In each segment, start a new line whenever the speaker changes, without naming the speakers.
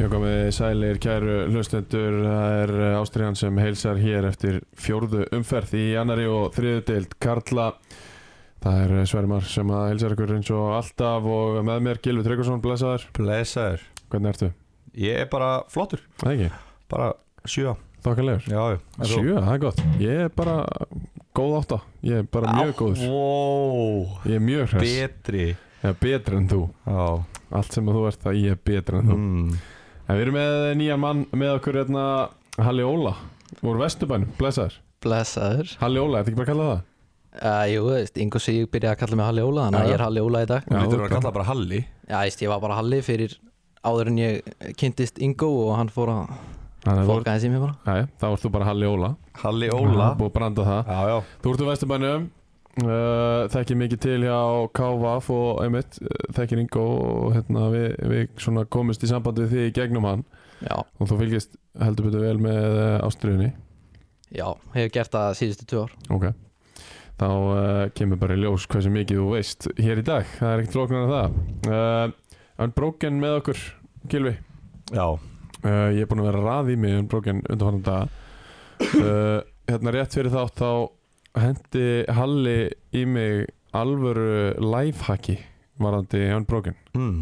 Ég komið eh, sælir kæru hlustendur, það er Ástriðan sem heilsar hér eftir fjórðu umferð í annari og þriðu deild Karla. Það er eh, Svermar sem að heilsar ykkur eins og alltaf og með mér Gilvi Tryggvason, blessaður.
Blessaður,
Hvernig ertu?
ég er bara flottur,
Það er ekki,
bara sjö
þokkalegur.
Já, já. En þú?
Sjö, það er gott. Ég er bara góð átta, ég er bara mjög
Á,
góður.
Vó,
Ég er mjög hress,
betri
ég er betri en þú.
Já,
Allt sem að þú ert það, ég er betri en þú.
mm.
En við erum með eh, nýjan mann með okkur hérna, Halli Óla, úr Vesturbænum, blessaður.
Blessaður
Halli Óla, er þetta ekki bara að kalla það?
uh, Jú, þú veist, Ingo Sig byrjaði að kalla mig Halli Óla
Já,
Þannig
já.
að ég er Halli Óla í dag
Já,
Þú lítur að
bara-
kalla bara Halli
Já, veist, ég var bara Halli fyrir áður en ég kynntist Ingo Og hann fór að
Þannig að þú ert-
fólka þessi mér bara
Jæja, þá ert þú bara Halli Óla
Halli
Það
Óla
er Búið að branda það
Já, já,
Þú ert úr Vesturbænum uh, Þekkir mikið til hjá KVAF og einmitt uh, Þekkir Ingo og hérna, við, við svona komist í samband við þig í gegnum hann
Já,
Og þú fylgist heldur betur vel með uh, ástriðinni
já, hefur gert það síðustu tvö ár
Ok Þá uh, kemur bara í ljós hversu mikið þú veist hér í dag Það er ekkert flóknar en það uh, Unbroken með okkur, Gilvi
já,
Uh, ég er búinn að vera að raða í mig um brókin undanfarnan dag uh, Hérna rétt fyrir þátt þá hendi Halli í mig alvöru lifehacki varandi Unbroken
mm.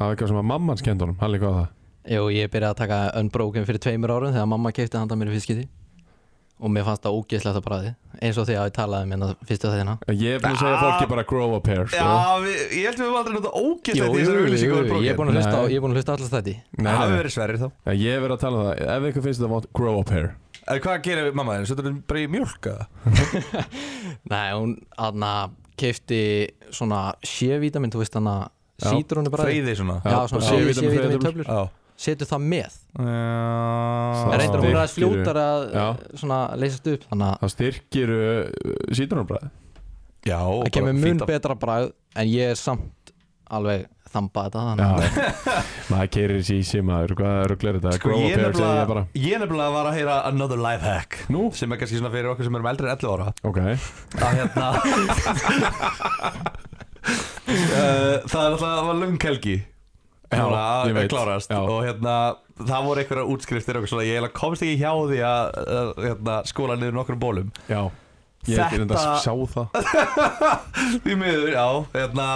af eitthvað sem að mamman skemmt honum, Halli hvað var það?
Jú, ég byrjaði að taka Unbroken fyrir tveimur árum Þegar mamma keipti handa mér í fiskiti Og mér fannst það ógeðslegt að bræði Eins og því að ég talaði um hérna fyrstu þeirna
Ég er búinn að segja að fólki bara grow up hair sko.
já við, ég held við höfum aldrei nota ógæst
Jú,
Þetta
jú,
þessar
jú,
auðlýsingu
jú, ég er búin að hlusta á-
Nei.
ég er búin að hlusta allast þetta
Nei,
Það hefur
nei,
verið sverrið þá
nei, ég er verið að tala um það Ef eitthvað finnst þetta vant, grow up hair
En hvað gerir mamma þér? Settur hún bara í mjölka?
Nei, hún aðna keipti svona C-vitamin, þú veist hana
Já,
sítrónu
Freyði svona
Já,
Já, svona
bara
séu
C-vítamín,
vítamín
freyðitöflur.
töflur
Já
Setu það með
Já.
En
Það
reyndar hún er aðeins
Styrkir.
fljótar að
Já.
eh, svona leysast upp Þannig að
Það styrkir uh, sítrónabræði
Já,
það
bara
kemur mun
fínt að-
betra bragð En ég er samt alveg þamba þetta Þannig að
Maður keirir sér í símaður, hvað er rugglir þetta?
Sko,
grow up
ég
hair segi ég
nefnilega,
bara
ég nefnilega var að heyra another life hack
Nú?
sem er kannski svona fyrir okkur sem erum eldri en 11 ára
Ok,
að hérna Eh, það er alltaf það var lung helgi
Já,
Svona að-
ég
að
veit.
klárast
Já.
og hérna það voru einhverja útskriftir og eitthvað svona, ég eiginlega komst ekki hjá því að eh, hérna, skóla niður nokkrum bólum
já Ég er ekki reynda að
Þetta-
sjá það
því miður, já, hérna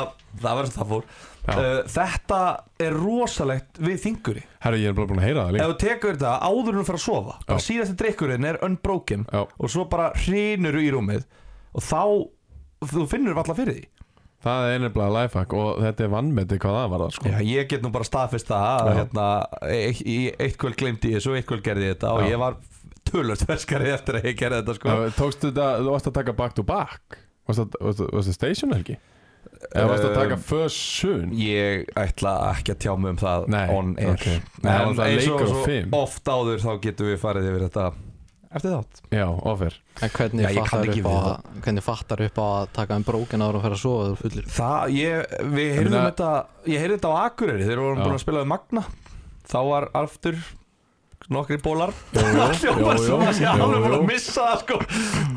það var sem það fór
Já.
uh, þetta er rosalegt við þinguri
Herru, ég er bara búin að heyra það líka
ef þú tekur þetta áður en þú fyrir að sofa bara síðasti drikkurinn er unbroken
Já.
og svo bara hrinur í rúmið og þá þú finnur valla fyrir því
Það er nefnilega lifehack og þetta er vannmeti hvað það var það sko
Já, ég get nú bara staðfist það að
Já.
hérna, eitt, eitt kvöld glemdi ég þessu og eitt kvöld gerði ég þetta
Já.
og ég var tölvöld verskari eftir að ég gerði þetta sko.
Það- Tókstu þetta, þú varst að taka back to back Varst það- varst það varst það station helgi? Eða varst
Ehm,
það að taka first soon?
Ég ætla ekki að tjá mig um það
Nei,
on air
ok. Nei, það
En
var
eins
leikur og
og svo
fimm.
oft áður þá getum við farið yfir þetta eftir þátt
Já, ofir
en hvernig
Já, ég kann
fattar
ekki
upp á
við
að- Hvernig fattar upp á að taka um brókin ára og fara að sofa þú fullir
Það, ég, við heyrðum
meina-
þetta Ég heyrði þetta á Akureyri þegar við vorum
Já.
búin að spila við Magna Þá var aftur nokkri bólar
Jú, jú,
Það hljópar
jú,
svo að sé
jú,
alveg búin
jú.
að missa það sko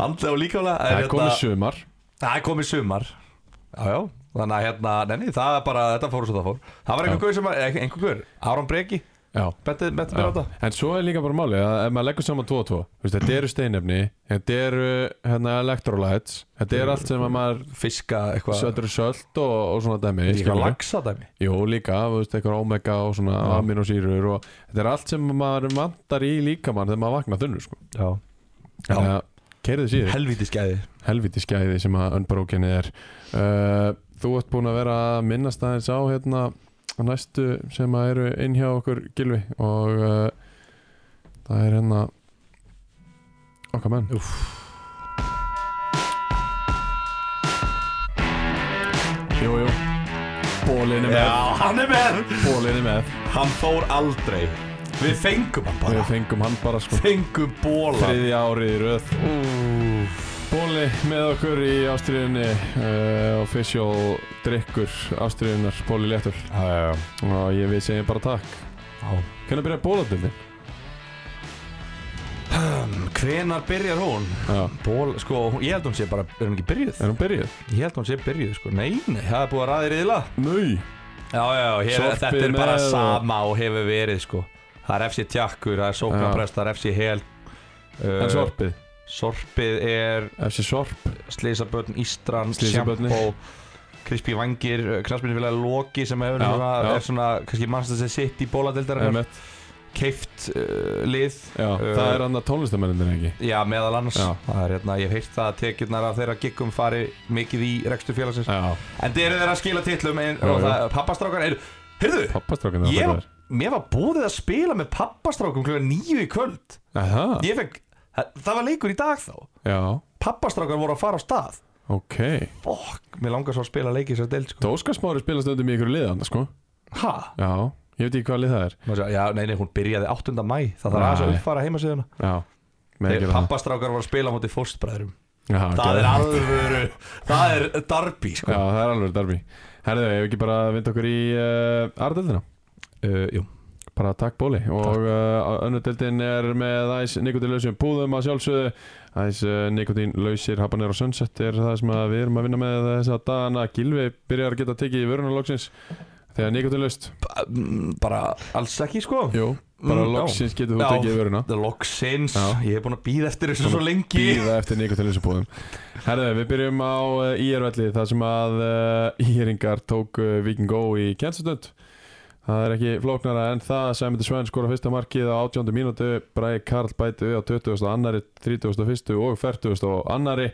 Andlega og líkjálega
Það er komið sumar
Það er komið sumar Já, já Þannig að hérna, neini, það er bara, þetta fór svo það fór Það var einhver
Já.
guður sem, var- eh, einhver guður, Aron Breki,
Já,
bettið með
já.
þetta
En svo er líka bara málið að ef maður leggur saman 2 og 2 veist, Þetta eru steinefni, þetta eru hérna, electrolytes Þetta eru allt sem að maður
Fiska eitthvað,
Þetta eru sölt og, og svona dæmi
líka
skilurðu.
lagsa dæmi
Jú, líka, þú veist, eitthvað omega og svona aminosýrur og þetta er allt sem maður vantar í líkamann þegar maður vaknar þunnu, sko.
Já,
Þannig að keirið síður,
helvíti skæði
helviti skæði sem að önbrókinni er. Uh, þú ert búin að vera að minnast aðeins á hérna á næstu sem að eru inn hjá okkur gilvi og uh, það er hérna okkar menn. Úf. Jú, jú, bólin er með,
Já, hann er með
bólin er með.
Hann fór aldrei Við fengum hann bara
Við fengum hann bara sko
Fengum bóla
Þriðja árið í röð
Úff.
Bóli með okkur í ástriðinni uh, Official drikkur ástriðinnar Bóli Léttul
Já, já, já.
Og ég við segjum bara takk
Já.
Hvernig byrjaði bóladildin?
Hvenar byrjar hún?
Já,
Ból, sko, hún- ég held hún sé bara, er hún ekki byrjuð?
er hún byrjuð?
Ég held hún sé byrjuð, sko, nei, nei, það er búið að ræði riðla
Nei
Já, já, hér,
Sorpið
þetta er bara
með og-
sama og hefur verið, sko Það er FC Tjakkur, það er Sóknaprest, það er FC Hel uh,
En sorpið
Sorpið er
FC Eh. Sorp
Sleisabörn, Ístran,
Slysabörnin.
Sjampó Krispi Vangir, Knastmyndinfélag Loki sem hefur
Já,
svona,
já.
er svona, kannski mannstæðs að sitt í bóladeildarinnar
Emmett
Keift uh, lið
Já,
Uh,
það er annað tónlistamennindin ekki
Já, meðal annars
Já.
Það er hérna, ég hef heyrt það að tekjurnar af þeirra giggum fari mikið í rekstur félagsins
Já,
En þeir eru þeirra að skila titlum en,
Já,
og
já.
það, pappastrákar eru Heyrðu,
pappastrákin það
ég, mér var búið að spila með pappastrákum kl. 9 í kvöld
Það,
Ég fekk, það, það var leikur í dag þá
já,
Pappastrákar voru að fara á stað
ok
Fokk, mér langar svo að spila leiki sér deild sko.
Dóskarsmári spilast undir mig ykkur liðan sko
Ha?
Já, ég veit ekki hvað lið það er
Má segja, Já, nei, nei, hún byrjaði 8. mæ Það þarf aðeins að
Nei.
uppfara heimasíðuna
Já, Eh, með ekki
Þeir pappastrákar voru að spila á móti fórstbræðurum
Já,
Það
gerðu
er alvöru, það er darbi sko.
Já, það er alveg darbi Herðu, ef ekki bara vind okkur í uh, Ardeldina
uh, Jú
Bara takk bóli Og uh, önnu deildin er með æs nikotinlausum búðum að sjálfsögðu Æs uh, nikotinlausir Habanero Sunset er það sem að við erum að vinna með þess að dagana Gilvi byrjar að geta tekið í vörunarlóksins Þegar nikotinlaust
Ba- mm, Bara alls ekki sko
Jú, bara
Mm, já.
loksins getur þú
Já.
tekið í vöruna
The Loxins,
Já.
ég hef búin að býða eftir þessu svo lengi
Býða eftir nikotinlausum búðum Herðu, við byrjum á uh, IR-velli þar sem að uh, íringar tók uh, Viking Go í kennstönd Það er ekki flóknara en það Sæmundur Svein skora fyrsta markið á 18. mínútu Bræði Karl bæti við á 20. annari 31. og 40. annari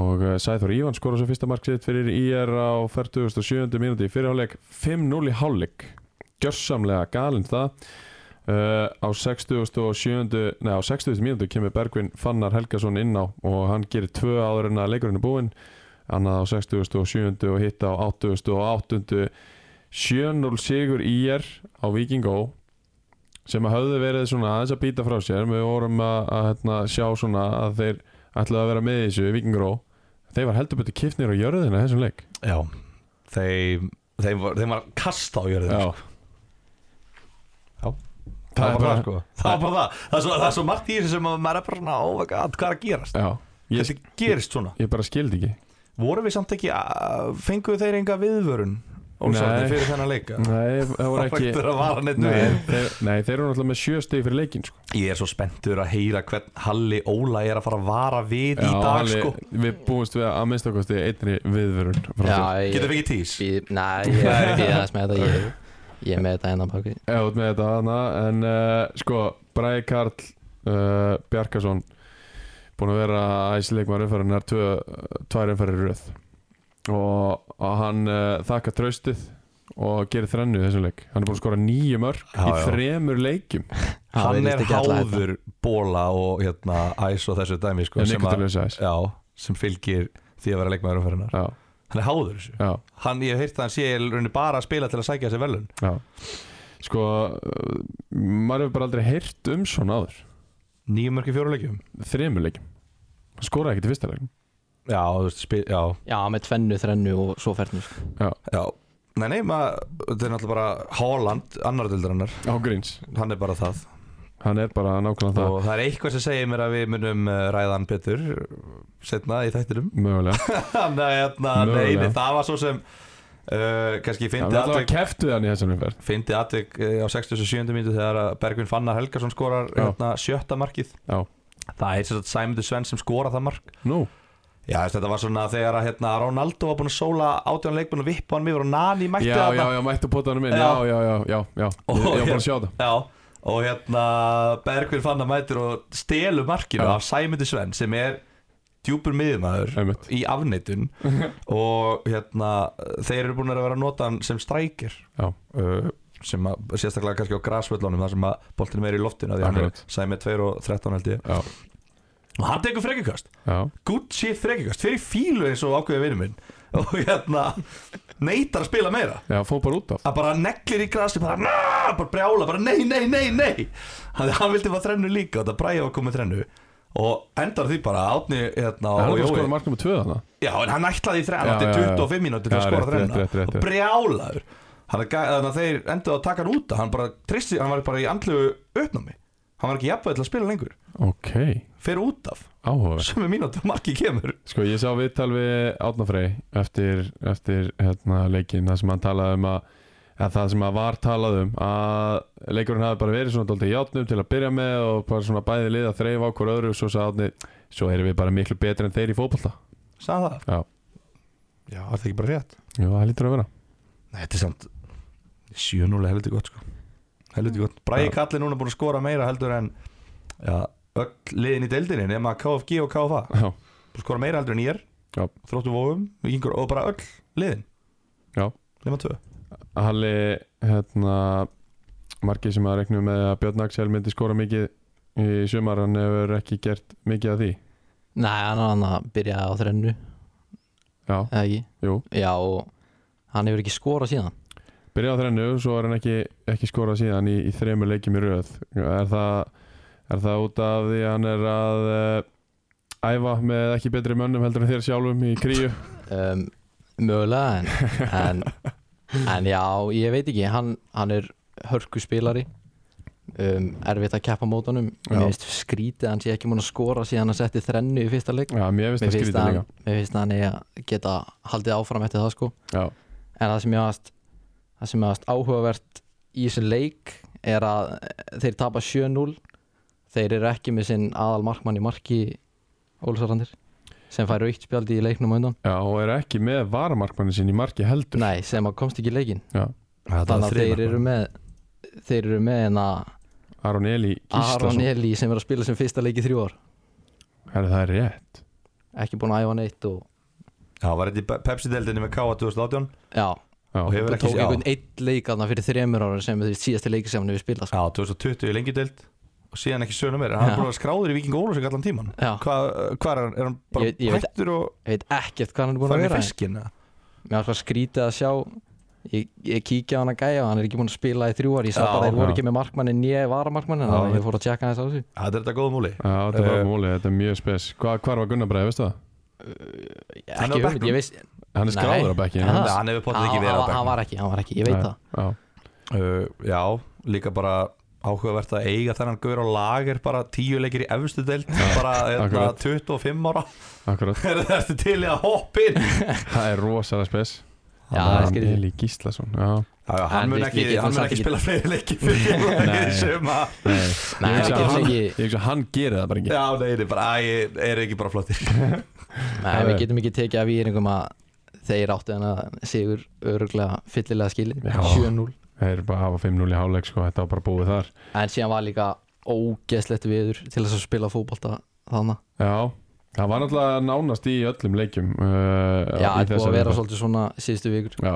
og eh, Sæþór Ívan skora svo fyrsta mark sitt fyrir IR á 47. mínútu í fyrirháleik 5-0 í hálfleik gjörsamlega galinn það uh, á 67. Nei, á 60. mínútu kemur Bergvin Fannar Helgason inn á og hann gerir tvö áður en að leikurinn er búinn annað á 67. og hitt á 80. og 80. 7-0 sigur IR á Víkingó sem að höfðu verið svona aðeins að býta frá sér við vorum að, að hérna, sjá svona að þeir ætlaði að vera með í þessu Víkingó þeir var heldur betur kipnir á jörðina í þessum leik
Já, þeim, þeim, var, þeim var kast á jörðum
Já,
sko. Það var bara það sko Það var bara það Það er svo, það er svo margt í þessu sem að maður er bara svona Oh my god, hvað er að gerast?
já. Ég,
Þetta gerist svona
ég bara skildi ekki
Voru við samt ekki að Fenguðu þeir enga viðvörun?
Nei.
Ólsarni fyrir þennan leika
Nei, það voru
Það var
ekki
eftir að vara neitt
Nei,
við
þeir, nei, þeir eru náttúrulega með sjö stig fyrir leikin sko.
Ég er svo spenntur að heyra hvern Halli Óla er að fara að vara við í dag
alveg-
sko
Við búumst við að minnst okkosti einri viðvörun frá
Já,
þér.
Getur
ég
við ekki tís?
býð, næ, ég er ekki aðeins með þetta ég, ég er með þetta enn á baki
Ég út með þetta hana En uh, sko, Bræði Karl uh, Bjarkason búin að vera æsileikmar umfærunar tvær umfærir röð og, og hann uh, þakka traustið og gerir þrennu í þessum leik hann er búin að skora nýju mörk
Já,
í
já.
þremur leikum
Það
Hann
virðist
er
ekki ætla þetta.
háður bóla og hérna æs og þessu dæmi sko
en
sem að-
Nikotin Ljósæs
Já, sem fylgir því að vera leikmaður umferðinar
já,
Hann er háður þessu
já
Hann, ég hef heyrt að hann sé í rauninni bara að spila til að sækja sér velun
Já Sko, uh, maður hefur bara aldrei heyrt um svona áður
Nýjum mörki fjóruleikjum
Þremuleikum Hann skoraði ekki til fyrsta leikum
Já, þú veist, spil, já
Já, með tvennu, þrennu og svo fernu sko.
Já Nei, nei, maður, þetta er náttúrulega bara Haaland, annar dildarinnar,
Á gríns
hann er bara það
Hann er bara nákvæmlega það
Og það er eitthvað sem segir mér að við munum eh, ræða hann betur Setna í þættinum
Mögulega
Þannig að hérna, nei,
Mögulega.
nei, það var svo sem uh, Kannski
Hann
fyndi
er alltaf
atvik
keftuð hann í þessum umferð
Fyndi atvik eh, á 67. mínútu Þegar að Bergvin Fannar Helgason skorar
Já.
hérna, sjötta markið
Já.
Það er sér að Sæmundur Svenn sem skora það mark
Nú,
Já, þessi, þetta var svona þegar að hérna, Ronaldo var búinn að sóla átján leikbúinn og vippa hann yfir og Nani mætti
já, já, já, mættu potanum minn Já,
Já.
já, já, já, já
Ó,
Ég ég var bara
já.
að sjá það
já. Og hérna Bergvin fann að mætir og stelu markinu
Já.
af Sæmundi Svenn sem er djúpur miðumæður
Einmitt.
í afneitun og hérna þeir eru búin að vera að nota hann sem strækir
Já.
uh, sem að, sérstaklega kannski á grasvöllunum þar sem að boltin er í loftinu því að hann er
Akkurat.
Sæmið 2 og 13 held ég
Já,
og hann tekur frekjukast
já,
Gucci frekjast fyrir fílu eins og ákveði vinnum minn og hérna neitar að spila meira
Já, fór bara út af
að bara neglir í grasi bara, "Nah!" bara brjála, bara nei, nei, nei, nei hann, hann vildi fá þrennu líka og þetta bræði að koma með þrennu og endar því bara átni hérna,
En hann
og
var að skora
Jói
marknum með tvöð hana
já, en hann ætlaði í þrennu,
Já,
hann átti
já, já.
25 mínútur til
Já,
að skora
rétt, rétt, rétt,
þrennu
rétt,
og
rétt.
brjálaður Hann er gæ- þannig að þeir endur að taka hann út af, hann bara tristi, hann var bara í andlu uppnámi hann var ekki jafnvæg til að spila lengur
Ok,
fer út af,
áhugaverð
sömu mínútur markið kemur
Sko ég sá viðtal við Átnafrey eftir, eftir hérna, leikinn það sem hann talaði um að eða það sem að var talað um að leikurinn hafi bara verið svona dálítið í játnum til að byrja með og bara svona bæði lið að þreif á hver öðru og svo sagði Átni, svo erum við bara miklu betri en þeir í fótbolta
sagði það
Já.
já, er það ekki bara rétt
Jú, það lítur að vera
Nei, þetta er samt 7-0 er heldur gott sko heldur gott, Bræði
Já.
Kalli núna búin að skora meira heldur en ja, öll liðin í deildinni nema KFG og KFA
Já,
búin að skora meira heldur en ég er
Já.
þróttu vóum, vikingur og bara öll liðin
Já.
nema tvö
Halli, hérna margið sem að reiknum með að Björn Axel myndi skora mikið í sumar hann hefur ekki gert mikið af því
Nei, hann var hann að byrja á þrennu
Já,
eða ekki
jú,
Já, og hann hefur ekki skorað síðan
byrja á þrennu svo er hann ekki, ekki skorað síðan í, í þremur leikjum í röð er það, er það út af því að hann er að uh, æfa með ekki betri mönnum heldur en þér sjálfum í kríu
um, Mögulega en, en, en já, ég veit ekki Hann, hann er hörkuspilari um, Erfitt að keppa mótanum
Já.
Mér finnst skrítið að hann sé ekki múin að skora síðan að setti þrennu í fyrsta leik
Já, mér finnst það
Mér finnst
skrítið
að
líka
hann, mér finnst að hann eigi að geta haldið áfram eftir það sko
Já,
En það sem ég aðast það sem ég aðast áhugavert í þessum leik er að eh, þeir tapa 7-0 þeir eru ekki með sinn aðal markmann í marki Ólsarandir sem fær aukt spjaldi í leiknum á undan
Já, og er ekki með varamarkmanni sín í marki heldur
Nei, sem að komst ekki í leikin
Já,
þannig að þeir eru með þeir eru með en að
Aron Eli
Aron E-
Gíslason
Eli sem er að spila sem fyrsta leik í þrjú ár
Herra, Það er rétt
ekki búin að æfa neitt og
Já, var þetta í Pe- Pepsi-deildinni með KA 2018
já,
Já,
og hefur
það
ekki
tók einhvern eitt leik aðna fyrir þremur ára sem er því síðasti leiki sem hann hefur spilað sko.
Já, 2020 í lengjudeild og síðan ekki sögna meira, hann
Já.
er búin að skráður í Viking Ólafsvík allan tíman
Já.
Hvað hva er hann, er hann bara
Ég- ég veit-
hættur og
ég veit ekkert hvað hann er búin að
farin í
vera
feskin? eða?
Mér var svona skrítið að sjá Ég, ég kíkja á hann að gæja og hann er ekki búin að spila í þrjú ár Ég sá
Já,
bara að þeir voru
já.
ekki með markmannin Nýja varamarkmannin
Já,
Þannig að
veit.
ég fór að tjekka hans á þessu
Já, Þetta er þetta góða múli
Já, þetta er bara
Eh,
múlið, þetta er mjög spes Hva, Hvar var Gunnar Bræði, veistu það?
Hann er á
Ekki um,
bekknum.
ég veist
Hann er
Nei.
skráður á bekki
Aha.
Nei, hann hefur potið ekki verið á
Hann hann var ekki, hann var ekki, ég veit það
Já,
Uh, já, líka bara áhugavert að eiga þennan gaur á lager bara tíu leikir í efstu deild bara hérna,
akkurat.
25 ára
akkurat
er þetta til í að hoppa inn já,
Það er rosalega spes
Já, það er
Aron
skrítið.
Eli Gíslason Já,
já, hann
En
mun
við-
ekki,
við getum
hann mun
samt
ekki
ekki-
spila fleiri leiki fyrir
Nei.
leikir sem að
Nei, ég
Nei, við
hugsa að
getum
hann,
ekki-
ég hugsa að hann gerir það bara ekki
já, nei, nei, bara, æ, er ekki bara flottir
Nei,
Já, já.
við getum ekki tekið af íringum að Þeir áttu hann að sigur öruglega fyllilega skilin
Já.
7-0
Þeir eru bara að hafa 5-0 í háleik sko, þetta var bara búið þar
En síðan var líka ógeðslegt viður Til þess að spila fótbolta þannig
Já, það var náttúrulega nánast í öllum leikjum uh,
Já,
í
það er búið að
þessari
vera
umferð.
svolítið svona síðustu vikur
Já,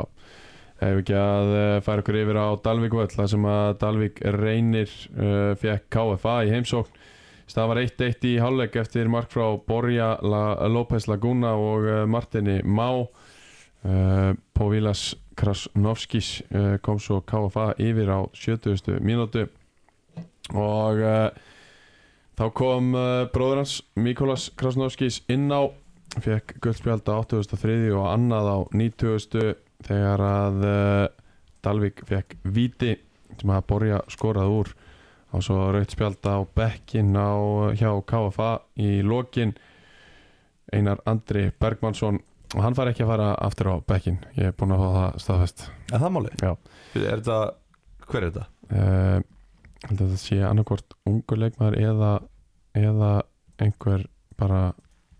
ef við ekki að uh, færa okkur yfir á Dalvík völl þar sem að Dalvík reynir uh, fekk KFA í heimsókn Stafar 1-1 í hálfleik eftir mark frá Borja La eh, López Laguna og uh, Martini Má uh, Póvilas Krasnovskis uh, kom svo KFA yfir á 70. mínútu og uh, þá kom uh, bróður hans Mikolas Krasnovskis inn á fekk guldspjald á 83. og annað á 90. þegar að uh, Dalvik fekk viti sem að Borja skorað úr og svo raut spjald á bekkin á, eh, hjá KFA í lokin Einar Andri Bergmannsson og hann fær ekki að fara aftur á bekkin ég er búinn að fá það staðfest
er það máli?
Já.
er þetta, hver er þetta?
uh, held að það sé annarkvort ungur leikmaður eða, eða einhver bara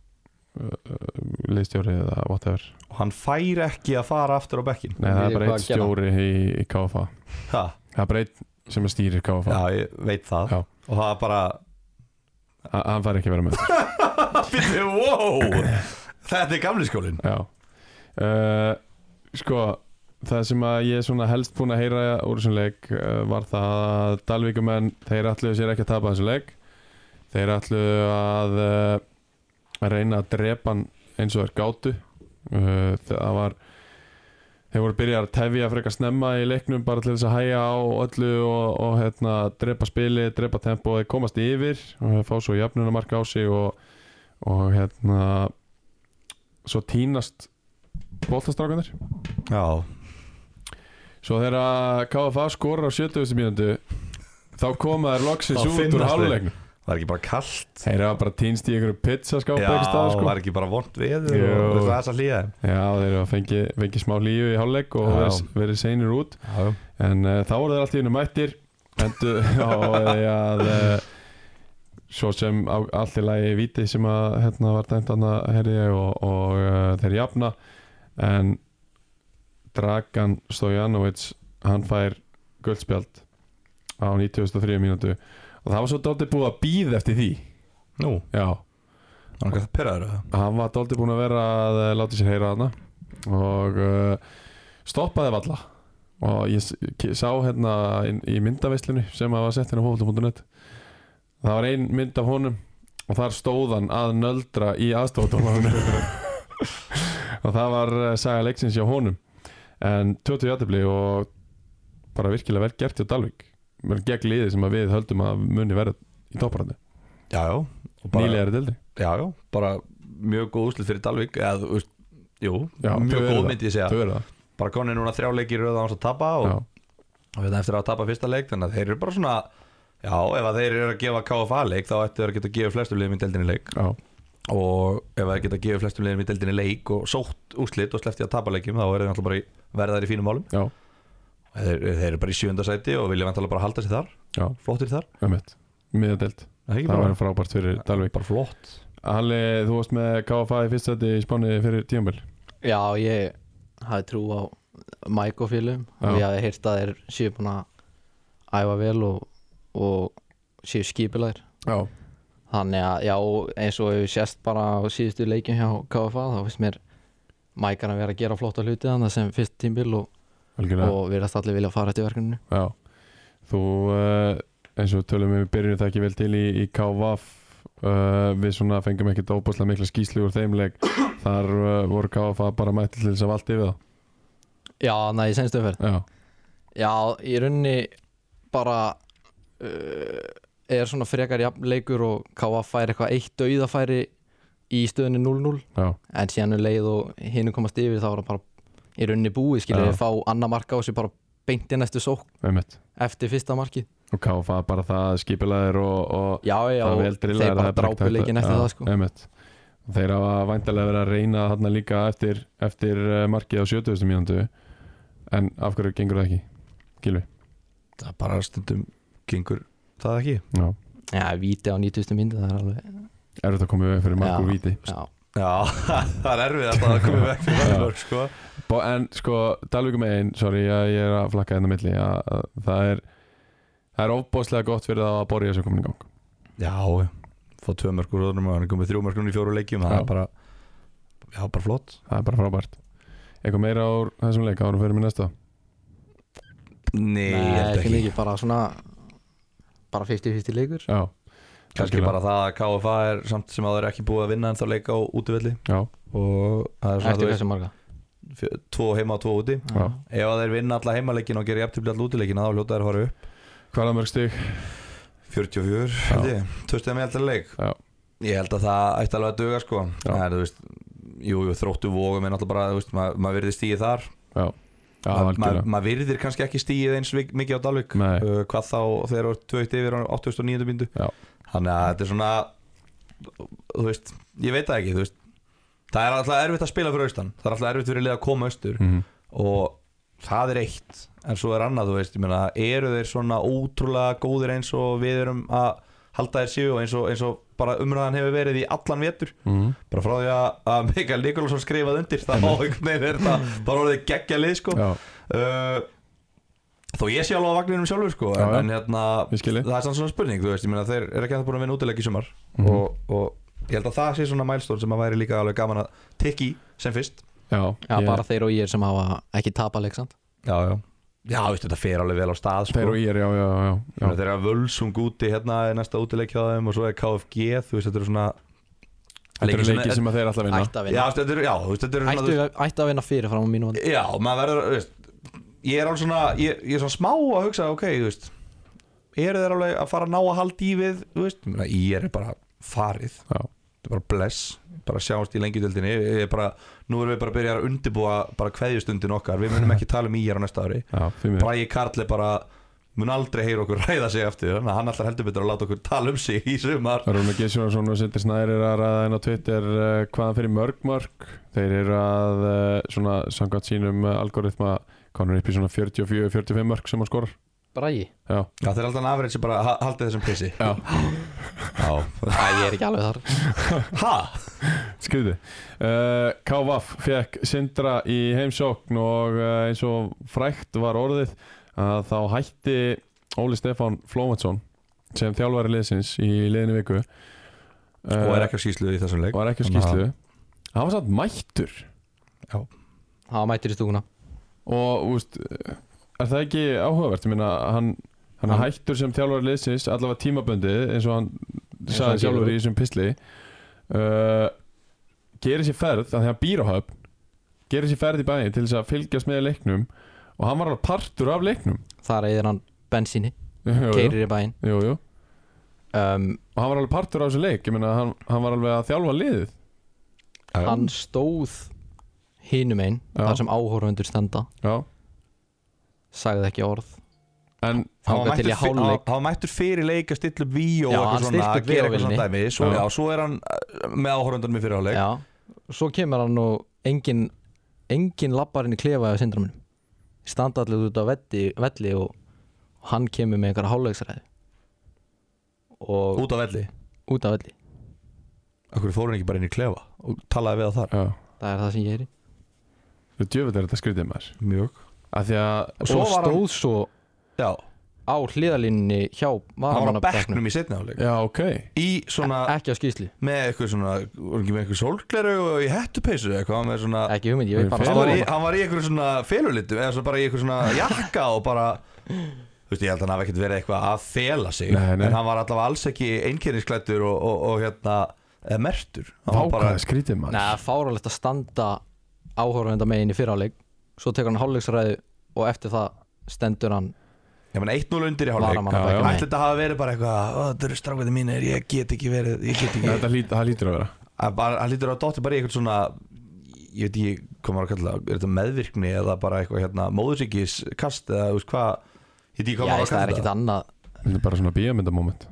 uh, liðstjóri eða whatever
og hann fær ekki að fara aftur á bekkin
Nei, það er
Við
bara
hvað
eitt
að gera?
stjóri í, í KFA
ha,
Það er bara eitt sem stýrir KFA
já, ég veit það
Já.
og það er bara,
A- Hann fær ekki að vera með
byrju, wow þetta er gamli skólin
Já uh, Sko, það sem að ég er svona helst búinn að heyra úr þessum leik uh, var það að Dalvíkumenn þeir ætluðu sér ekki að tapa þessum leik eh, Þeir ætluðu að uh, að reyna að drepa hann eins og þeir gátu uh, það var þeir voru byrjað að tefja frekar snemma í leiknum bara til þess að hæja á öllu og, og hérna, drepa spili, drepa tempo þeir komast yfir og fá svo jafnunamarka á sig og, og hérna svo tínast boltastrákanir
Já,
Svo þegar KFA skorar á 70. mínútu þá koma þær loksins
Þá
út úr
finnast þeir.
háluleikn
var ekki bara kallt
Þeir hafa bara týnst í einhverju pizzaskáp
Já,
einhvers staðar, sko.
var ekki bara vond við
Jú.
og það er að hlýja þeim.
Já, þeir hafa fengið fengi smá líu í háluleik og
Já.
verið, verið seinir út en uh, þá voru þeir allt í einu mættir endur á því að uh, svo sem á, allt í lagi viti sem að hérna var dæmt hann að herði ég og, og uh, þeir jafna en Dragan Stojanovic hann fær guldspjald á 93 mínútu og það var svo dálítið búið að býða eftir því
Nú,
já,
var ekki að pyrraður það
hann var dálítið búin að vera að eh, láta sér heyra hana og uh, stoppaði valla og ég s- k- sá hérna inn, í myndaveislinu sem að var sett hérna á hófaldum.net það var ein mynd af honum og þar stóð hann að nöldra í aðstofadómanum og það var eh, saga leiksins hjá honum en 20 játefli og bara virkilega vel gert hjá Dalvik gegn liði sem að við höldum að muni verða í topparandi,
Já, já og bara-
nýlega er þetta eldi
Já, já, bara mjög góð úslit fyrir Dalvik eða, þú veist, jú,
Já, þau
mjög
eru það.
góð myndi ég segja
þau eru það,
bara konni núna þrjá leikir röða hans að tapa og,
já
og hérna eftir að hafa tapað fyrsta leik þannig að þeir eru bara svona já, ef að þeir eru að gefa KFA leik þá ættu þeir að geta að gefa flestum liðum í deildinni leik
Já,
og ef þeir geta að gefa flestum liðum í deildinni leik og sótt úslit og sleppti að tapa leikum þá eru þeir náttúrulega bara í, verða þeir í fínum málum
já,
Og þeir, þeir eru bara í sjönda sæti og vilja vantalega bara halda sér þar
já,
flottir þar,
umhett Miðadelt,
það er ekki
það
bara,
var frábært fyrir Dalvik
bara flott
Halli, þú varst með KFA í fyrsta þetta í spáni fyrir tíumbil
Já, ég hafði trú á Mike og félum
Já.
og ég hafði heyrt að þeir séu búin að æfa vel og, og séu skipilæðir
Já,
Þannig að, já, eins og við sést bara á síðustu leikjum hjá KFA þá finnst mér Mike hann að vera að gera flotta hluti þannig sem fyrst tímbil og,
algjörlega
og virðast allir vilja fara eftir verkefninu
Já, þú eh, eins og við tölum við byrjunum það ekki vel til í, í KVAF Uh, við svona fengum ekkert óbúslega mikla skýslu úr þeim leik þar uh, voru KFA bara mætti til þess að valdi yfir
Já, næ, í senstu umferð
það já,
Já, í rauninni bara uh, er svona frekar jafnleikur og K.A. fær eitthvað eitt dauðafæri í stöðunni 0-0
já,
en síðan er leið og hinn komast yfir þá er það bara í rauninni búið skilur
Já.
við fá annað marka á sig bara beint í næstu sók
einmitt
eftir fyrsta markið
og KFA bara það skipilaðir og, og
Já, já,
það er
og
vel
þeir
drillaðir, það er
bara
ekki
drápu
hægt að-
leikin eftir
Já,
það sko
einmitt. Og þeir hafa væntalega verið að reyna þarna líka eftir, eftir eh, markið á 70. mínútu en af hverju gengur það ekki Gilvi
það er bara stundum gengur það ekki
já.
Já, víti á 90. myndi, það er alveg
er þetta komið veg fyrir mark
Já.
úr víti
Já,
Já, það er erfið að það komi vekk fyrir
Já.
Valmörk sko.
Bó, en sko Dalvíkum einn, sorry að ég er að flakka hérna á milli að, að, það er það er ofbóðslega gott fyrir það að borja þessu komin í gang
Já, fá tvö mörgur og hann er komið þrjú mörgur í fjóru leikjum það
Já.
er bara, já, bara flott
það er bara frábært eitthvað meira úr þessum leik árum fyrir mig næsta
Nei, ég held
ekki mikið, bara svona bara 50-50 leikur
já,
Kanski
Algjörlega.
bara það að KFA er samt sem að það er ekki búið að vinna en þá leika á útivelli
já,
og það er svona,
Eftir
þú veist,
hversu marga
fjö- tvo heima og tvo úti
Já.
Ef að þeir vinna alla heimaleikin og gera jafntefli alla útileikin þá hljóta þeir að fara upp
hvað er mörg stig
44, held ég, tvö stegum ég held að leik
Já.
Ég held að það ætti alveg að duga sko
Já.
Það er, þú veist, jú, jú, þróttu vógum er náttúrulega bara, þú veist, maður mað verðist í þar
já, já,
Ma- ma-
algjörlega
maður virðir kannski ekki stíið eins vik- mikið á Dalvik
Nei.
uh, hvað þá þegar þú ert tvöitt yfir á 89. bindu
Já.
þannig að þetta er svona þú veist, ég veit það ekki þú veist, það er alltaf erfitt að spila fyrir austan það er alltaf erfitt fyrir lið að koma austur
mm
og það er eitt en svo er annað, þú veist, ég meina eru þeir svona ótrúlega góðir eins og við erum að halda þeir séu og eins og, eins og bara umræðan hefur verið í allan vetur
-hmm.
bara frá því að- að Mikael Nikolásson skrifað undir þá einhvern veginn er þetta bara orðið geggja lið sko
já,
uh, Þó ég sé alveg á vagninum sjálfur sko
Já, já.
En, en hérna,
Ég skil þig.
það er samt svona spurning Þú veist, ég meina þeir eru ekki að það búin að vinna útileik í sumar
Mhm.
og, og ég held að það sé svona mælstón sem að væri líka alveg gaman að tekki sem fyrst
já,
Já,
ég-
bara þeir og ég sem hafa ekki tapa leiksand
Já, já Já, veistu, þetta fer alveg vel á stað sko
Þeir og ég er, já, já, já,
Ég meina, Þeir eru að völsung úti hérna er næsta útileik hjá þeim og svo er KFG, þú veist, þetta eru svona
Þetta
Leikir
eru
sem-
leikir sem að þeir alltaf vinna
ætti að
Já,
vinna
þetta eru, já, þú veist, þetta eru svona-
ætti, ætti að vinna fyrir fram á mínu vandi
Já, maður verður, þú veist Ég er alveg svona, ég, ég er svona smá að hugsa Ok, þú veist Eru þeir alveg að fara að ná að halda í við, þú veist Ég meina, IR er bara farið
Já.
Þetta er bara bless, bara sjáumst í lengjudöldinni Ég er bara, nú erum við bara að byrja að undirbúa Bara kveðjustundin okkar, við munum ekki tala um IR á næsta ári
Já, því miður
Bræði Karl er bara mun aldrei heyra okkur ræða sig eftir þannig að hann allar heldur betur að láta okkur tala um sig í sumar
Rúna Gessjónsson og Sindri Snæri er að ræða inn á Twitter uh, hvaðan fyrir mörg mörg þeir eru að uh, svona samkvæmt sínum uh, algoritma konur upp í svona 44-45 mörg sem hann skorar
Bragi,
Já,
Já, þeir er alltaf aðverðin sem bara ha- haldið þessum pissi
Já.
Já.
Æ, ég er ekki alveg þar
Ha?
skriði uh, Kávaf fekk Sindra í heimsókn og uh, eins og frækt var orðið að þá hætti Óli Stefán Flómansson sem þjálfari liðsins í liðinni viku Eh,
Og er ekki á skýslu í þessum leik
var ekki á
Þannig að-
skýslu hann var samt mættur
hann mættir í stúkuna
og úst, er það ekki áhugavert ég meina hann, hann er
Hann-
hættur sem þjálfari liðsins allavega tímabundið eins og hann
Eins og hann
sagði sjálfur
gefur
í þessum pistli uh, gerir sér ferð þannig að hann býr á höfn gerir sér ferð í bæinn til þess að fylgjast með leiknum og hann var alveg partur af leiknum
þar eðir hann bensíni,
jú, jú,
keirir í bæinn
jú, jú.
um,
og hann var alveg partur af þessu leik ég meina hann, hann var alveg að þjálfa liðið
Já, já.
hann stóð hinum einn,
Já.
þar sem áhorfundur stenda
já
sagði ekki orð
en
Hann var
þangað til
mættur
ég
fyr- hann-
hálfleik
hann var mættur fyrir leik að stilla upp víó og
Já, hann
eitthvað svona
stillti
að
upp
gera eitthvað svona
véóvélinni.
dæmi svo,
Já.
já, svo er hann uh, með áhorundanum í fyrir áleik
já, svo kemur hann og engin, engin labbarinn í klefaði á syndramunum standa allir út á velli, velli og og hann kemur með einhverja hálfleiksræði og
út á velli
út á velli
Akkur fór hann ekki bara inn í klefa og talaði við á þar
já
það er það sem ég er í
djöfitt er þetta skrítið maður
Mjög
af því að
og
svo var hann-
stóð svo
Já,
á hliðalínni hjá
hann var á
varamanna
bekknum í setni áleik
já ok
Í svona,
ekki á skýslu,
með eitthvað svona Var ekki með eitthvað sólgleru og í hettupeysu eitthvað hann með svona
ekki hugmynd ég veit bara
Hann
Hann
stóð
var, í,
hann
hann var í einhverjum svona felulitum eða svo bara í einhverjum svona jakka og bara þú veist ég held að hann hafi ekkert verið eitthvað að fela sig
Nei, nei.
en hann var allavega alls ekki einkennisklættur og, og, og hérna eða mertur hann var bara
vákaði skrítið maður
neða fáralegt að standa áhorfenda megin í fyrráleik svo tekur hann hálfleiksræði og eftir það stendur hann
ég meina 1-0 undir í hálfleik
Já,
varamanna
já.
ætli
bekknum
þetta hafi verið bara eitthvað "Ó, þetta eru strákvæði mínir ég get ekki verið ég get ekki
þetta lít, það lítur að vera
hann bara- hann lítur að dotti bara í eitthvað svona ég veit ekki hvað maður að kalla það, er þetta meðvirkni eða bara eitthvað hérna móðursíkiskast eða þú veist hvað ég veit ekki hvað
já,
maður á að
það er
kalla
ekkit
það
annað
Þetta er bara svona bíamöndamoment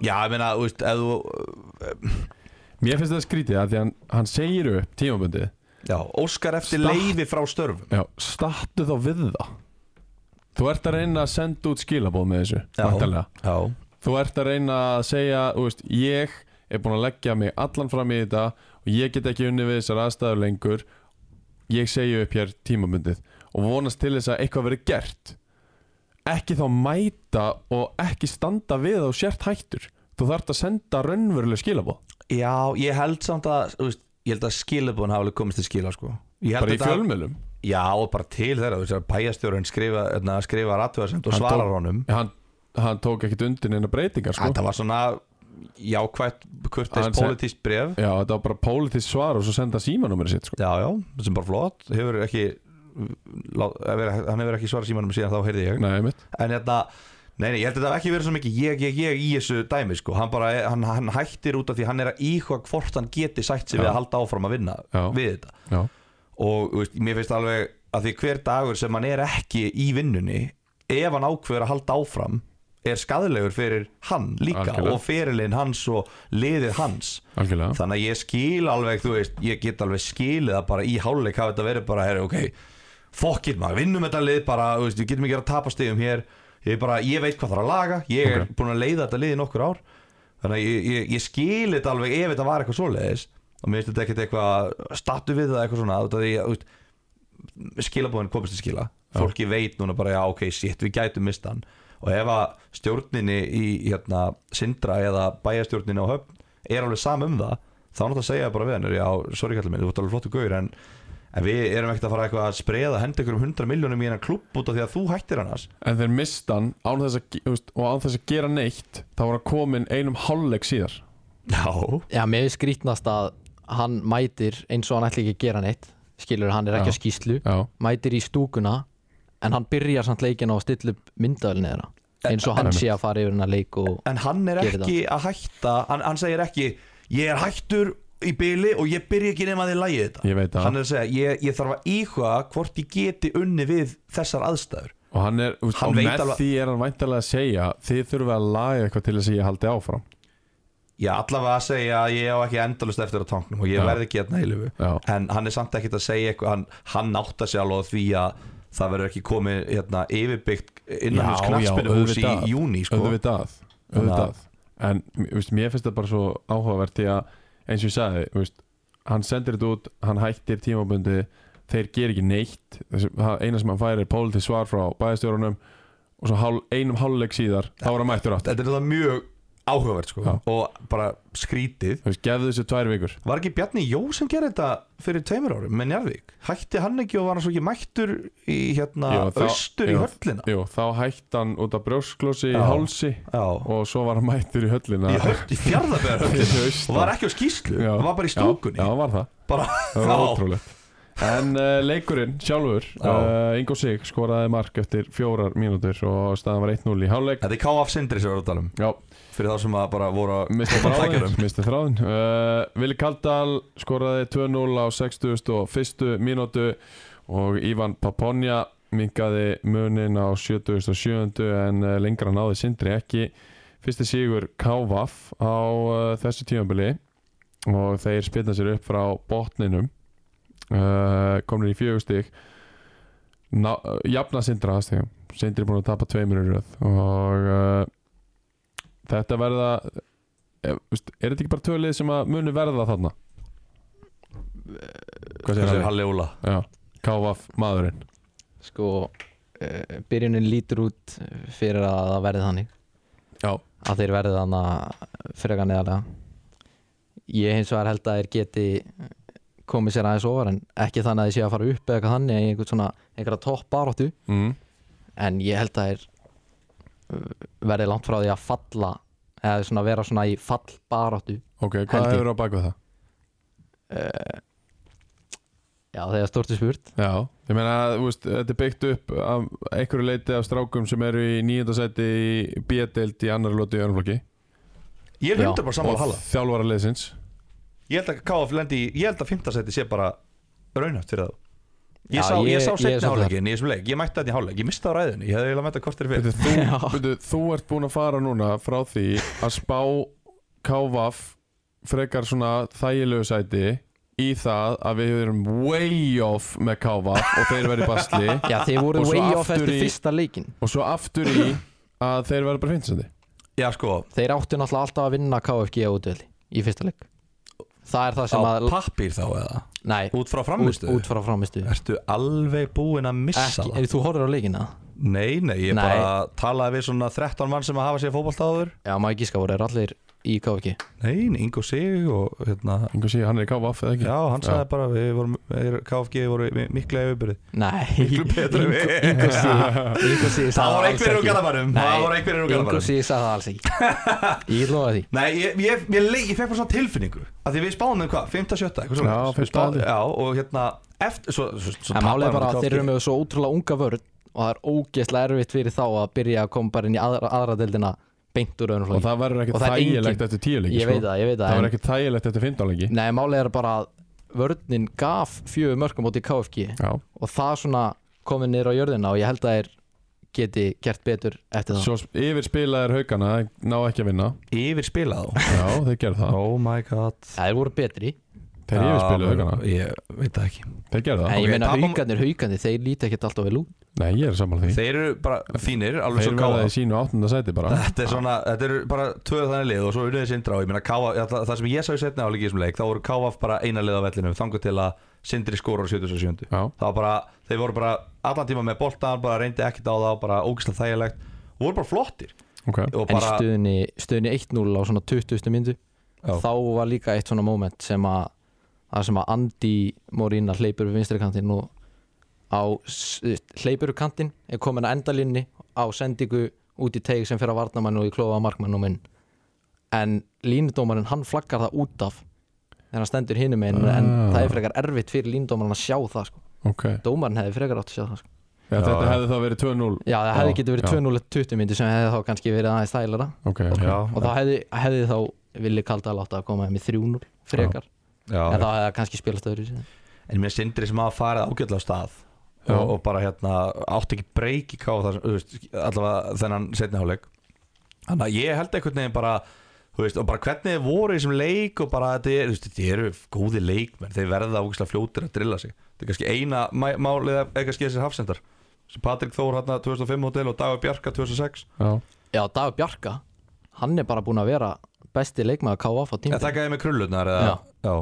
já ég meina þú veist ef þú
Mér finnst þetta skrítið að því hann, hann segir upp tímabundið
Já, óskar eftir
Statt.
leifi frá störfum
Já, startu þá við það Þú ert að reyna að senda út skilaboð með þessu
Já.
væntanlega.
Já,
Þú ert að reyna að segja þú veist, Ég er búin að leggja mig allan fram í þetta og ég get ekki unni við þessar aðstæður lengur Ég segi upp hér tímabundið og vonast til þess að eitthvað verið gert Ekki þá mæta og ekki standa við þá sért hættur Þú þarft að senda raunveruleg skilaboð
já ég held samt að þú veist, Ég held að skilabun hafa alveg komist til skila sko. Ég held
Bara í
þetta-
fjölmjölum
Já, og bara til þeirra þú veist, að Bæjastjórun skrifa, hérna, skrifa ratvæðarsend og
Hann
svarar
tók-
honum
hann, hann tók ekkert undir neina breytingar sko.
Þetta var svona jákvætt kurteis
Hann seg-
pólitískt bref
Já, þetta var bara pólitísk svar og svo senda símanúmerið sitt sko.
Já, já, sem bara flott Hefur ekki lá- verið- Hann hefur ekki svarað símanum síðan þá heyrði ég
Nei, mitt
En hérna Nei, nei, ég held að þetta hafi ekki verið svo mikið ég, ég, ég í þessu dæmi sko hann, bara, hann, hann hættir út af því hann er að íhuga hvort hann geti sætt sig
Já.
við að halda áfram að vinna
Já.
við þetta
Já,
og þú veist, mér finnst alveg að því hver dagur sem hann er ekki í vinnunni ef hann ákveður að halda áfram er skadlegur fyrir hann líka
Algjörlega.
og fyrirlin hans og liðið hans
algjörlega
þannig að ég skil alveg, þú veist, ég get alveg skilið að bara í háluleik hafa þetta verið bara, herri, ok, fokkin maður, vinnum þetta lið bara, þú veist, við getum ekki að tapa stegum hér, ég, bara, ég veit hvað þarf að laga, ég er
Ok.
búin að leiða þetta lið í nokkur ár, þannig að ég, ég, ég skil þetta alveg ef þetta var eitthvað svoleiðis og mér finnst þetta ekkert eitthvað statu við það eitthvað svona, þú veist, að ég, þú veist, skilabóðin komist til skila fólki veit núna bara, já ok, shit, við gætum mista hann og ef að stjórninni í hérna, Sindra eða bæjastjórninni á höfn er alveg sam um það þá náttúrulega segja bara við hann já, sorry kallið minn, þú ert alveg flottu gauður en, en við erum ekkert að fara eitthvað að spreða henda ykkur um 100 miljónum í hennar klubb út af því að þú hættir annars
En þeir mistan án þess að, þú veist, og án þess að gera neitt þá var hann komin einum hálfleik síðar
Já,
Já, mér finnst skrítnast að hann mætir eins og hann ætli ekki að gera neitt skilur, hann er ekki
Já.
að skýslu
já,
mætir í stúkuna en hann byrjar samt leikin á að stilla upp myndavelni þeirra eins og hann sé að fara yfir hennar leik og
en hann er
Gerir
ekki að hætta hann, hann segir ekki, ég er hættur í byli og ég byrja ekki nema að þið lægi þetta
Ég veit það.
hann er að segja, ég, ég þarf að íhuga hvort ég geti unni við þessar aðstæður
og hann er þú veist,
Hann
og
veit
með
alveg-
því er hann væntalega að segja þið þurfa að laga eitthvað til þess að ég haldi áfram
ég allavega að segja að ég á ekki endalust eftir á tanknum og ég
Já.
verð ekki hérna heilugu
Já.
en hann er samt ekkert að segja eitthvað hann, hann átta sig alveg á því að það verður ekki komið hérna, yfirbyggt innan hús knatspinnuhús í
auðvitað.
júni sko.
auðvitað,
Þannig að-
auðvitað. en þú veist, mér finnst það bara svo áhugavert því að eins og ég sagði þú veist, hann sendir þetta út, hann hættir tímabundi þeir ger ekki neitt Þessi, það eina sem hann fær er pól til svar frá bæðastjórunum og svo hál, einum hálfleik síðar þá er hann mættur átt
þetta er það mjög áhugavert sko.
Já.
og bara skrítið
gefðu þessu tvær vikur
Var ekki Bjarni Jó sem gerði þetta fyrir tveimur árum með Njarðvík? Hætti hann ekki og var hann svo ekki mættur í hérna
Jú, þá-
austur í
jú,
höllina?
jú, þá hætti hann út af brjósklósi í
Já.
hálsi
Já,
og svo var hann mættur í höllina
í, höll, í fjárðabæðar höllina
Fyrir austan.
og var ekki á skýslu,
Já.
var bara í
já,
stúkunni
já, var það
Bara,
Það var
já,
ótrúlegt En uh, leikurinn sjálfur
Já.
uh, Ingo Sig skoraði mark eftir fjórar mínútur og staðan var 1-0 í hálfleik
þetta er K.F. Sindri sem við erum að tala um
Já,
fyrir þá sem að bara voru að
misti
koma
þráðin
tækjarum
Misti þráðin uh, Vili Kaldal skoraði 2-0 á 60 og fyrstu mínútu og Ivan Paponja mingaði munin á 77 en uh, lengra náði Sindri ekki Fyrsti sigur Kávaf á uh, þessu tímabili og þeir spilna sér upp frá botninum uh, komnir í fjögustík jafna Sindra að stigum. Sindri er búin að tapa tveimur í röð og uh, þetta verða er, veist, er þetta ekki bara tölið sem að muni verða þarna? Hvað
Þessi
segir
er
hann?
Halli Óla
Já, Kávaf maðurinn
sko uh, byrjunin lítur út eh, fyrir að það verði þannig
Já.
að þeir verði þannig freka neðalega ég hins vegar held að þeir geti komið sér aðeins ofar en ekki þannig að þeir séu að fara upp eða eitthvað þannig einhvern svona einhverja topp baróttu
mm.
en ég held að þeir uh, verði langt frá því að falla eða svona vera svona í fall baróttu
Ok,
Held
hvað
ég.
hefur á bakvið það?
já þegar stortu spurt
Já, ég meina að þú veist, þetta er byggt upp af einhverju leiti af strákum sem eru í nýjöndasæti í B-deild í annar lóti í önflokki
Ég er
Já.
hundar bara saman að Halla
þjálfara leðsins
Ég held að K.F. lendi, í- ég held að fintasætti sé bara raunhaft fyrir það Ég
Já,
sá, ég, sá
ég- ég er
setni
sammála.
háleikin í þessum leik, ég mætti þetta í háleik, ég misti það á ræðinni, ég hefði eiginlega mætt að kortir fyrir
Beidu, þú, beidu, þú ert búin að fara núna frá því að spá KVAF frekar svona þægilegu sæti í það að við erum way off með KVAF og þeir verið basli
já þeir voru
Og svo
way off
aftur
eftir
í-
fyrsta leikin
og svo aftur í að þeir verið bara finnsandi
Já sko,
þeir áttu náttúrulega alltaf að vinna KFG á útvöldi í fyrsta leik það er það sem
á
að
pappír þá eða
nei,
út frá
út,
framistu
út frá framistu
ertu alveg búinn að missa
ekki,
það
ef þú horfir á leikina
nei, eh, nei, ég
Nei.
bara talaði við svona 13 mann sem að hafa sér fótbolta áður
já maður gíska voru þeir allir í KFG
nei, nei, Ingo Sig og hérna
Ingo sé, hann er í KVAF eða ekki?
já, hann sagði bara við vorum, við, KFG voru mi- mikla yfirbyrði
nei,
Miklu betra en við.
Ingosi
það voru einhverjir úr Garabænum það voru einhverjir úr Garabænum
Ingosi sagði það alls ekki ég lofa því
Nei, ég, ég, ég, ég, ég fekk bara svona tilfinningu að því við spáðum með hvað, 5. 7. eitthvað
Já,
svoleiðis. Við
5.
spáðum- Já, og hérna eftir, svo, svo, svo
En málið er
tapaði
bara
hann
að þeir
KFG.
eru með svo ótrúlega unga vörð og það er ógeðslega erfitt fyrir þá að byrja að koma bara inn í aðra, aðra deildina beint úr
og
öðrum flokki.
það verður
Og
ekkert
það er engin-
þægilegt eftir tíu leiki sko.
Ég veit það, ég veit það.
verður
en-
ekkert þægilegt eftir 15 leiki
Nei, málið er bara að vörðnin gaf fjögur mörgum átti KFG
já.
og það svona komið niður á jörðina og ég held að þeir geti gert betur eftir það.
svo yfir spilaðir haugana ná ekki að vinna
yfir spilað á
já, þeir gerðu það
Oh my god
Það voru betri,
þeir
Já,
yfir spilaðu
menn,
haugana
Ég veit það ekki
þeir gerðu
en
það
ég
ok,
meina
tapum-
haugarnir, haugarnir, þeir líti ekkert alltaf vel út.
nei, ég er sammála því
Þeir eru bara fínir, alveg
þeir
svo
verða
káa
í sínu áttunda sæti bara
Þetta er svona, þetta eru bara tvö þannig lið og svo unniðið sindra á Ég meina káa, það sem ég sá í setni áleik í þessum leik Þá voru káa bara eina lið á vellinu Þangu til að sindri skóra á
já
77 Það var bara, þeir voru bara allan tíma með boltan Bara reyndi ekkert á það, bara ógislega þægilegt Og voru bara flottir
Ok,
Og
En í
bara,
stöðunni, stöðunni 1-0 á svona 20. myndu,
Já.
þá var líka eitt svona moment sem að það sem að Andy Morína hleypur við vinstri kantinn og á s- hleypur við kantinn er komin að endalínni á sendingu út í teig sem fyrir að varna mann og í klófa markmann og minn en línudómarinn hann flaggar það út af þegar hann stendur hinum einu en
Ah.
það er frekar erfitt fyrir línudómarinn að sjá það sko.
ok
dómarinn hefði frekar átt að sjá það sko.
Já,
Já,
þetta
já.
hefði þá verið 2-0
já það
Já,
hefði getur verið
já.
2-0-20 myndi sem hefði þá kannski verið aðeins þægilega
Ok,
Já,
og það hefði, hefði þá villi kalda láta að koma með 3-0 frekar
já,
en þá hefði það kannski spilast öðru
En mér sindri sem hafa farið ágætlega af stað
Já.
og, og bara hérna átti ekki breyk í ká þar, þú veist, allavega þennan setni hálfleik Þannig að ég held einhvern veginn bara þú veist, og bara hvernig þið voru í þessum leik og bara þetta er, þú veist, þetta eru góði leikmenn þeir verða ógæslega fljótir að drilla sig þetta er kannski eina mæ- málið að- eða kannski þessir hafsendar sem Patrik Þór hérna 2005 hótel og Dagur Bjarka 2006
já,
já Dagur Bjarka hann er bara búin að vera besti leikmaður KF á
Ég
tímbilinu
þakkaði með krullunar eða, já.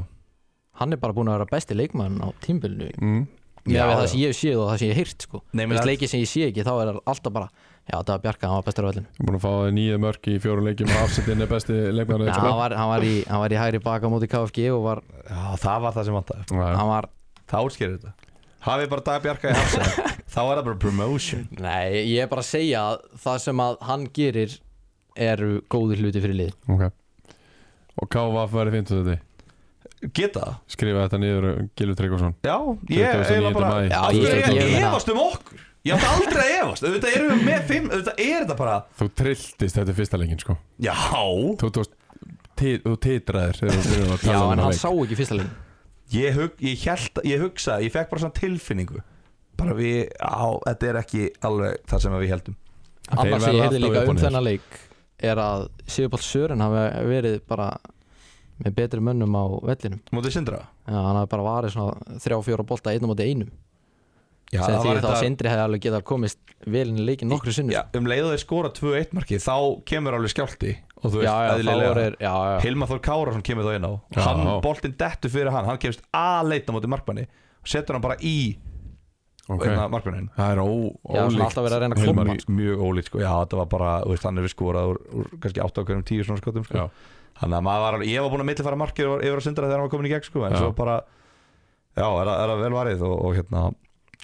hann er bara búin að vera besti leikmaður á tímbilinu
mm,
með
Já,
að það
já.
sem ég hef séð og það sem ég hef heyrt sko.
Nei,
Þú
menn
veist,
að-
leikið sem ég sé ekki þá er það alltaf bara já Dagur Bjarka hann var bestur á vellinu
búin að fá það nýja mörk í fjóru leikjum og afsettin er besti leikmann
Já, hann, var, hann, var í, hann var í hægri baka móti KFG og var,
já, það var það sem vantaði
Já,
hann var
Það útskýrir þetta Hafið bara dagbjarka í hafsend Þá er það bara promotion
Nei, ég er bara að segja að það sem að hann gerir eru góðir hluti fyrir lið
ok Og KVF verið fint þetta
Geta það?
Skrifa þetta niður Gilvi Tryggvason
Já, ég
29.
eiginlega bara
maí.
Já, ég, ég,
Ég- ég-
efast um okkur Ég átti aldrei að efast Þetta erum við með fimm Þetta er þetta bara
Þú trilltist þetta er fyrsta leikin sko
Já
Þú tókst ti- Þú titraðir þegar þú byrjuðum að
Já,
tala um
en
þennan
hann
leik.
sá ekki fyrsta lið
Ég, hug, ég, held, ég hugsa Ég fekk bara svona tilfinningu Bara við Á, þetta er ekki alveg það sem við heldum
Annars
verða
sem ég heyrði
alltaf
líka
upp og
um
niður.
þennan leik er að Sigurpáll Sören hafi verið bara með betri mönnum á vellinum
Mótið sindra
Já, hann hafi bara varið svona þrjá, fjóra bolta einn á móti einum
Já,
sem því þá sindri hefði alveg getað komist vel inn í leikin nokkru sinnum
Já, um leiðu þeir skora 2-1 marki Þá kemur alveg skjálti Og þú veist
já, já, þá
eðlilega.
er, já, já.
Hilmar Þór Kárasson kemur þá inn á
Já.
hann, boltinn dettur fyrir hann, hann kemst að leita móti markmanni og setur hann bara í hérna
Ok.
okay. markmannin
Það er ó,
Já, svona
ólíkt
alltaf verið að reyna að klóna
Hilmar
hann,
í-
mjög ólít sko, já þetta var bara þú veist, hann er við skorað úr, úr kannski 8 okkur um 10 svona skotum sko.
Já.
þannig að maður var, alveg- ég var búin að millifæra markið yfir, yfir að sindra þegar hann var komin í gegn sko, en
Já.
svo bara, já, er það- er það vel varið og, og hérna,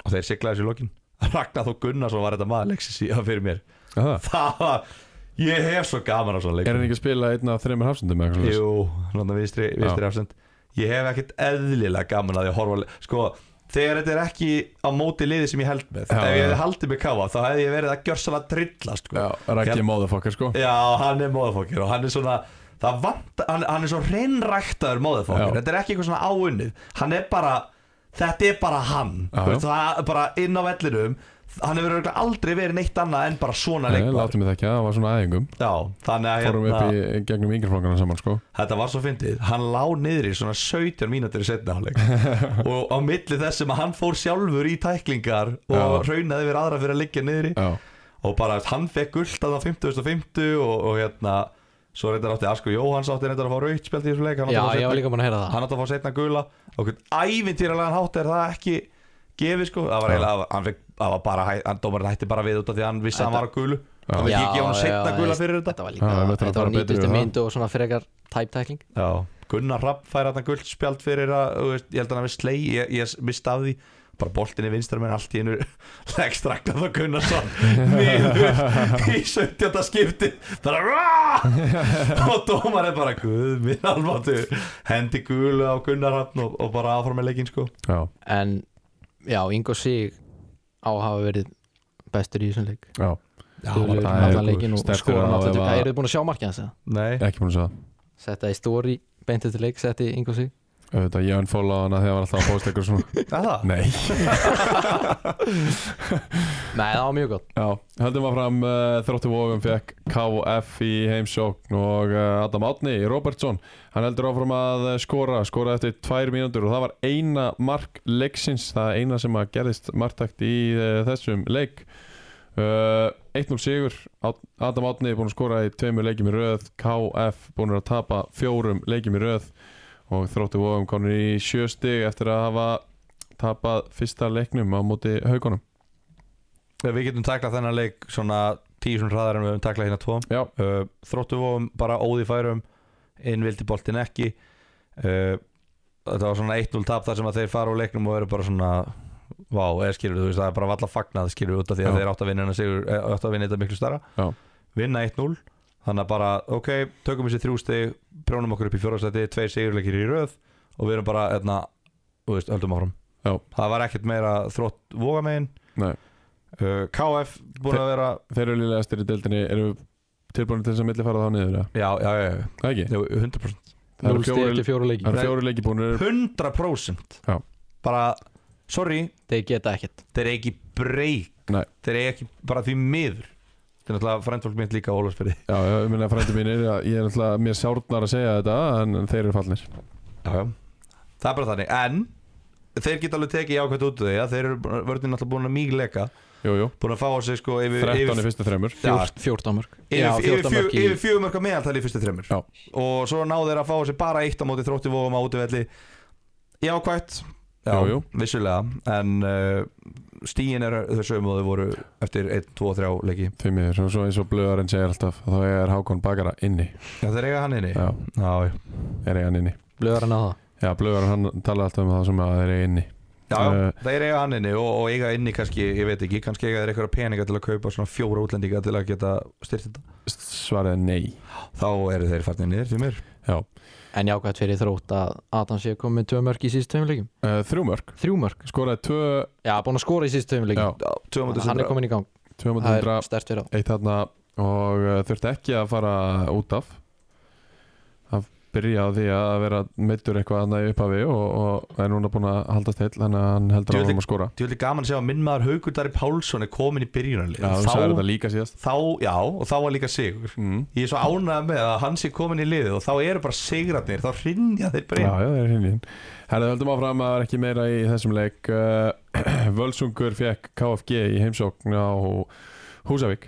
og þeir siglaði þessu í lokin Ragnar þó Gunnarsson var þetta maður leiksis í fyrir mér,
Það.
það var ég hef svo gaman á svona leik
Er hann ekki að spila einn af þreymur hafsendum eða eitthvað svoleiðis?
Jú, hann er vinstri, vinstri afsend Ég hef ekkert eðlilega gaman að ég horfa á le- Sko, þegar þetta er ekki á móti liði sem ég held með
Já,
Ef ég
já.
hefði haldið mig káfa þá hefði ég verið að gjörsala trillast sko.
Já, Raggi Móðafokkar sko
Já, hann er móðafokkir og hann er svona það vant, hann, hann er svo reynræktaður móðafokkir,
Já.
þetta er ekki eitthvað svona áunnið hann er bara, þetta er bara hann
Já,
Þú veist, það er bara inn á vellinum hann hefur örugglega aldrei verið neitt annað en bara svona
Nei,
leikmaður
Láttu mig það ekki, það var svona aðingum
Já, þannig að hérna,
Fórum upp í gegnum yngreflokkana saman sko
Þetta var svo fyndið, hann lá niður í svona 17 mínútur í setna hálfleik og á milli þess sem að hann fór sjálfur í tæklingar og
Já.
raunaði yfir aðra fyrir að liggja niður í
Já,
og bara veist, hann fekk gult að það 50.50 og, og hérna svo reyndar átti Asko Jóhanns átti reyndar að fá raukt spjald í þessum leik hann átti
já
að fá
ég
seinna-
var líka búin að heyra það
hann átti að fá setna gula og hvern ævintýralega hátt er það ekki gefið sko, það var
Já.
eiginlega hann fekk, það var bara, hæ- hann dómarinn hætti bara við út af því að hann vissi að hann var á gulu hann veit
Já,
ekki að hann setna
já,
gula
veist,
fyrir þetta
var
Já, við
líka,
möttum að
þetta
fara
var
betur yfir
nýtustu
það.
mynd og svona frekar tæptækling
Já, Gunnar Rapp fær hann guld spjald fyrir að, þú veist, ég held að hann við slei, ég, ég misti af því bara boltinni vinstra menn allt í einu leggst Ragnar þá Gunnarsson niður í 17. skipti bara rá og dómar er bara guð minn alváttu hendi gulu á Gunnar Rapp og, og bara áfram með leikinn sko
já,
en já, Ingo Sig á að hafa verið bestur í þessum leik
já,
Já,
bara-
Duglegur með
það er
allan leikinn og
sterkur
skoran
á
alltaf
ef
til
að-
eruð búin að sjá markið hans eða?
Nei,
ekki búin að segja það
setta í story, beintið til leik setti Ingo Sig
Auðvitað, ég unfollow hana þegar hann var alltaf að posta ykkur svona
að það?
Nei
nei, það var mjög gott
Já, höldum að fram uh, Þróttu Vógum fekk KF í heimsókn og uh, Adam Átni Robertson, hann heldur áfram að eh, skora, skora eftir tvær mínútur og það var eina mark leiksins það eina sem að gerðist marktakt í uh, þessum leik uh, 1-0 sigur Át- Adam Átni er búin að skora í tveimur leikjum í röð KF búin að tapa fjórum leikjum í röð og Þróttu Vógum konur í sjöstig eftir að hafa tapað fyrsta leiknum á móti haugunum
Við getum taklað þennan leik svona tíu svona hraðar en við höfum taklað hérna tvo
Já,
uh, þróttu vóum bara óði færum inn vildi boltin ekki uh, þetta var svona 1-0 tap þar sem að þeir fara úr leiknum og eru bara svona vá, eða skilur þú veist, það er bara valla fagnað skilur út af því að
Já.
þeir átt að vinna, þennan sigur, eh, áttu að vinna þetta miklu starra
Já.
vinna 1-0, þannig að bara, ok, tökum þessi þrjú stig prjónum okkur upp í fjórðarsæti, tvei sigurleikir í röð og við erum bara, etna, veist, öldum áfram
Já.
það var ekkert meira þrótt vogamegin
Nei.
uh, KF búin að vera
Þeir eru liðlegastir í deildinni, erum við tilbúin til þess að milli fara þá niður? eða?
já, já, já, já,
Það ekki?
já, 100%
Það eru
0 stegi
fjórir-
eftir fjóra leiki
það eru fjóri leiki búinir
100%
Já.
bara, sorry
Þeir geta ekkert
þeir eru ekki breyk
Nei.
þeir eru ekki bara því miður þetta er náttúrulega frændfólk mitt líka á Ólafsbyrði
Já, já, ég minna frændi mínir að Ég er náttúrulega mér sárnar að segja þetta En þeir eru fallnir
já, já. það er bara þannig, en þeir geta alveg tekið jákvæmt út úr því að þeir eru vörðin náttúrulega búin að mýgleika
Jú, jú,
búin að fá á sig sko yfir,
13 í
yfir,
fyrstu þremur
Já.
Fjór- 14 mörg Já,
yfir,
14
yfir, fjö,
mörk í-
yfir fjögur mörka meðaltali í fyrstu þreymur
Já.
og svo náðu þeir að fá á sig bara eitt á móti þrótti vóum á útivelli jákvæmt já,
Jú, jú.
vissulega en uh, stíin er þau sögum og þau voru eftir 1, 2, 3 leiki
Því miður, og svo eins og blöðarinn segir alltaf Þá er Hákon Bakara inni
já, þeir eiga hann inni
Já,
já, já.
er eiga hann inni
Blöðar en að það
Já, blöðarinn hann talar alltaf um það sem að þeir eiga inni
Já, já,
Eh,
þeir eiga hann inni og, og eiga inni kannski, ég veit ekki, kannski eiga þeir eitthvað peninga til að kaupa svona fjóra útlendinga til að geta styrt þetta.
Svarið er nei
Þá eru þeir farnir niður fyrir mér.
Já,
En jákvæmt fyrir þrótt að Adam sé komið með 2 mörg í síðust tveim leikum
uh, þrjú mörg
3 mörg
Skoraði tvö
Já, búin að skora í síðust tveim
Já,
leikum
Já, tvö
Þannig
mútið
að Hann er komin í gang
tvö mútið
Það
hundra
er stert fyrir á
Eitt þarna Og uh, þurfti ekki að fara út af Það byrja á því að vera meittur eitthvað annað í upphafi og, og er núna búin að haldast heil þannig að hann heldur
Djöfull-
áfram að skora
Tjóðlega gaman að sjá að minn maður Haugur Dari Pálsson er komin í byrjunarlið.
Já, þú sagði
þá,
þetta líka síðast
þá, já, og þá var líka sigur.
mm.
Ég er svo ánægð með að hann sé komin í liðið og þá eru bara sigratnir, þá rinja þeir
Já,
bara inn.
já, það er hinninn Herðu, höldum áfram að það er ekki meira í þessum leik Uh, Völsungur fekk KFG í heimsókn á Húsavík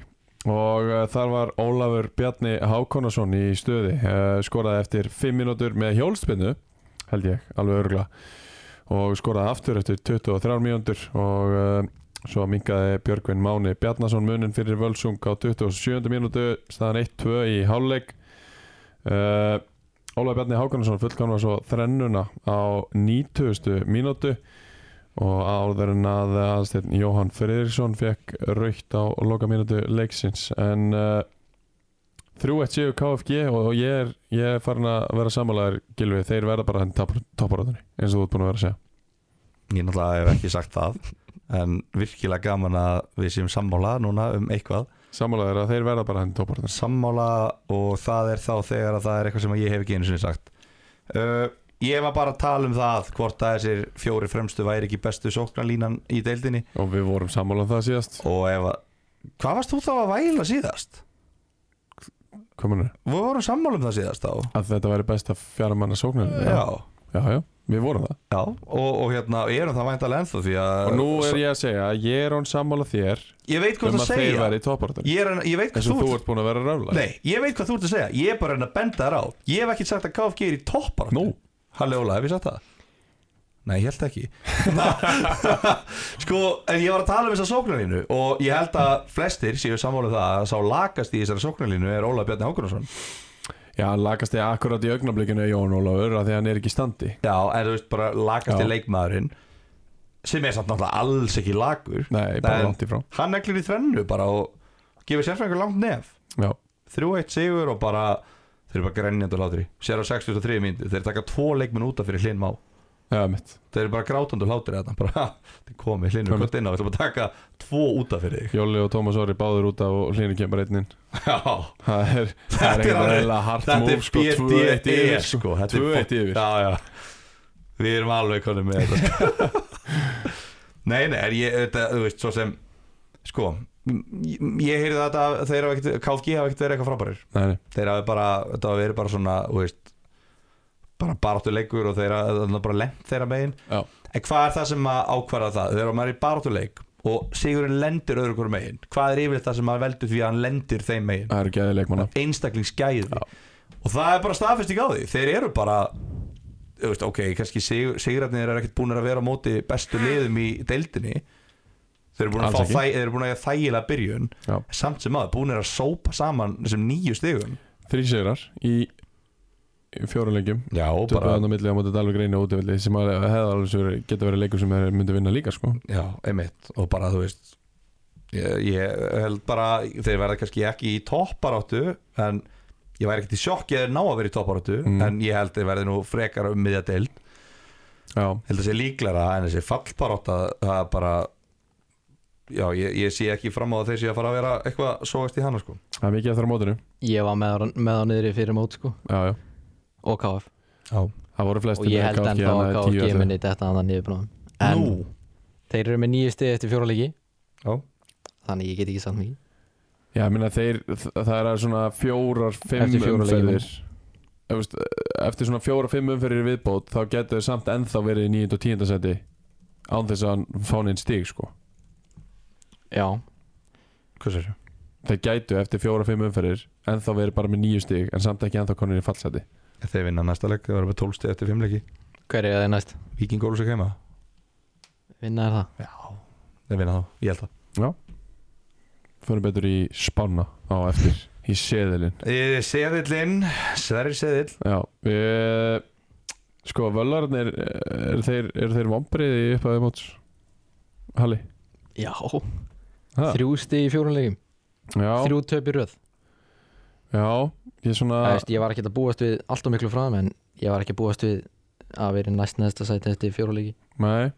og uh, þar var Ólafur Bjarni Hákonason í stöði Uh, skoraði eftir 5 mínútur með hjólspinnu held ég, alveg örgla og skoraði aftur eftir 23 mínútur og uh, svo minkaði Björgvin Máni Bjarnason munin fyrir Völsung á 27. mínútu staðan 1-2 í hálfleik uh, Ólaf Bjarni Hákonarsson fullkann var svo þrennuna á 90. mínútu og áður en að aðstæðin Jóhann Friðriksson fekk raukt á loka mínútu leiksins en uh, 3-1 séu KFG og, og ég er, ég er farin að vera sammálaður Gilvi, þeir verða bara hann topparöðunni eins og þú ert búin að vera að segja
Ég náttúrulega hef ekki sagt það, en virkilega gaman að við séum sammála núna um eitthvað.
Sammálaður að þeir verða bara hann topparöðunni
sammála og það er þá þegar að það er eitthvað sem ég hef ekki einu sinni sagt uh, ég var bara að tala um það hvort að þessir fjóri fremstu væri ekki bestu sóknarlínan í deildinni
og við vorum sammálað það síðast
og ef að hvað varst þú þá að væla síðast?
komunur
við vorum sammála um það síðast þá
að þetta væri besta fjara manna sóknar
já,
já, já, við vorum það
já. Og, og hérna, ég erum það væntalega ennþá því að
og nú er ég að segja að ég er án sammála þér
ég veit hvað
um
það
að þeir
segja
væri í topparöðunni
ég, er, ég veit
eins
hvað
og
þú,
þú ert búin að vera röfla
Nei, ég veit hvað þú ert að segja, ég er bara enn að benda þér á Ég hef ekki sagt að KFG er í toppar
Nú.
Halli Óla, hef ég sagt það? Nei, ég held ekki Sko, en ég var að tala um þessa sóknarlínu Og ég held að flestir séu sammála um það að Sá lakast í þessari sóknarlínu er Óla Bjarni Hákonarsson
Já, hann lakast þig akkurat í augnablikinu Jón Ólafur að því að hann er ekki í standi
Já, en þú veist bara lakast í
Já.
leikmaðurinn Sem er samt náttúrulega alls ekki lagur
Nei, bara
En
langt í frá
Hann neglir í þrennu bara og gefur sérfræðingur langt nef
Já,
3-1 sigur og bara þeir eru bara grenjandi og hlátri sér á 63 myndi, þeir taka tvo leikmenn útaf fyrir hlinn má
eða mitt
þeir eru bara grátandi og hlátri þarna bara, ha, þeir komi hlinn og
Komi.
kvöld inn á við ætlum að taka tvo útaf fyrir þig
Jóli og Tómas Orri báður út af og hlýnir kemur einn inn
já,
Það er,
Þetta
það
er
er eitthvað
alveg-
reyla hart
þetta
múf
er
sko, 2-1
BDE
yfir
sko, þetta
2-1
er fólk-
yfir
já, já. við erum alveg konum með þetta sko. nei, nei, en ég þetta, þú veist, svo sem sko, m- ég, ég heyrði þetta að þeir hafa ekkert, KFG hafa ekkert verið eitthvað frábærir
Nei, nei,
þeir hafi bara, þetta hafi verið bara svona þú veist, bara baráttuleikur og þeir hafi bara lent þeirra megin
Já.
en hvað er það sem að ákvarða það þegar maður er í baráttuleik og Sigurinn lendir öðru hverju megin hvað er yfirleitt það sem maður veldur því að hann lendir þeim megin
það eru gæði leikmanna
einstaklingsgæði og það er bara staðfesting á því þeir eru bara þú veist, ok, kannski sigur, sigurarnir eru ekkert búin að vera á móti bestu liðum í deildinni þeir eru búin að,
Alls
fá
ekki.
þæ, þeir eru búin að eiga þægilega byrjun
Já.
samt sem aður búin að sópa saman þessum nýju stigum
Þrý sigrar í fjóra leikjum
Já,
Töpuðu hann á milli á móti Dalvik Reyni og útivilli sem að hefða alveg svo verið- geta verið leikur sem þeir myndu vinna líka sko
Já, einmitt Og bara, þú veist ég, ég held bara þeir verða kannski ekki í topparáttu en ég væri ekkert í sjokk ég er ná að vera í topparáttu
Mm.
en ég held þeir verði nú frekar um miðja deild
Já,
held að sé líklara en þessi fallbarátta það er bara já, ég, ég sé ekki fram á að þeir sé að fara að vera eitthvað sógast í hana sko
það er mikið eftir á mótinu
Ég var með, á- með á niðri fyrir mót sko
Já, já,
og KF
já,
það voru
og
flestir
ég
með
held
KFG,
ennþá
þannig
að
að tíu
KF
eftir.
minni þetta að það niðurbráðum en
Nú.
þeir eru með nýju stið eftir fjóra leiki
Já.
þannig ég get ekki sagt mikið
Já, ég meina þeir, þ- það er svona fjórar, fimm
Eftir fjóra leiki
umferðir Ef veist, Eftir svona fjórar, fimm umferðir í viðbót þá getur þau samt ennþá verið í 9. og 10. seti án þess að hann fá neinn stíg sko.
Já,
hvað sér
Þeir gætu eftir fjórar, fimm umferðir ennþá verið bara með 9 stíg en samt ekki ennþá konir í fallseti
þeir vinna næsta leik, þeir verða með 12 stið eftir 5 leiki
hver er það næst?
Víking Ólus ekki heima
Vinna er það
já, þeir vinna þá, ég held það
Förum betur í spána á eftir í seðilinn
Eh, Seðillinn, Sverri Seðill
Já, við Sko, völarnir, eh, eru þeir, er þeir vombriði upp að þeim móts? Halli?
Já,
Ha?
þrjú stið í fjóra leikum
Já,
þrjú töp í röð
já, ég svona
Æ, veist, Ég var ekki að búast við allt og miklu frá þeim en ég var ekki að búast við að vera í næst næsta sæti eftir fjóra leiki
Nei,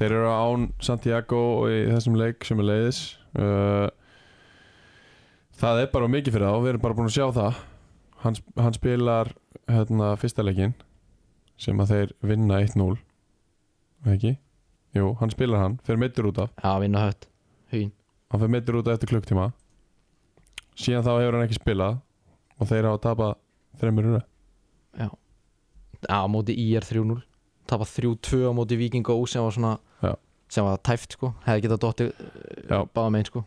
þeir eru án Santiago og í þessum leik sem er leiðis uh, Það er bara of mikið fyrir þá, við erum bara búin að sjá það Hann, hann spilar hérna, fyrsta leikinn sem að þeir vinna 1-0 Er ekki? Jú, hann spilar hann, fer meittur út af
Já, vinna hött, hugin
hann fer meittur út af eftir klukktíma síðan þá hefur hann ekki spilað og þeir hafa tapað þreymur rúna
Já, á móti IR 3-0 Tapa 3-2 á móti Viking Ó sem var svona
Já.
sem var tæft sko, hefði getað dottið
Já.
báða megin sko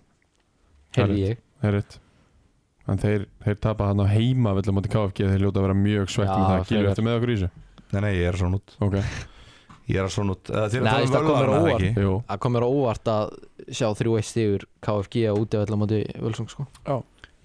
Það er
Heyrði ég
Það er rétt En þeir, þeir tapa hann á heima villum átti KFG þeir ljóta að vera mjög svegt
Já,
með það Gilur
frekar.
eftir með okkur í þessu
nei, nei, ég er svona út
Ok,
ég er svona út, Eh, þið
Nei,
eru að
það
tala um
kom mér á
völarna,
óvart.
ekki?
jú
Það kom mér á óvart að sjá 3-1 stigur KFG á útivæll á móti Völsung sko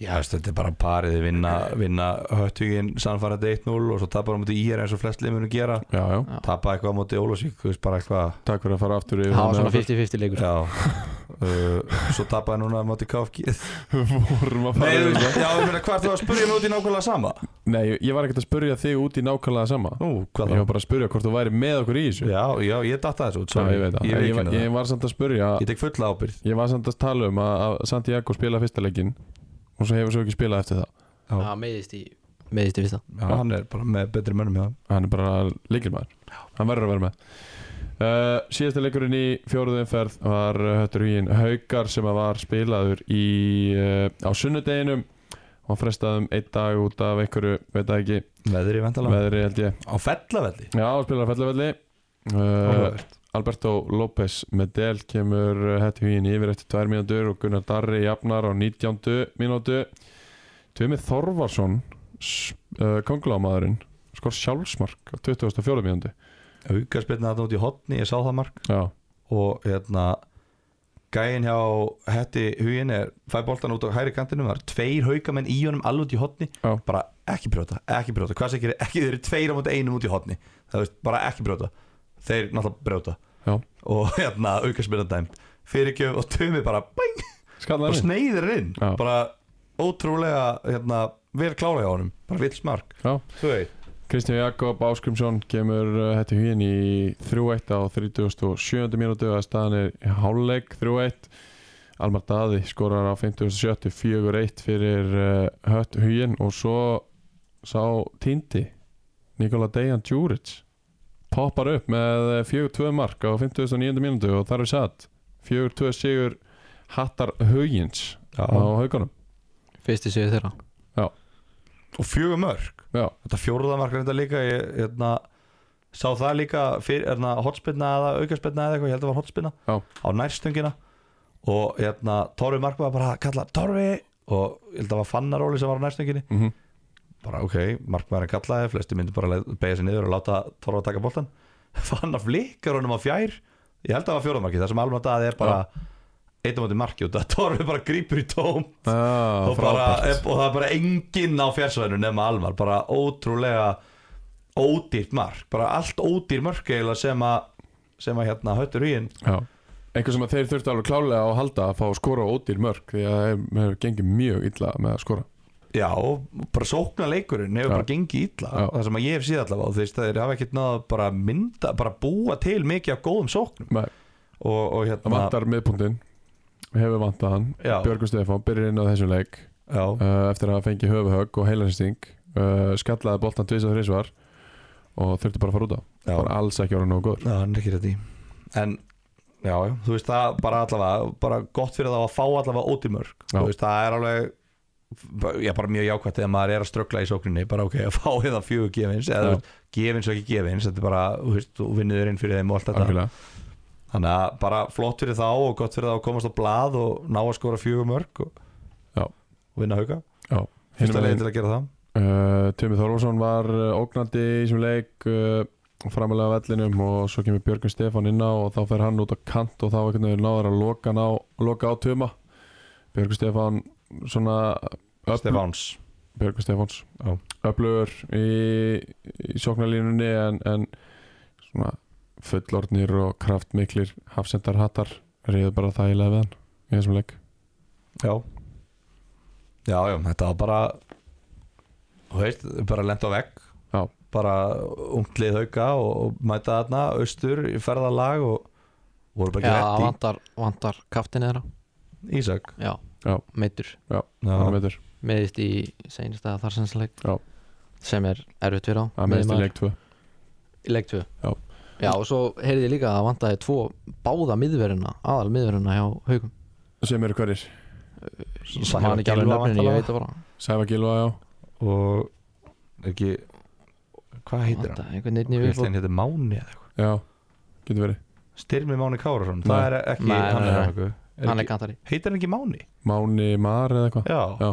Já, veist, þetta er bara parið þið vinna, vinna höttuginn sannfærandi 1-0 og svo tapar á móti ír eins og flest limunum gera
Já, já,
Já.
tapa eitthvað á móti Ólafsvík, þú veist bara eitthvað
takk fyrir að fara aftur yfir
Það var
það
svona
með okkur.
50-50 leikur
Já, uh, svo tapaði núna á móti KFG
Vorum að fara
Nei, þú
yfir
veist,
það
já, ég meina, hvað er þú að spurja mig út í nákvæmlega sama?
Nei, ég var ekkert að spurja þig út í nákvæmlega sama
Nú, hvað
Ég var
þá?
bara að spurja hvort þú væri með okkur í þessu
Já, já, ég datta þessu út,
Já,
sorry,
ég veit það
ég,
ég,
ég,
var-
ég,
ég var samt að spurja
ég tek fulla ábyrð
Ég var samt að tala um að, að Santiago spila fyrsta leikinn og svo hefur svo ekki spilað eftir það
Já.
Það meiðist í meiðist í fyrsta
Já, hann er bara með betri mönnum hjá
hann er bara leikilmaður hann verður að vera með uh, síðasta leikurinn í fjóruðu umferð var uh, Höttur Hugin Haukar sem að var spilaður í, uh, á sunnudeginum og frestaðum einn dag út af einhverju, veit það ekki,
Veðri vantala
veðri held ég
Á fellavelli
já, spilaður fellavelli uh,
Áhugavert.
Alberto López Medel kemur uh, Höttur Hugin yfir eftir tvær mínútur og Gunnar Darri jafnar á 19. mínútu Tvimi Þorvarsson s- uh, kongulámaðurinn skor sjálfsmark á 24. mínútu
Aukaspyrna þarna út í hotni, ég sá það mark
Já,
og hérna gæin hjá hætti hugin er fæ boltan út á hæri kantinum það eru tveir haukamenn í honum alveg út í hotni
Já.
bara ekki brjóta, ekki brjóta hvað segir ekki, þeir eru tveir á móti einum út í hotni það veist, bara ekki brjóta þeir náttúrulega brjóta
Já.
og hérna aukarsmyrna dæmt fyrirgjöf og tumi bara, bæng, bara
skallar inn
sneiðir hann inn
Já.
bara ótrúlega hérna, vel klára hjá honum, bara vill smark
Já.
þú veit,
Kristján Jakob Áskrimsson kemur uh, hætti huginn í 3-1 á 37. mínútu að staðan er háluleik 3-1 Almar Daði skorar á 57. 4-1 fyrir uh, hött huginn og svo sá týndi Nikola Dejan Djuric poppar upp með eh, 4-2 mark á 59. mínútu og þar er satt 4-2 sigur hattar hugins
Já.
á haugunum
Fyrsti sigur þeirra
og fjögur mörg
Já,
þetta fjóruðamark reynda líka ég, hérna, sá það líka fyrir, hérna, hotspinna eða aukaspinna eða eitthvað, ég held að var hotspinna
Já.
á nærstungina og hérna, Torfi Mark var bara að kalla Torfi og ég held að var Fannaróli sem var á nærstunginni
mhm
bara ok, markmaðurinn kallaði, flesti myndir bara leið- beygja sér niður og láta Torfa taka boltan Fannar flikkar honum á fjær ég held að það var fjóruðamarki, það sem alveg að það er bara eitt á móti marki út að Torfi bara grípur í tóm
ah,
og, bara,
frábært.
og það er bara enginn á fjársvæðinu nema Almar, bara ótrúlega ódýrt mark, bara allt ódýr mörk eiginlega sem að sem að hérna höttur huginn
Já, eitthvað sem að þeir þurftu alveg klálega á að halda að fá að skora ódýr mörg því að þeim hefur gengið mjög illa með að skora
Já, og bara sókna leikurinn hefur
Já.
bara gengið illa
Já.
Það sem að ég hef síðan allavega og þú veist, þeir hafa ekkert náða bara að mynda, bara búa til mikið af góðum sóknum
Nei.
og, og hérna
það vantar miðpunktinn hefur vantað hann
já,
Björgur Stefán byrjar inn á þessum leik
já,
uh, eftir að hafa fengið höfuhögg og heilarsting uh, skallaði boltan tvis og þrisvar og þurfti bara að fara út á
já,
bara alls ekki ára nógu góður
já, hann er ekki rétt í En, já, já, þú veist það bara allavega, bara gott fyrir þá að fá allavega ótimörk
Já.
Þú veist, það er alveg Já, bara mjög jákvætt þegar maður er að ströggla í sókninni bara ok, að fá eða fjögur gefins eða
Já.
þú veist, gefins og ekki gefins, þetta er bara þú veist, þú vinniður inn fyrir þeim og allt þetta
algjörlega
Þannig að bara flott fyrir þá og gott fyrir þá að komast á blað og ná að skora fjögur mörg og,
Já.
og vinna hauka.
Hinum
Fyrsta leiði
megin-
til að gera það.
Uh, Tumi Þorvarsson var uh, ógnandi í þessum leik uh, framalega á vellinum og svo kemur Björgun Stefán inn á og þá fer hann út á kant og þá einhvern veginn náður að loka, hann á, loka á Tuma Björgun Stefán svona öfl-
Stefáns.
Björgun Stefáns
Já.
öflugur í, í sjóknarlínunni en, en svona fullornir og kraftmiklir hafsendar hattar reyðu bara þægilega við hann í þessum leik
Já. Já, já, þetta var bara, þú veist, bara lent á vegg.
Já.
Bara ungt lið hauka og, og mæta þarna austur í ferðalag og voru bara
Já,
ekki rétt
vantar, vantar kaftin eða
í Ísak.
Já,
Já.
meittur
hann
Já,
veitur,
meðist í seinasta þarsinsleik
Já.
sem er erfitt fyrir á
hann meðist í
miðjumaður.
leik 2
í leik 2
Já.
Já, og svo heyrði ég líka að það vantaði tvo báða miðveruna, aðal miðveruna hjá haugum
sem eru hverjir?
Ég man ekki alveg
Gylfa
nöfnin, ég
væntanlega.
veit það bara
Sæfa Gilva, já
og ekki, hvað heitir hann?
Vantaði einhvern neitt nýju
Hann heitir Máni eða eitthvað.
Já, getur verið
Styrmi Máni Kárasson,
Nei.
það er ekki,
Nei,
hann
nei,
er
nei.
ekki. Er
Hann
ekki-
er kantari
Heitir hann ekki Máni?
Máni Mar eða eitthvað
Já,
Já.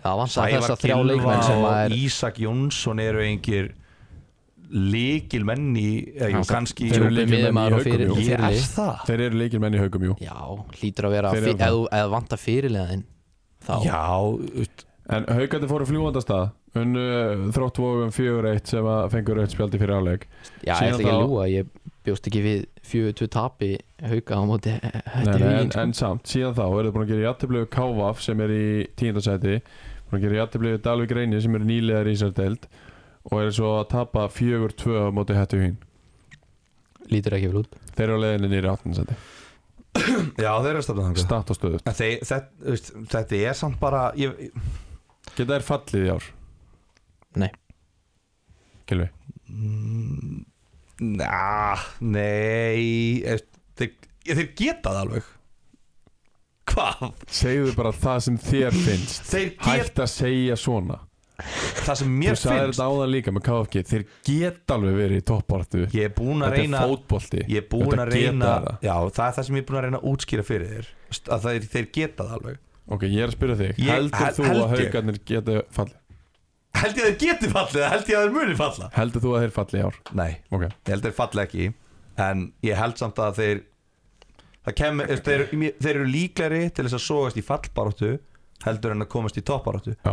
Já, vantaði þess að þrjá leikmenn sem
og
að er
Ísak Jónsson eru einhver líkil menn í eða, jú,
Hann-
kannski
Þeir eru
djúpi
lykilmenn í
miðjumaður og
Haukum,
fyrir-
jú.
Ég
fyrirliði.
er það
Þeir eru leikir menn í haugum, jú
Já, hlýtur að vera
Þeir eru
fyr-
það.
ef þú- ef vanta fyrirliðin þá
Já, ut-
En haugandi fóru fljúandastað Unnu uh, þróttvogum 4-1 sem að fengur auðvitað spjaldi fyrir áleik
Já, ég
Síðan
ætla ekki að
þá-
lúa, ég bjóst ekki við 42 tapi hauka á móti
Nei,
Þetta sko.
nei,
hugin
en, en samt, síðan þá eru þið búin að gera játtöflögu Kávaf sem er í tíundasæti Búin að gera játtöflögu Dalvik Reyni sem eru nýlegar í þessar deild Og eru svo að tapa 4-2 á móti hættu hín
lítur ekki vel út
Þeir eru á leiðinni nýri áttundasæti
já, þeir eru að stefna þangað
Statt og stöðut
En þeir- þet- þú veist, Þetta er samt bara ég,
Geta þær fallið í ár?
Nei.
Gylfi,
mm, Na, nei eh, Þeir, ég, þeir geta það alveg Hvað?
segðu bara það sem þér finnst
Þeir geta
Hætt að segja svona
það sem mér
Þú sagði
finnst
þetta áðan líka með KFG Þeir geta alveg verið í toppbartu
Ég er búin að
Þetta er
reyna
fótbolti
Ég er búin
Þetta geta
að reyna
það.
Já, það er það sem ég er búin að reyna að útskýra fyrir þér St- að þeir, þeir geta það alveg
Ok, ég er að spyrja þig
Ég-
Heldur
hel-
þú
held
að
ég.
haugarnir geta fallið?
Held ég að þeir geti fallið eða held ég að þeir muni falla
Heldur þú að þeir fallið í ár?
Nei,
Ok,
ég held þeir falla ekki En ég held samt að þeir það kem, þeir, þeir eru líklari til þess að sogast í fallbaróttu heldur en að komast í toppbaróttu
Já.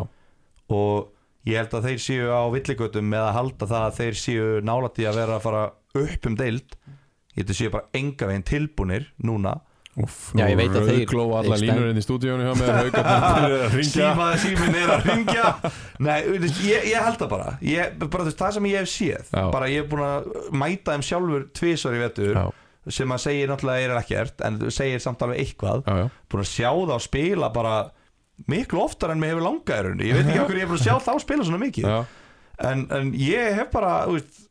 Og ég held að þeir séu á villigötum með að halda það að þeir séu nálægt í að vera að fara upp um deild Ég held að þeir séu bara enga veginn tilbúnir núna
Úff,
Já, ég veit að þeir-
Glóa alla
þeir stend-
línur inn í stúdíónu hjá mér Haugarnir byrjar að ringja
síma, símin er að ringja Nei, þú veist, ég, ég held það bara ég, bara þú veist, það sem ég hef séð
Já.
bara ég hef búin að mæta þeim sjálfur tvisvar í vetur
Já,
sem að segir náttúrulega er ekkert en þú segir samt alveg eitthvað
já, já
búin að sjá það að spila bara miklu oftar en mér hefur langað í rauninni ég veit ekki okkur ég er búin að sjá þá spila svona mikið
Já,
en, en ég hef bara þú veist,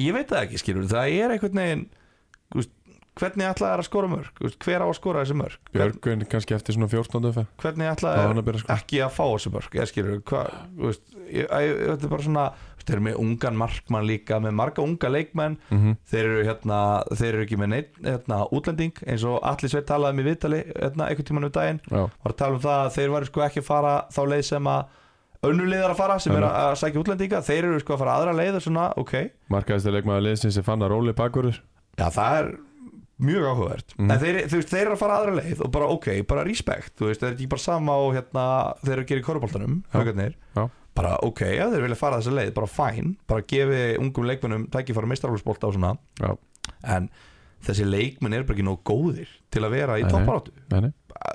ég veit það ekki skilur það er einhvern veginn þú veist, hvernig ætlaði að skora mörg Þú veist, hver á að skora þessi mörg Hvern-
Björgun kannski eftir svona 14. umferð.
hvernig
Þá er
ætlaði
hann að byrja að sko
ekki að fá þessu mörg ég skilur hvað þú veist, ég- ég- ég- þetta er bara svona þeir eru með ungan markmann líka með marga unga leikmenn
Mhm.
þeir eru, hérna, þeir eru ekki með neitt hérna, útlending eins og allir sveit talaði um í viðtali hérna, einhvern tímann um daginn
Já,
var að tala um það að þeir varu sko ekki að fara þá leið sem að önnulegðar að fara sem er að, að sækja útlendinga þeir eru sko að fara aðra leið og svona ok já
markaðist er leikmaður liðsins sem fann að róli bakverður
það er mjög áhugavert
Mhm.
en þeir, þú veist, þeir eru að fara aðra leið og bara ok, bara respect þú veist, þeir eru ekki bara sama og hérna þeir eru að gera í korfbóltanum
Já.
haugarnir
Já.
bara ok, ef þeir vilja fara þessa leið bara fæn, bara gefi ungum leikmennum tækifæra meistarhólsbólta og svona
Já.
en þessi leikmenn er bara ekki nóg góðir til að vera í
Nei, nei.
topparáttu
Nei, nei.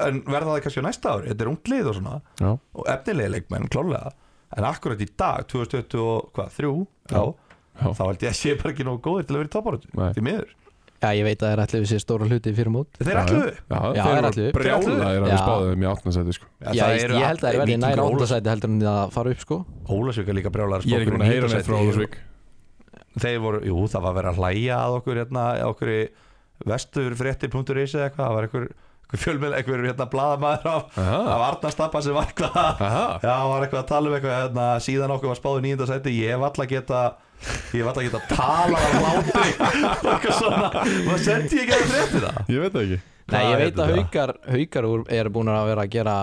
en verða það kannski á næsta ári, þetta er ungt lið og svona
Já.
og efnilega leikmenn, klálega en akkurat í dag, 2023 já,
Já.
þá held ég að sé bara ekki nóg góðir til að vera í topparáttu,
Nei.
því miður
Já, ég veit að það er allir við sér stóra hluti fyrir mót
þeir
Já,
ætlu
Já,
Já,
þeir
þeir
eru
ætluðu.
brjálaðir að við
Já.
spáðum í átnarsæti sko.
Já,
Já,
það
ég,
eru
ég held að það er verið
Víkingur
næra
og
áttasæti heldur en að fara upp sko
Ólafs- Ólafsvík er líka brjálæðar
Ég er ekki búin að heyra neitt frá Ólusvík
þeir voru, jú það var verið að hlæja að okkur hérna, okkur í vesturfréttir.is eða eitthvað, það var einhver, einhver fjölmjöl, einhver hérna blaðamaður af,
Ah.
af Arnastappa sem var eitthvað
Aha.
já, var eitthvað að tala um eitthvað hérna, síðan okkur var spáðu nýjunda sæti, ég hef alltaf geta ég hef alltaf geta talað af látri og eitthvað svona maður sendi ég ekki að frétti það
Ég veit það ekki
Nei,
Hvað
ég
er
veit að
þetta?
haukar, haukar úr- eru búin að vera að gera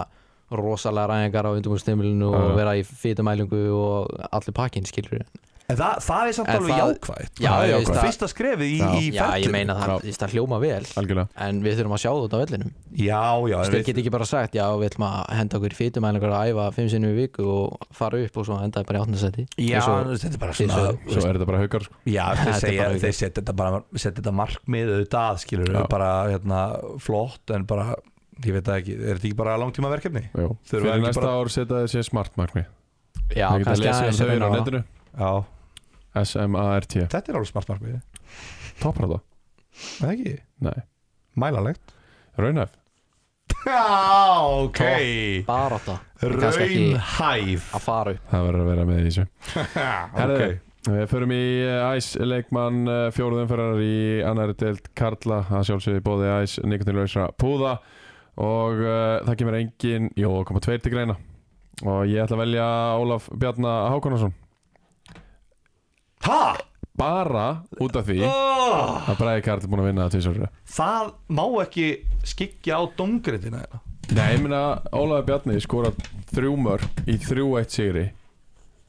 rosalega ræðingar á undumustimilinu
Já,
og
já.
vera í fytumælingu og allir pakkin skilur
en það, það er samt
En
alveg
það-
jákvægt
Já,
er
ég veist
jákvætt.
að
fyrsta skrefið í,
Já.
í
Já, ég
ferlinu.
meina það,
Já.
þú veist, það hljóma vel
Algjörlega
En við þurfum að sjá þetta á vellinum
já, já, en
Þeir
við-
geta ekki bara sagt, já, við ætlum að henda okkur í fytumælingar að æfa fimm sinnum í viku og fara upp og svo henda bara í áttundarsæti
já,
svo,
þetta er bara
eins
svona
og-
Svo er þetta bara haukar sko.
Já, þeir
Þetta er
segja,
bara ekki.
þeir setja þetta bara setja þetta markmið auðvitað að, skilur
Já.
bara hérna, flott en bara, ég veit það ekki, er þetta ekki bara langtíma verkefni?
Jú.
Þurfa
Fyrir
ekki
næsta
bara-
ár setja þessi smart markmi
Já,
Það geta
kannski
lesið um
aðeins
þau eru á
að
netinu
Já,
S-M-A-R-T
þetta er alveg smart markmið, er
Topprata
það ekki?
Nei
Mælalegt
Raunhæf
Já, ok
bara átta kannski ekki- Ah,
Raunhæf
að fara upp
Það verður að vera með í þessu
Ok,
Herðu, Við förum í Æs leikmann fjóruðumferðar í annari deild Karla að sjálfsögði bóði Æs nikotinlösa púða og uh, það kemur engin, jó, koma tveir til greina og ég ætla að velja Ólaf Bjarnar Hákonarsson
ha?
bara út af því
Oh,
að Bræði Karl er búin að vinna það tvisar
það má ekki skyggja á dongriðina
Nei, ég meina Ólaf Bjarni skora þrjú mörg í þrjú eitt sigri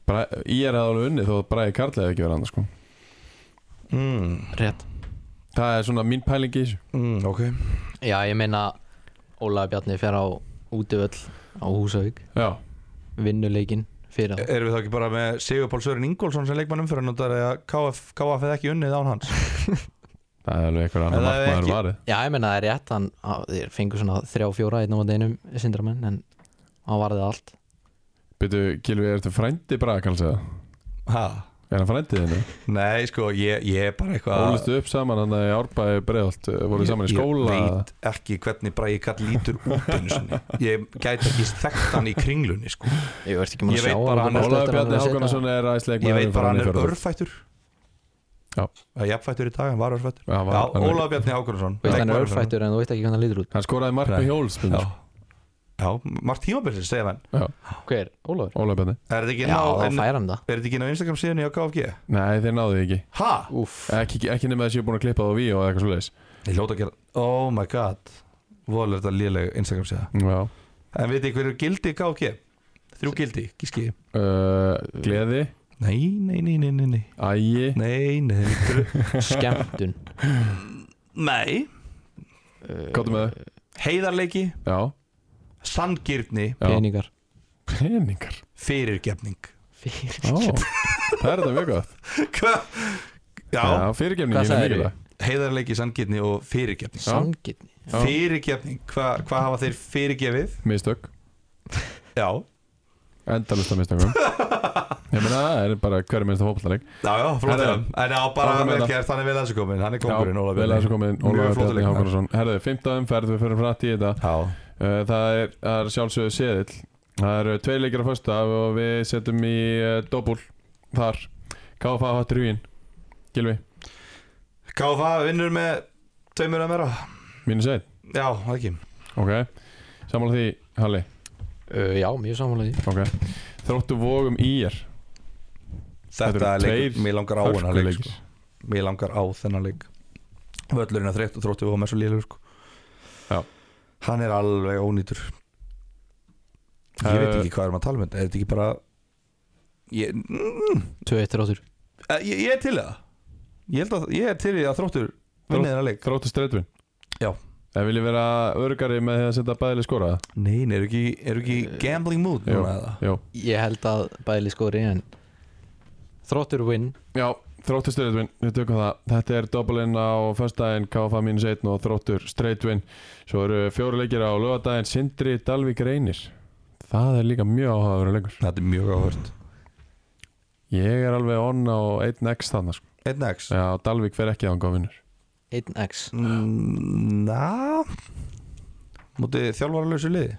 Bra- Ég er að alveg unni þó að Bræði Karl hefði ekki verið annars sko.
mm,
Rétt
Það er svona mín pæling í þessu
mm, Ok
Já, ég meina Ólaði Bjarni fer á útivöll á Húsavík
Já,
vinnuleikinn fyrir það
Erum við þá ekki bara með Sigur Pál Sören Ingólfsson sem leikmann umfyrir að KF, KF hefði ekki unnið án hans
það er alveg eitthvað annar
Það er
markmaður
ekki-
varðið
Já, ég meina það er rétt hann, að þeir fengur svona þrjá fjóra einn á deginum sindramenn en hann varði allt
Byrju, Gilvi, er þetta frændi Braga kannski það?
Ha?
Er hann frændið henni?
Nei, sko, ég, ég er bara eitthvað
Ólistu upp saman hann í Árbæði breiðalt Voru
Ég-
þið saman í skóla
Ég veit ekki hvernig Bragi Kall lítur út einu sinni Ég gæti ekki þekkt hann í kringlunni, sko
Ég veist ekki
Ég
maður að sjá
veit bara hann er
Ólaður Bjarni Hákonarsson er æsleik
Ég veit bara hann er örfættur
Já.
Það er jafnfættur í dag, hann var örfættur
Já, hann
Já,
var- hann er-
Ólaður Bjarni Hákonarsson
Veist hann er örfættur en þú veit ekki hvernig hann lítur út
Hann skoraði mark
Nei.
með hjóls
Já,
Ólaður
já margt tímabilsin, segja hann
Hver? Ólafur?
Bjarni
Er þetta ekki
Já, þá
inn á- en-
fær hann það
er þetta ekki inn á Instagram síðan í KFG?
Nei, þeir náðu því ekki
Ha?
Úff
Ekki, ekki nema þessi búin að klippa það á víu og eitthvað svoleiðis
Ég ljóta að gera Oh my god Volur þetta léleg Instagram síða
Já
En veit ég hverju gildi í KFG? Þrjú gildi, gíski
uh, Gleði,
Nei, nei, nei, nei, nei, nei
ægi
Nei, nei, nei
Skemmtun
Nei
Káttu með þau
Heiðarleiki,
Já,
sanngirni,
já
Peningar
Peningar
fyrirgefning
Fyrir
Ó, Það er þetta mjög gott
Hva? Já,
Já, fyrirgefning
Hvað
er
sagðirðu?
mikilvæg
heiðarleiki, sanngirni og fyrirgefning
Já.
Sangirni
Já.
Fyrirgefning, hva- hvað hafa þeir fyrirgefið?
Mistök
Já,
Endalust að mistökum Ég meina það er bara hverjum minnst að fókbaltarleik
já, já, flott
Herra.
hjá þeim. En já, bara
Áfram með
vel
það.
gert, hann er vel þessu komin Hann er kongurinn, Ólaf
Vel að þessu komin,
Mjög
Ólafur
flottur
Bjarni
leikmaður.
Hákonarsson Herðu, 15 umferð, við förum frætt í þetta
Já,
Uh, Það er, það er sjálfsögðu seðill Það eru tveir leikir á fösta og við setjum í uh, dobbúl þar KFA hattur huginn Gilvi,
KFA vinnur með tveimur að mera
mínus einn
Já, það ekki
Ok, samanlega því Halli
uh, Já, mjög samanlega því
Ok, þróttu vogum í er Þetta
Þetta
eru
er leikur,
tveir
mér langar á hennar leik sko. Mér langar á þennan leik Völlurinn að þreytt og þróttu og með svo lélegur sko.
Já.
Hann er alveg ónýtur Ég veit
Eh,
ekki hvað erum að tala um þetta Er þetta ekki bara Ég, mm,
2-1 ráttur
eh, ég, ég er til í það Ég, held að, ég er til í að þróttur Vinnið þennan leik
Þróttu streitun
Já.
En vilji vera örgari með því að setja bæðileg skora
Nei, nei, eru ekki, er ekki
Eh,
í gambling mood
Jú.
núna eða?
Jó
Ég held að bæli skori en Þróttur win
Já, Þróttur straight win, við tökum það Þetta er dobbelinn á föstudaginn KFA minus 1 og þróttur straight win Svo eru fjóru leikir á lögadaginn Sindri Dalvik Reynir Það er líka mjög áhugaður leikur
Þetta er mjög áhört
Ég er alveg on á 1x þannig sko.
Einn X
Já, Dalvik fer ekki þangað og vinnur
1x
Mm, Na Mútið þjálfaralösu liði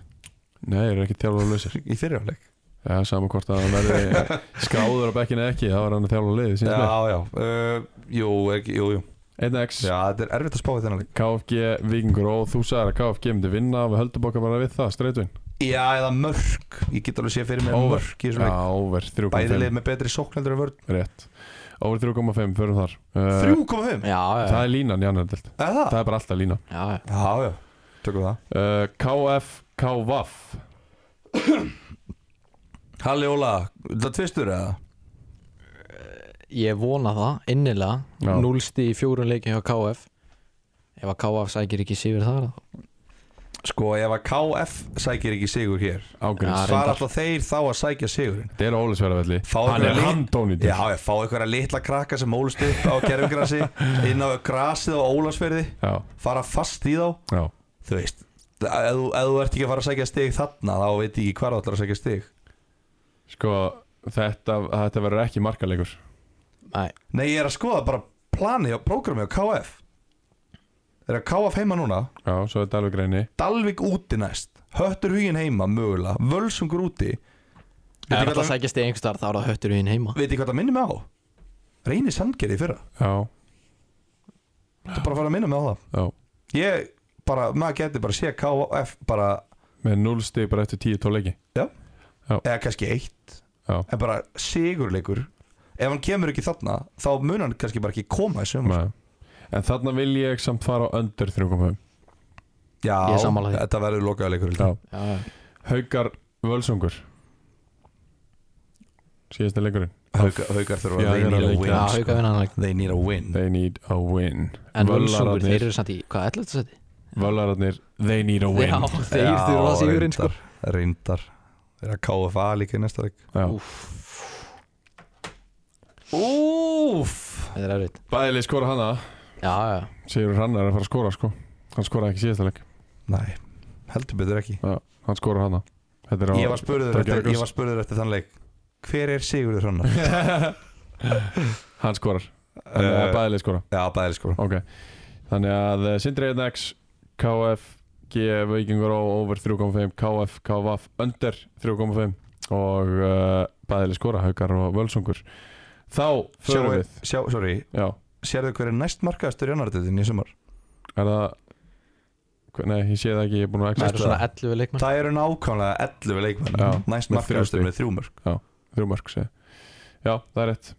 Nei, þeir eru ekki þjálfur lausir
Í fyrirháleik
Já, saman hvort að hann verði skráður á bekkinu eða ekki, þá er hann að þjálfa liðið
Já,
síðan með.
já uh, Jú, ekki, jú, jú
1x,
Já, þetta er erfitt að spá við þennan leik
KFG, Vikingur og þú sagðir að KFG myndi vinna og við höldum okkar bara við það, streitvinn.
Já, eða mörk Ég get alveg séð fyrir mér
Over.
mörk í þessum
Já,
leik
over
Bæði
3,5,
lið með betri sóknendur en vörn
rétt. Over 3,5, förum þar. Uh,
3,5
Já, já,
Það er línan í annar dild,
Er Eh, það?
það er bara alltaf línan.
já, já.
Já, já Tökum það
Uh, KF, KVaf,
Halli Óla, það tvistur eða?
Ég vona það, innilega
Já.
Núlsti í fjórun leikin hjá KF Ef að KF sækir ekki sífur þar þá-
Sko, ef að KF sækir ekki sigur hér
Já,
ágríns.
Það er
reyndar.
alltaf þeir þá að sækja sigurinn
Þetta er á Ólisverðarvelli,
Fá
hann
einhverja
er
lið-
handón í
Já,
dild.
ég fá einhverja litla krakka sem ólust upp á gerfingrasi inn á grasið á Ólasverði
Já,
fara fast í þá
já,
þú veist, ef þú- ef þú ert ekki að fara að sækja stig þarna, þá veit ég ekki hvar þú ætlar að sækja stig
sko þetta, þetta verður ekki markalegur.
Nei,
Nei, ég er að skoða bara planið og prógrami á KF Er að KF heima núna
Já, svo er Dalvik Reyni.
Dalvik úti næst, Höttur hugin heima mögulega, Völsungur úti
ef
Veit
það
ekki
alltaf
hvað það-
sækjast í einhver starf þá er það höttur hinn heima
veit ekki hvað það minnir mig á Reyni Sandgerði í fyrra
Já,
Þetta er bara að fara að minna mig á það
já.
Ég bara, maður getur bara að sé KF bara
Með 0 stig bara eftir 10-12 leiki
eða kannski eitt
Já.
en bara sigurleikur ef hann kemur ekki þarna þá mun hann kannski bara ekki koma í sömur
Nei. En þarna vil ég samt fara á undir 3.5
já,
Ég er sammála því.
þetta verður lokaða leikur
Já.
já.
Já, já.
Haukar Völsungur Síðasta leikurinn
Hauka, haukar þurfa
Já,
they
þeir eru
need a
að leika.
win
Já,
sko.
hauka vinnanleik
they need a win
They need a win
En völsungur,
Völararnir-
þeir eru samt í, hvað, 11. seti?
Völararnir, they need a win
Já, þeir
Já,
þurfa að sigurinn sko
reyndar, reyndar þeir eru að KFA líka í næsta leik
Já.
úf
Þetta er erfitt
Bæðileg skora hana
Já, já,
Sigur Hrannar er að fara að skora sko Hann skoraði ekki síðasta leik
nei, heldur betur ekki
Já, Hann skorar hana Þetta er á
ég var spurður
Þetta
eftir,
gerðist.
ég var spurður eftir þann leik hver er Sigurður
Eh,
Hrannar?
Hann skorar uh,
Uh,
Bæðileg skora
já, bæðir sko
Ok Þannig að eh, Sindri 1x KF G Vikingur á over 3.5 KF KVF under 3.5 og uh, bæðileg skora Haukar og Völsungur Þá förum
Sjáu-
við
sjá, sorry,
Já,
sérðu hver er næst markaðastur í annardeildin í sumar?
er það Hva- Nei, ég sé það ekki, ég er búin að
það
ekki
Veistu
eru svona
það?
11 leikmenn
Það eru nákvæmlega 11 leikmenn
Já,
Næst
með
markaðastur
þrjú
með þrjú mörg
þrjú mörg segi. Já, það er rétt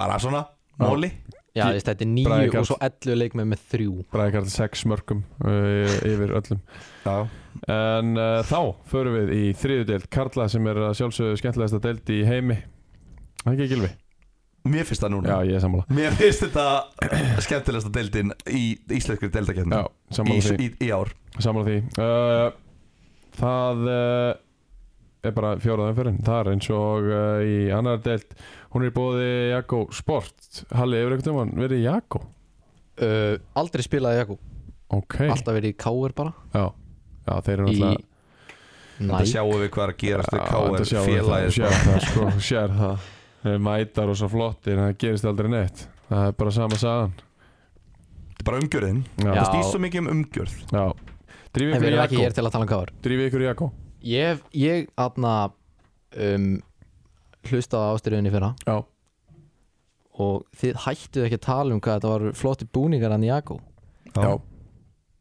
Bara svona,
Já.
móli
Já, þú veist, þetta er
Bragi
9
Karl.
og svo 11 leikmenn með 3
Bræði kartið 6 mörgum uh, yfir öllum
Já,
En uh, þá förum við í þriðu deild Karla sem er að sjálfsögðu skemmtilegasta deild í heimi Ekki gilvi?
mér finnst það núna
Já, ég er sammála
Mér finnst þetta skemmtilegsta deildin í íslenskri deildakeppni
Já,
Hérna. í,
sammála því
í, í ár
Samla því uh, Það uh, er bara fjóraðan fyrir Það er eins og uh, í annar deilt Hún er í bóði Jakko Sport Halli, hefur einhvern veginn verið í Jakko?
uh, Aldrei spilaði Jakú,
Ok
alltaf verið í Káur bara
já. já, þeir eru
Í
náttúrulega
Þetta
Næ,
sjáum við hvað er að
Já,
gerast við
þetta
K.R.
sjáum við það,
félagið
Sér það, sko, sér það Þeir mætar og svo flottir en það gerist aldrei neitt Það er bara sama sagan
Þetta er bara umgjörðin
Já,
Já.
Það snýst svo mikið um umgjörð
já. Drífi
En
ykkur í
við erum ekki
Jakko
hér til að tala um Káur
Drífi ykkur í Jakko
Ég, ég aðna um, hlustaði á ástyrjunni fyrra
Já,
og þið hættuð ekki að tala um hvað þetta var flotti búningar hann Jakko
já,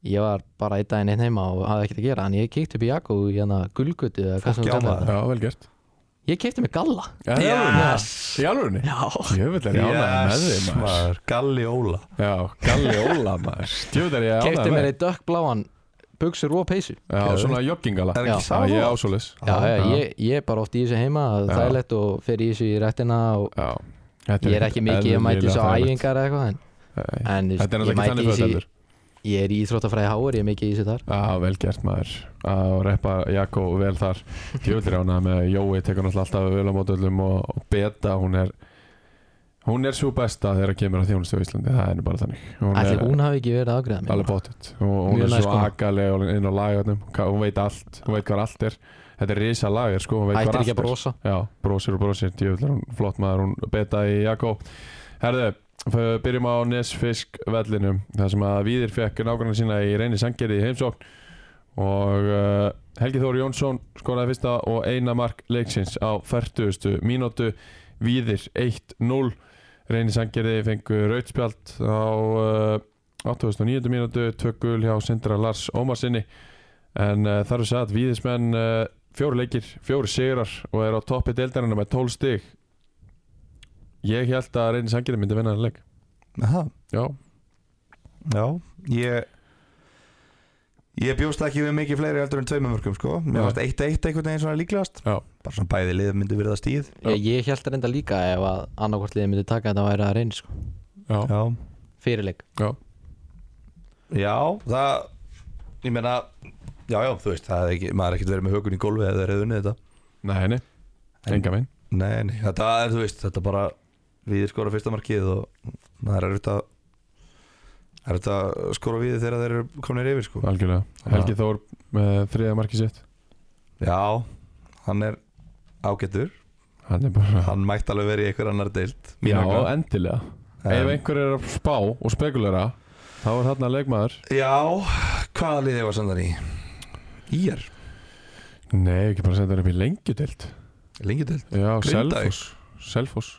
Ég var bara einn daginn einn heima og hafði ekkert að gera en ég kíkti upp í Jakko í hana gulgutu eða hvað sem
Fólk
þú kallar
jámaði.
það
já, vel gert
Ég kíkti mig galla
Já, í alvörunni? Í alvörunni?
Já
Jöfull er ég ánægði með
Yes,
þig maður
maður Galli Óla
Já, Galli Óla maður Djöfull er ég
Kíkti
ánægður
mér
með
í dökkbláan buksur og peysu
Já, svona joggingala
Er
Já,
það
Já.
ekki sama?
ég er ásólis
Já, já,
já.
Ég, ég er bara oft í þessu heima
Já.
þægilegt og fer í þessu í réttina og
Já
ég er ekki mikið að mæti þessu á æfingar eða eitthvað en,
Þetta
en þú veist,
er náttúrulega ekki
ég mæti í
þannig
þessu
föteldur
ég er í Íþróttafræði Háur, ég er mikið í þessu þar
Já, vel gert maður að reppa Jakko vel þar Djöfull er ánægði með Jói tekur náttúrulega alltaf vel á mótöllum og og Beta, hún er Hún er svo besta þegar kemur að þjónustu á Íslandi Það er nú bara þannig Hún
Ætli
er
hún hafi ekki verið afgreða mér
alveg bóttut Hún, hún
Mjög
er
næs
svo
kona.
agaleg inn á lagarnum Hún veit allt, hún veit hvað allt er Þetta er risa lagar sko, hún veit
Ættir
hvað
ekki að
allt er
brosa
Já, brosir og brosir, djöfull er hún flott maður, hún beta í Jakko Herðu, f- byrjum á Nesfisk vellinum þar sem að Víðir fekk nákvæmna sína í reyni sangerði í heimsókn og uh, Helgi Þóri Jónsson skoraði fyrsta og eina mark leiksins á 40. mínútu Víðir 1-0 reyni sangerði fengu rautspjald á uh, 89. mínútu tökul hjá Sindra Lars Ómarsinni en uh, þar er satt Víðismenn uh, fjóri leikir, fjóri sigrar og er á toppi deildarina með 12 stig ég held að reynir sangirinn myndi vinna hann leik
Aha.
já,
Já, ég Ég bjóst ekki við mikið fleiri heldur en tveimur mörgum sko Mér
Nei.
varst eitt eitt einhvern veginn svona líklegast
Já.
Bara svona bæði lið myndu verið að stíð
Já.
Ég, ég held reynda líka ef að annarkvort liðið myndi taka þetta væri að reyni sko.
já,
Já,
fyrirleik
já það Ég meina Já, já, þú veist, það er ekki, maður er ekkert verið með hökun í gólfi eða þeir hefur unnið þetta
nei, nei,
En-
enga minn
Nei, nei, þetta er, þú veist, þetta er bara Við skora fyrsta markið og það er erfitt að Það er erfitt að skora við þegar þeir eru komnir yfir sko
algjörlega, Helgi Þór með þriða markið sitt
Já, hann er ágættur
hann er bara,
Hann mætti alveg verið í einhver annar deild mín
já, e-
vegna.
endilega ef einhver er að spá og spekulera þá er þarna leikmaður
Já, hvaða liðið var samt hann í? Íjar
nei, ekki bara að setja hann upp í lengjudeild
Lengi til
já,
Grindavík.
Selfoss, Selfoss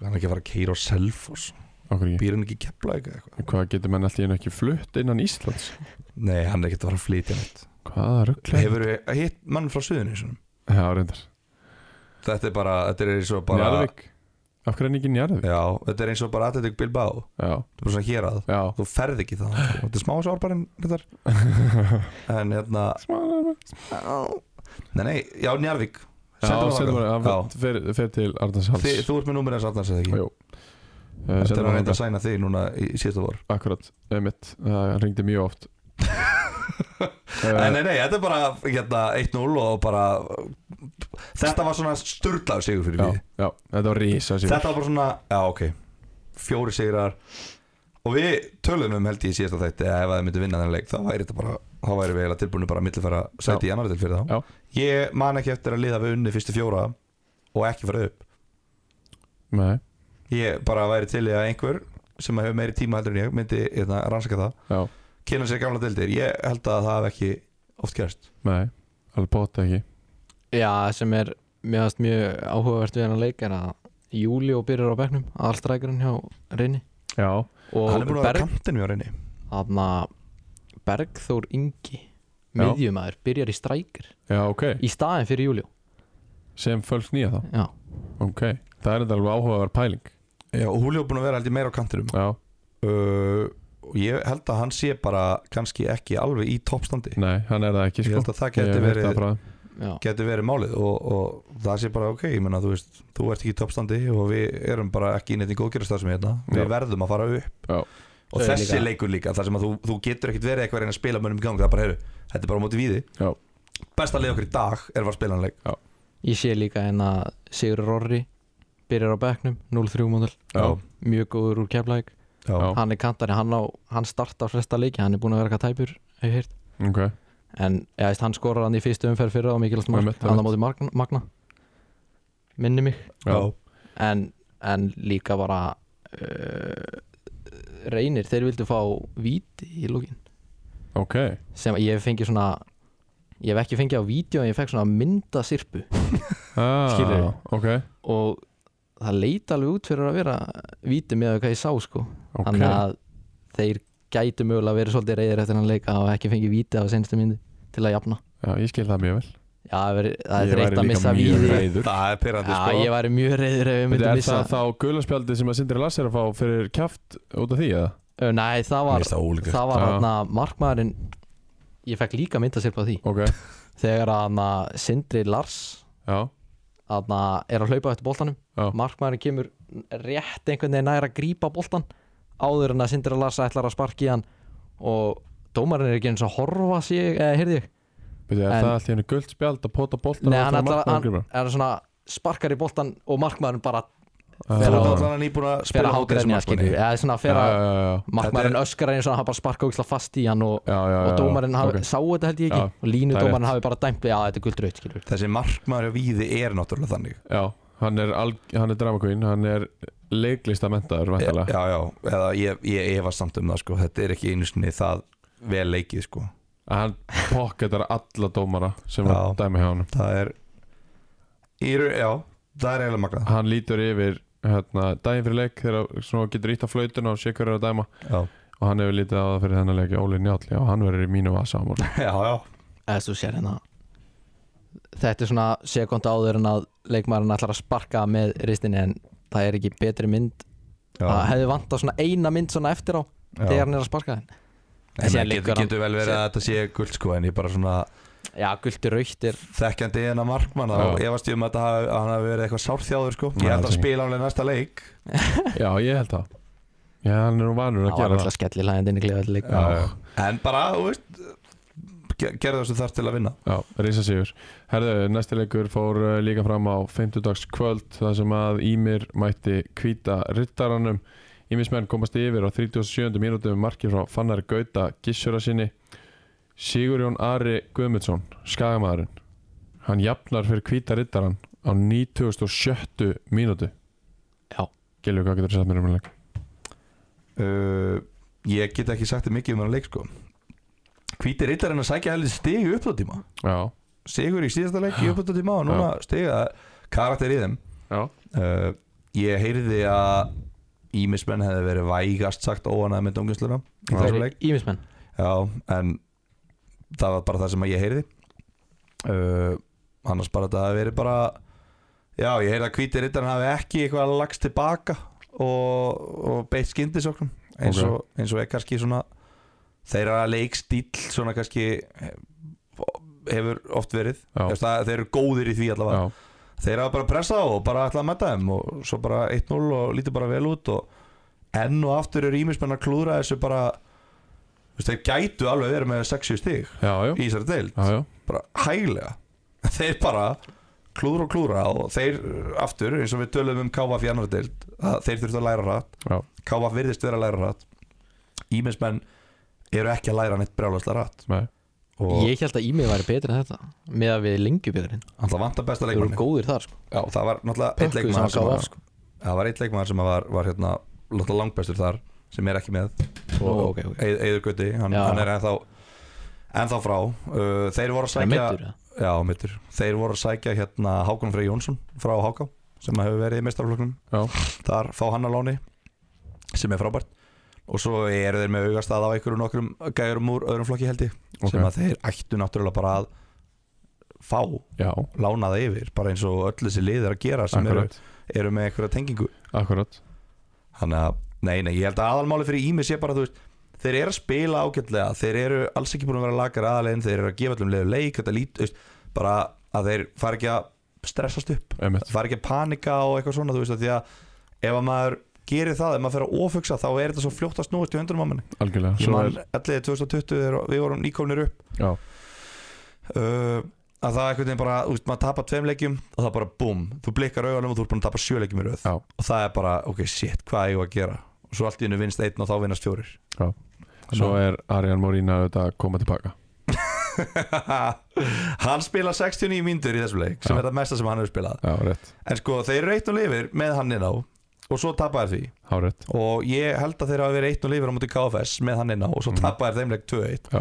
Hann er ekki að fara að keira á Selfoss
okkur ekki,
Býr hann ekki í kepla eitthvað
hvað getur menn alltaf ekki flutt innan Íslands
Nei, hann er ekki að fara að flytja neitt
hvaða rugglega
Hefur við hitt mann frá suðinu svona.
já, reyndar,
Þetta er bara, þetta er eins og bara
Njarðvík af hverju er hann ekki í Njarðvík
Já, þetta er eins og bara Atletik Bilbao Þetta
já,
er bara svona hér að
já,
Þú ferð ekki það Þetta er smá sárbarinn þetta En hérna Nei, nei, já, Njarvík
Já,
Sendum hann
sendum
þangað.
hann, hann fer, fer til Arnars Hals
Þi, Þú ert með númerið Arnars eða ekki?
Jú. Eh,
Þetta
Sendum
er að
hann
reynda
þetta
að sæna þig núna í í síðasta vor
Akkurat, emitt, hann ringdi mjög oft
Nei,
Eh,
nei, nei, þetta er bara hérna, 1-0 og bara Þetta var svona sturlaður sigur fyrir
já,
mig
já, þetta var rísa
Þetta var bara svona, já ok Fjóri sigrar Og við töluðum um held ég í síðasta þætti að ef það myndi vinna þennan leik þá væri þetta bara þá væri við eiginlega tilbúinu bara að millifæra sæti í annar til fyrir þá
Já.
Ég man ekki eftir að liða við unni fyrstu fjóra og ekki fara upp
Nei,
Ég bara væri til í að einhver sem hefur meiri tíma heldur en ég myndi hérna, rannsaka það
já,
kynna sér gamla deildir, ég held að það hef ekki oft gerst
nei, alveg bóta ekki
Já, sem er mér fannst mjög áhugavert við hennar leik er að Júlió byrjar á bekknum allstrækjurinn hjá reyni
Já,
Hann
og
er búin að vera
Berg,
kantinu á reyni
þarna, Bergþór Ingi
Já.
miðjumæður byrjar í strækjur
já, ok,
í staðin fyrir Júlió
sem fölg nýja þá
Já,
Ok, það er þetta alveg áhugaverð pæling
Já, og Húli er búin að vera held ég meira á kantinum
Já,
uh, og Ég held að hann sé bara kannski ekki alveg í toppstandi
nei, hann er það ekki
Ég
sko
held að það
Ég
geti
hef heyrt það
verið,
frá-
já,
geti verið málið og, og það sé bara ok, ég menna þú veist þú ert ekki í toppstandi og við erum bara ekki í neitt í góðgerastarfsemi hérna, við
Já.
verðum að fara upp
Já.
og
Svo er
þessi
líka-
leikur líka þar sem að þú, þú getur ekkit verið eitthvað að reyna að spila mönnum í gang það er bara, heyru, þetta er bara á móti víði
Já.
besta leið okkur í dag er að spila hann leik
ég sé líka en að Sigur Rorri byrjar á bekknum 0-3 módel,
Já,
mjög góður úr keflæk
Já.
Já.
hann er kantari, hann, á, hann startar flesta leiki, hann er búin að vera eitthvað tæpur hef ég heyrt.
ok,
en ég veist, hann skorar hann í fyrstu umferð fyrra og mikilvægt
Einmitt,
mark,
einmitt.
hann á móti Magna- magna minni mig
já,
Já.
en, en líka bara uh, reynir, þeir vildu fá víti í lókin
ok
sem ég hef fengið svona ég hef ekki fengið á vídeo en ég fekk svona myndasirpu
ah,
Skilurðu?
Ok,
og það leit alveg út fyrir að vera víti með hvað ég sá sko
ok
þannig að þeir gætu mögulega verið svolítið reyðir eftir hann leika og ekki fengið víti á senstu myndi til að jafna
Já, ég skil það mjög vel
Já, það er- það
Ég
er
væri
þreytt að
líka
missa
mjög
víði
reiður.
Það er pyrrandi
Já,
sko
ég væri mjög reyður ef ég myndi
Þetta er
missa
það þá gulaspjaldi sem að Sindri Lass er að fá fyrir kjaft út af því eða?
Ö, Nei, það var,
það ólíklegt
það var
Já.
hann að markmaðurinn Ég fekk líka mynda sér på því
Ok,
Þegar að hann að Sindri Lars
já,
hann að er að hlaupa eftir boltanum
Já.
Markmaðurinn kemur rétt einhvern veginn nær að grípa boltan Áður en að Sindri Lars ætlar að sparki hann Og dómarinn er ekki eins og horfa sig, eh, heyrði ég
byrju, er
En-
það allt í hennu guld spjald að pota boltan
Nei, hann
ætlar
ætlar að hann er svona sparkar í boltan og markmaðurinn bara
Þú ert
á-
allan að nýbúin að
fer
spila
að hátgrenja skilur eða svona fer að
Ah. já, já, já.
markmaðurinn öskar eins og hann bara sparka ógislega fast í hann og,
Já, já, já,
og
já,
dómarinn hafi,
ok.
sá þetta held ég ekki
Já,
og línu
það er
dómarinn hafi bara dæmt já þetta er guldröyt skilur
Þessi markmaður á víði er náttúrulega þannig
Já, hann er, alg, hann er drama queen Hann er leiklista mentaður væntalega
Já, já, eða ég, ég efa samt um það sko Þetta er ekki einu sinni það vel leikið sko
Hann pocketar alla dómara sem
Já.
að dæmi hjá hann
Það er Íru, já, það er eiginlega magnað
Hann lítur yfir hérna, daginn fyrir leik þegar svona getur ítt á flautuna og sé hverju er að dæma
Já,
og hann hefur lítið á það fyrir þennan leik Óli Njáll, já, hann verður í mínu vasa á morgun
já, já,
eða þú sér hérna þetta er svona sekund áður en að leikmaðurinn ætlar að sparka með ristinni en það er ekki betri mynd
já.
það hérna- hefði vantað svona eina mynd svona eftir á þegar hann er að sparka þenn
En
síðan
það
liggur
getur,
hann-
getur vel verið að þetta sé guld sko En ég bara svona
já guldröyt er
þekkjandi en að markmanna
Já.
Og efast ég um að þetta hafi- að hann hafi verið eitthvað sárþjáður sko Ég
Já,
held að
það er
spila hann næsta leik
Já, ég held það Já, hann er nú vanur
það
að
var
gera
alltaf
það
skellilægandi inn í
Já.
klefa
Já,
En bara, þú veist ge- Gerðu þessu þar til að vinna
já, rísa sigur Herðu, næsti leikur fór uh, líka fram á 50 dags kvöld þar sem að Ímir mætti kvíta rittaranum Ímismenn komast yfir á 37. mínútu með marki frá Fannar Gauta Gissura sinni Sigurjón Ari Guðmundsson, skagamæðurinn Hann jafnar fyrir kvíta rittaran á 97. mínútu
Já.
Gilvi, hvað getur þú sagt mér um þennan leik?
uh, Ég get ekki sagt þér mikið um hann leik sko Hvíti rittarinn að sækja heldur stig upp á tíma
Já,
Sigur í síðasta leik í upp á tíma og núna stiga karakter í þeim
já,
uh, Ég heyrði að Ímismenn hefði verið vægast sagt óanað með dungisluna í
Já.
þessum leik
ímismenn
Já, en það var bara það sem ég heyrði uh, annars bara þetta hafi verið bara já, ég heyrði að hvíti rittarinn hafi ekki eitthvað lagst tilbaka og, og beitt skyndisóknum eins,
Ok.
og, eins og er kannski svona þeirra leikstíll svona kannski eh, hefur oft verið
Já.
Þess, það, þeir eru góðir í því allavega
já,
þeir hafa bara pressað og bara ætlaði að metta þeim og svo bara 1-0 og lítið bara vel út og enn og aftur eru ímismenn að klúðra þessu bara þú veist, þeir gætu alveg verið með 60 stig
já, já,
í þessari deild,
já, já.
bara hæglega þeir bara klúðra og klúðra og þeir aftur eins og við tölum um KVF í annar deild að þeir þurftu að læra rætt
Já.
KVF virðist vera að læra rætt ímismenn eru ekki að læra neitt brjálagslega rætt
Nei.
og
ég held að ímið væri betri en þetta með að við lengjubjöðurinn
alltaf vantar besta
þau eru
leikmann
góðir þar sko
Já, það var náttúrulega einn
Pökkuðu
leikmaður
saman sko.
sem var,
KF,
það var einn leikmaður sem var, var hérna, náttúrulega langbestur þar sem er ekki með
Ó, ok, ok.
Eið- Eiður Gutti, hann,
Já.
hann er ennþá ennþá frá uh, þeir voru að
það er
sækja
meittur
já, mittur. þeir voru að sækja hérna Hákon Frey Jónsson frá Háká sem hefur verið í mestarfloknum
Já.
þar fá hann að láni sem er frábært og svo eru þeir með augast að á einhverjum nokkrum gæjurum úr öðrum flokki held ég
Ok.
sem að þeir ættu náttúrulega bara að fá
já,
lánaða yfir bara eins og öll þessi lið er að gera sem eru,
akkurat
eru með einhverja tengingu
Akkurat,
þannig að, nei, nei, ég held að aðalmáli fyrir Ími sé bara, þú veist, þeir eru að spila ágætlega þeir eru alls ekki búin að vera lagar aðalegin þeir eru að gefa allum leiðu leik, þetta lít þú veist, bara að þeir fara ekki að stressast upp,
emitt
fara ekki að panika og eitthvað svona, þú veist, af því að ef að maður gerir það, ef maður fer að ofugsa þá er þetta svo fljótt að snúast í höndunum á manni
Algjörlega,
ég
svo
man
er,
11. 2020 þegar við vorum nýkomnir upp
já,
uh, að það er einhvern veginn bara úst, maður tapar tveim leikjum og það bara búm þú blikkar augunum og þú er búin að tapa sjö leikjum í röð
Já.
og það er bara, ok, shit, hvað eigum við að gera og svo allt í hennu vinnst einn og þá vinnast fjórir
svo er Arjan Morína auðvitað að koma tilbaka
hann spila 69 mínútur í þessum leik sem
Já.
er það mesta sem hann hefur spilað
Já, rétt,
en sko, þeir eru eitt og lifir með hann inn á og svo tapar því
hárétt
og ég held að þeir hafa verið eitt og lifir á múti KFS með hann inn á og svo
Mhm.
tapar þeim leik 2-1
Já.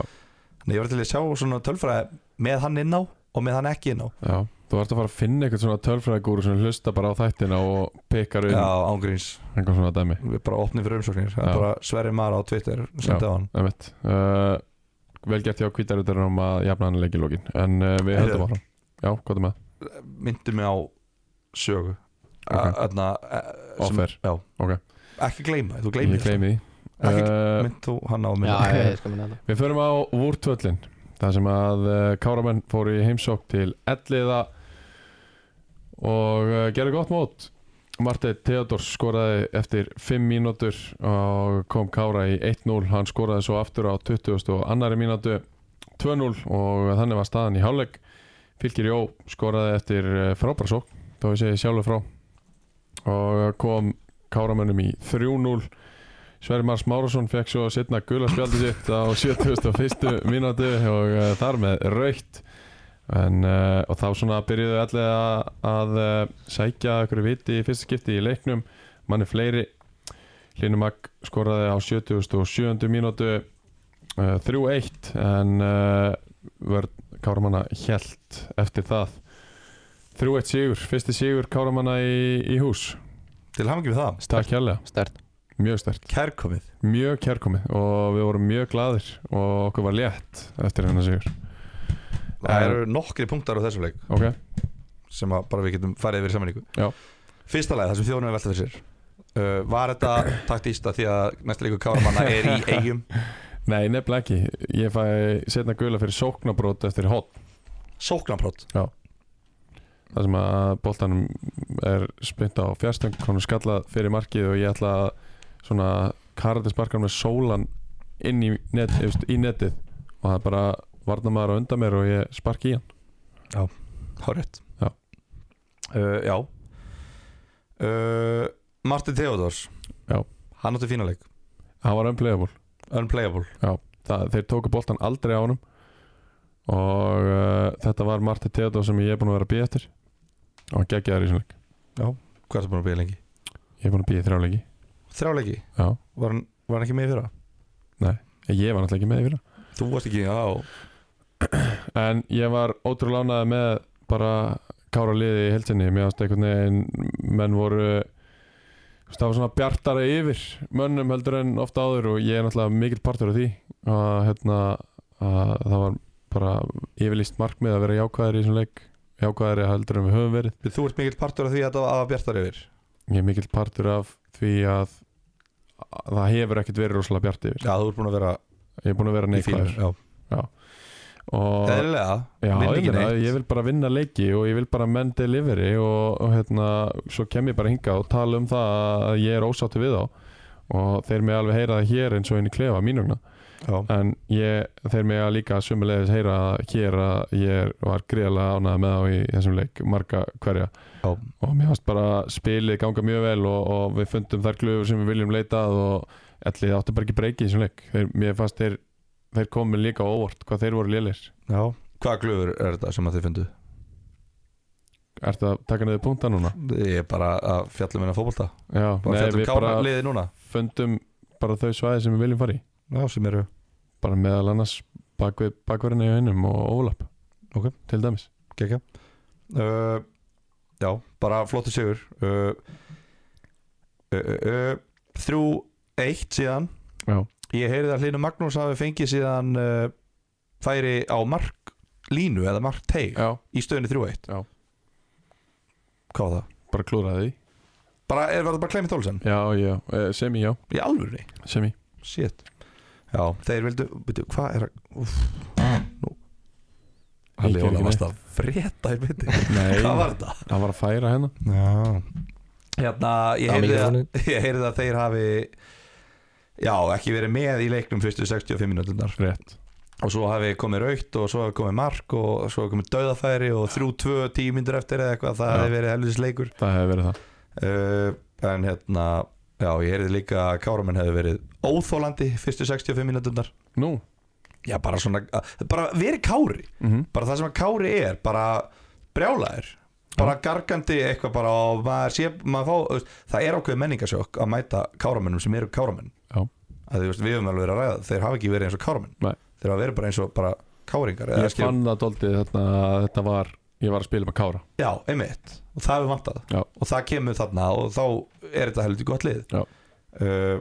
þannig ég var til að sjá svona tölfræði með hann inn á og með hann ekki inn á
Já, þú ert að fara að finna eitthvað svona tölfræðgúru sem hlusta bara á þættina og pikkar
já,
um
ángríns
einhvern svona dæmi
við bara opnum fyrir umsóknir það
Já.
er bara Sverri Mara á Twitter senda á hann
Emitt uh, Vel gert hjá kvítarutarum að jafna hann leik í lókin En uh, við
Heyrðu.
höldum áfram Já, hvað er með?
myndi mig á sögu
Ok.
Þarna e,
Offer.
Já
Ok.
Ekki gleyma, þú
Ég
gleymir það
gleymi því
Ekki
uh,
Mynd þú hann á
já
mig
ég- ég skal minna þetta
Við förum á Vúrtvöllin þar sem að eh, Káramenn fóru í heimsók til Elliða og eh, gerðu gott mót Marteinn Theodor skoraði eftir 5 mínútur og kom Kára í 1-0 hann skoraði svo aftur á 20 og annari mínútu 2-0 og þannig var staðan í hálfleik Fylgir Jó skoraði eftir eh, frábæra sókn þá ég segi sjálfur frá og kom Káramönnum í 3-0 Sverri Mars Márusson fekk svo setna gula spjaldi sitt á 71. mínútu og uh, þar með raukt en, uh, og þá svona byrjuðu allir að, að uh, sækja ykkur viti í fyrsta skipti í leiknum manni fleiri Linumag skoraði á 77. mínútu uh, 3-1 en uh, vörn Káramanna hjælt eftir það 3-1 sigur, fyrsti sigur Káramanna í, í hús
Til hafingi við það
Takk hérlega,
stert
mjög stert
Kærkomið
mjög kærkomið og við vorum mjög gladir og okkur var létt eftir hennar sigur
Það eru nokkri punktar á þessum leik
ok,
sem að bara við getum farið yfir í sammenningu
Já.
Fyrsta lagi, það sem þjóðunum er veltað fyrir sér uh, Var þetta taktísta því að næsta leikur Káramanna er í eigum
nei nefnilega ekki ég fæ setna gula fyrir sóknabrót eftir hot,
sóknarprott
þar sem að boltanum er spynt á fjárstöng hann er skallað fyrir markið og ég ætla að svona karate sparkan með sólan inn í, net, efst, í netið og það er bara varna maður á undan mér og ég sparki í hann
Hárrétt
Já.
uh, Já uh, Martin Theodors
Já.
Hann átti fína leik
hann var umplayable
Unplayable
það, þeir tóku boltan aldrei á honum og uh, þetta var Marti Teodó sem ég er búin að vera að býja eftir og hann geggjaður í svona leik
Hvað er það búin að byrja lengi?
ég er búin að býja þrjá leiki
Þrjá leiki
já.
Var hann, var hann ekki með í fyrra?
En ég var náttúrulega ekki með í fyrra
Þú varst ekki á
en ég var ótrúlega ánægði með bara kára liði í helsinni mér ást einhvern veginn menn voru þú veist, það var svona bjartara yfir mönnum heldur en ofta áður og ég er náttúrulega mikill partur af því að hérna að það var bara yfirlýst markmið að vera jákvæðir í svona leik jákvæðir heldur en við höfum verið
Þú ert mikill partur af því að þetta var bjartar yfir
ég er mikill partur af því að, að það hefur ekkert verið rosalega bjart yfir
Já, þú ert búin að vera
ég er búin að vera
í fílur
neikvæður
Já
og já,
Eðlilega
ég,
vinn ekki
meina,
neitt.
ég vil bara vinna leiki og ég vil bara menn delivery og, og hérna, svo kem ég bara hinga og tala um það að ég er ósáttu við þá og þeir mig alveg heyra það hér eins og inn í klefa mínugna
Já
en ég, þeir mig að líka sömulegis heyra það hér að ég er- var greiðlega ánægð með þá í þessum leik marga hverja
Já
og mér fannst bara spilið ganga mjög vel og, og við fundum þær glöfur sem við viljum leita að og ætli áttu bara ekki breyki í þessum leik þeir, mér fannst þeir, þeir komið líka á óvart hvað þeir voru lélir
Já Hvaða glöfur er þetta sem að þið fundu?
Ertu að taka niður punkta núna?
Ég er bara að fjalla minna fótbolta
Já,
Bara
nei,
fjalla um
við bara
kára liði núna
fundum bara þau svæði sem við viljum fara í
Já, sem eru
bara meðal annars bak við bakverðinu í hennum og ólapp
Ok.
til dæmis
Gekja uh, Já, bara flottu sigur uh, uh, uh, Þrjú eitt síðan
Já.
Ég heyrði að Hlynur Magnús hafi fengið síðan uh, færi á mark línu eða mark teig
Já,
í stöðunni þrjú eitt
Já.
Hvað var það?
bara klúraði því
Bara, er, var það bara Clement Olsen?
Já, já, eh, semi, já,
Í alvörni?
semi
Shit Já, þeir vildu, veitu, hvað er að Úf, nú
Ég
Halli
gerði
Óla
ekki
varst að frétta í myndi
Nei,
Hvað var þetta?
hann var að færa hennar
Já Hérna, ég
Það var
heyrði,
mikið
að,
vonið.
ég heyrði að þeir hafi Já, ekki verið með í leiknum fyrstu 65 minúturnar
Rétt,
Og svo hafi komið raukt og svo hafi komið mark Og svo hafi komið dauðafæri og 3-2 tíu myndur eftir eða eitthvað Það
Já.
hefði verið helvis leikur
það hefði verið það
uh, En hérna, já, ég heyrði líka að Káramenn hefði verið óþólandi fyrstu 65 minúturnar
Nú,
Já, bara svona, að- bara verið Kári
mm
bara það sem að Kári er bara brjálæðir bara gargandi eitthvað bara og maður sé, maður fá, þú veist, það er ákveð menningasjók að mæta káramennum sem eru káramenn
Já.
að þú veist, við höfum alveg verið að ræða þeir hafa ekki verið eins og káramenn
Nei.
þeir hafa verið bara eins og bara káringar
Ég fann það doldið þarna að þetta var ég var að spila með Kára
já, einmitt, og það hefur vantað
Já.
og það kemur þarna og þá er þetta heldur gott lið
Já.
uh,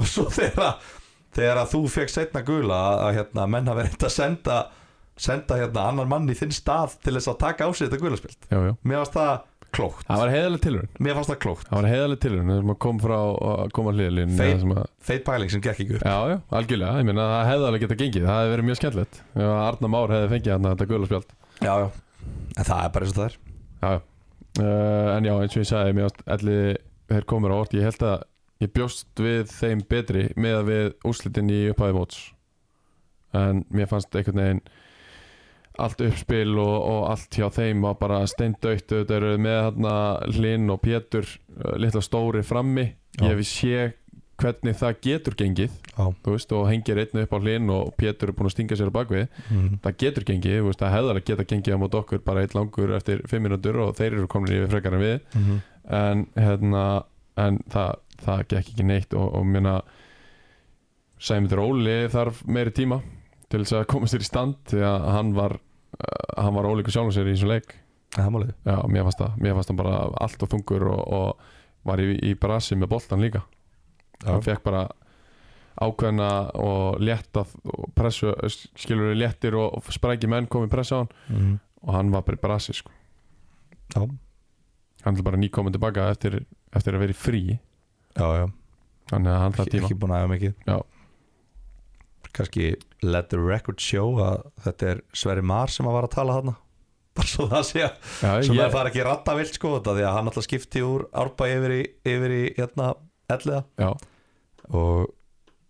og svo þegar að þegar að þú fekk setna gula að, að hérna, menn hafa verið að senda senda hérna annan mann í þinn stað til þess að taka á sig þetta gulaspilt
já, já.
Mér fannst það klókt
Það var heiðaleg tilurinn
Mér fannst það klókt
Það var heiðaleg tilurinn þar sem að kom frá að koma hliðalín
Þeir-
að,
Feit pæling sem gekk ekki upp
Já, já, algjörlega, ég meina það hefði alveg getað gengið Það hefði verið mjög skemmtilegt Ef að Arna Már hefði fengið hann þetta gula spjald
Já, já En það er bara eins og það er
Já, já uh, En já, eins og ég sagði, mér ást allir þeir komur á orð Ég held að ég bjóst við þeim betri með að við úrslitin í upphæði móts En mér fannst einhvern veginn allt uppspil og, og allt hjá þeim var bara steindautt þetta eru með hérna Linn og Pétur uh, litla stóri frammi
Já.
ég við sé hvernig það getur gengið
Já.
þú veist, og hengir einni upp á Linn og Pétur er búin að stinga sér á bakvið
mm.
það getur gengið, þú veist, það hefðar að geta gengið á mót okkur bara eitt langur eftir 5 minútur og þeir eru komin yfir frekar en við
Mm.
en hérna en það, það gekk ekki neitt og, og minna Sæmundur Óli þarf meiri tíma til þess að koma sér í stand því að hann var uh, hann var ólíkur sjálfum sér í þessum leik
Það er málið
já, mér fannst það, mér fannst hann bara allt og þungur og, og var í, í brasi með boltan líka hann fekk bara ákveðna og létta og pressu, skilur við léttir og, og spræki menn komið pressa á hann
mm.
og hann var bara í brasi sko
Já,
hann er bara nýkominn tilbaka eftir, eftir að vera í frí
já, já
þannig að hann það
ekki,
tíma
ekki búin að æfa mikið
Já.
kannski let the record show að þetta er Sverri Mar sem að var að tala þarna bara svo það sé að
Já,
svo
ég,
það fara ekki ratta vilt sko þetta því að hann alltaf skipti úr árpa yfir í, yfir í hérna elliða
já,
og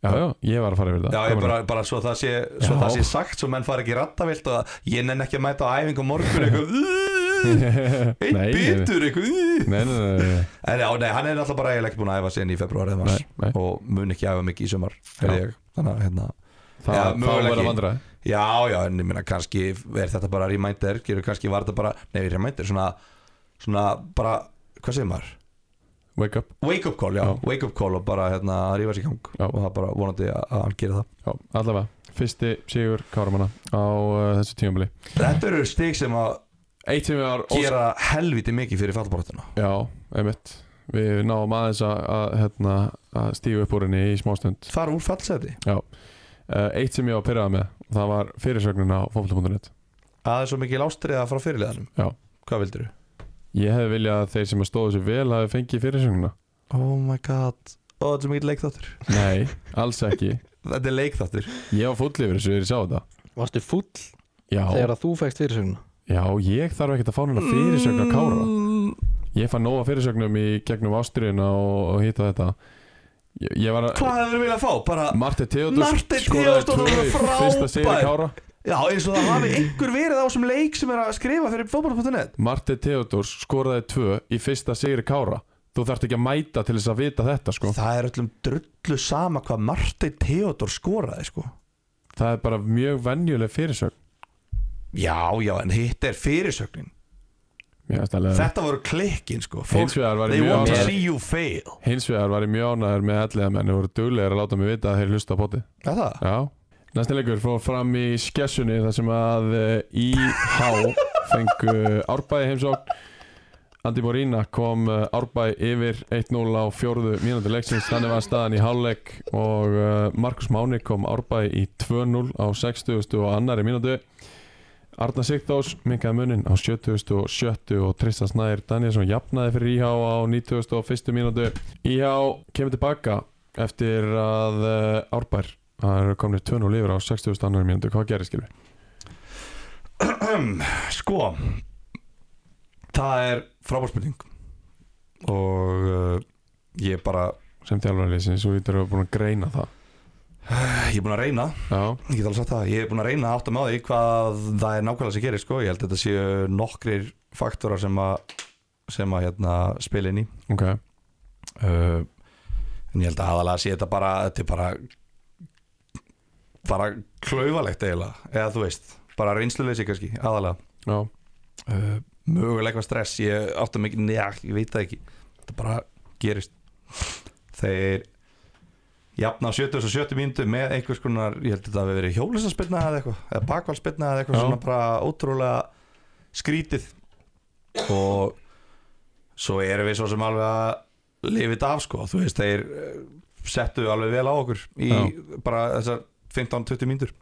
já, já, ég var að fara yfir það
já, ég
Komum
bara, bara svo það sé svo
Já.
það sé sagt svo menn fara ekki ratta vilt og að ég nenn ekki að mæta á æfingu á morgun eitthvað
að-
eitt
Nei,
bitur eitthvað
Nei, nei, nei, nei, nei,
En já, nei, hann er alltaf bara eiginlega ekki búin að æfa sinni í februar eða mars
nei, nei.
og mun ekki æfa mikið í sumar held
Já.
ég. þannig að hérna
Það,
Já,
þá
mögulega
verður
ekki.
að vandra
Já, já, en ég meina kannski er þetta bara reminder, gerur kannski var þetta bara nei, reminder, svona, svona bara, hvað segir maður?
Wake up,
Wake up call, já,
Já.
wake up call og bara hérna að rífa sér í gang
Já.
og það bara vonandi að, að hann gera það
já, allavega Fyrsti sigur Káramanna á uh, þessu tímabili
Þetta eru stig sem að
Eitt sem við var
gera helviti mikið fyrir fallbaráttuna
Já, einmitt Við náum aðeins að, að, hérna, að stígu upp úr henni í smástund
Fara úr fallseti,
uh, Eitt sem ég var að pyrraða með Það var fyrirsögnin á fólk.net
að það er svo mikil ástriða frá fyrirliðanum
Já.
Hvað vildir þú?
Ég hefði viljað að þeir sem að stóðu sér vel hafi fengið fyrirsögnina
Oh my god, ó þetta er svo mikil leikþáttur
Nei, alls ekki
Þetta er leikþáttur
Ég var fúll yfir þessu þegar ég sá þetta
Varstu full
Já,
þegar að þú fækst fyrirsögnu
Já, ég þarf ekkert að fá hennar fyrirsögn að kára
Mm.
Ég fann nóga fyrirsögnum í gegnum ástriðina og, og hitta þetta Ég, ég var að
Hvað hefur þú viljað fá? Bara
Marti Theodors
Marteinn Theódórsdóttir var frábær.
Fyrsta sigri kára
Já, eins og það hafi einhver verið á þessum leik sem er að skrifa fyrir fótbolta.net
Marti Theodors skoraði tvö í fyrsta sigri kára Þú þarft ekki að mæta til þess að vita þetta sko
Það er öllum drullu sama hvað Marteinn Theodor skoraði sko
Það er bara mjög venjuleg fyrirsögn
Já, já, en hitt er fyrirsögnin
Mér finnst alveg-
Þetta voru klikkin sko
Hins
Fólk,
vegar var
They
ég mjög
want to
ánægður
see you fail
Hins vegar var ég mjög ánægður með ellega menn Þeir voru duglegir að láta mig vita að þeir hlusta á poti
Er það?
Já Næsti leikur fór fram í skessunni þar sem að eh, IH fengu árbæði heimsókn Andi Morína kom eh, árbæði yfir 1-0 á fjórðu mínúti leiksins þannig var staðan í hálfleik og eh, Markus Máni kom árbæði í 2-0 á 60 og annari mínúti Arna Sigdós minkaði munin á 70 og 70 og Tristan Snæðir Danielsson jafnaði fyrir IH á 90 og 1. mínútu IH kemur tilbaka eftir að eh, árbær Það eru komnið 2-0 yfir á 60. annar mínútu, hvað gerir skilur?
Sko Það er frábárspurning Og uh, ég er bara
Sem þjálfarlýsins, þú lítur að hafa búin að greina það
Ég er búin að reyna
Já,
Ég get alveg sagt það, ég er búin að reyna að átta með því hvað það er nákvæmlega sem gerir sko, ég held að þetta séu nokkrir faktorar sem að, sem að hérna, spila inn í
ok
uh, en ég held að aðalega sé þetta bara, þetta er bara bara klaufalegt eiginlega, eða þú veist bara reynsluleysi kannski, aðalega
Já,
uh, mögulega eitthvað stress, ég átta mig ekki- njá, ég veit það ekki, þetta bara gerist þeir jafna á 70 og 70 mínútu með einhvers konar, ég held að þetta hafi verið hjólusaspilna eða eitthvað, eða bakvalspilna eða eitthvað
Já.
svona bara ótrúlega skrítið og svo erum við svo sem alveg að lifi þetta af sko, þú veist, þeir eh, settu alveg vel á okkur í bara þessar 15-20 mínútur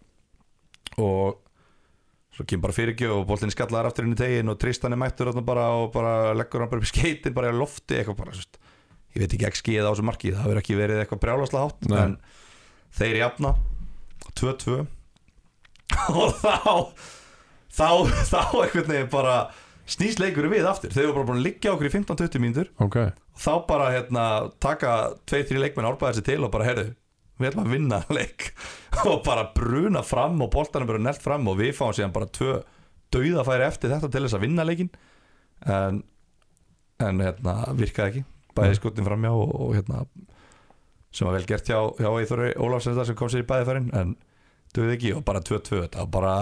og svo kemur bara fyrirgjöf og boltinn skallar aftur inn í tegin og Tristan er mættur þarna bara og bara leggur hann bara upp í skeitin bara í lofti eitthvað bara, þú veist ég veit ekki ekki eða á þessu marki, það hefur ekki verið eitthvað brjálasla hátt
Nei.
en þeir jafna 2-2 og þá þá, þá einhvern veginn bara snýst leikur við aftur, þeir eru bara búin að liggja okkur í 15-20 mínútur
ok
og þá bara hérna taka 2-3 leikmenn árbæðar sér til og bara herðu við ætlum að vinna leik og bara bruna fram og boltanum verður nelt fram og við fáum síðan bara 2-2 dauðafæri eftir þetta til þess að vinna leikin en, en hérna, virkaði ekki bæði skotin framjá og, og hérna sem var vel gert hjá, hjá Íþóri Ólafsson sem kom sér í bæði færin en duði ekki og bara 2-2 þetta var bara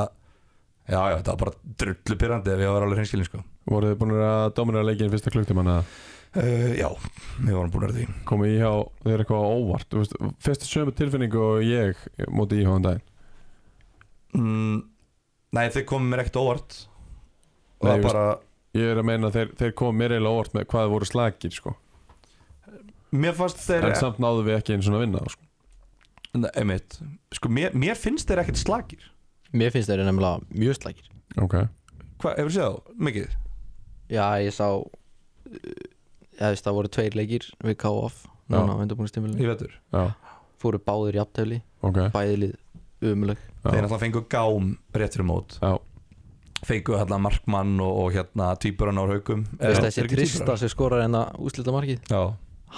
já, já, þetta var bara drullu pyrrandi ef ég var alveg hreinskilin sko
Voruð þið búin að dominera leikin fyrsta klukktum hann að
uh, já, við vorum búin að því
koma í hjá þeir eitthvað á óvart Þú veist, Fyrst sömu tilfinningu og ég móti í hjá hann daginn
mm, nei, þau komum mér ekkert á óvart og
Nei,
það
ég veist-
bara
Ég er að meina að þeir, þeir komum mér eiginlega á óvart með hvað þeir voru slagir sko.
mér fannst þeir
En samt náðu við ekki einu svona að vinna sko.
Nei, einmitt, sko, mér, mér finnst þeir ekkert slagir
Mér finnst þeir eru nefnilega mjög slækir
Ok,
Hvað, hefur séð þá, mikið?
Já, ég sá uh, Já, veist, það voru tveir leikir við KOF Núna, vendabúinnstimulin
Í vetur
já,
Fóru báðir jafntefli,
ok
bæði lið umleg
Þeir
já.
náttúrulega fengu gám rétt fyrir mót
Já,
Fengu hérna markmann og, og hérna týpurann á haugum
Veist þessi Trista sem skorar en að úslita markið
Já,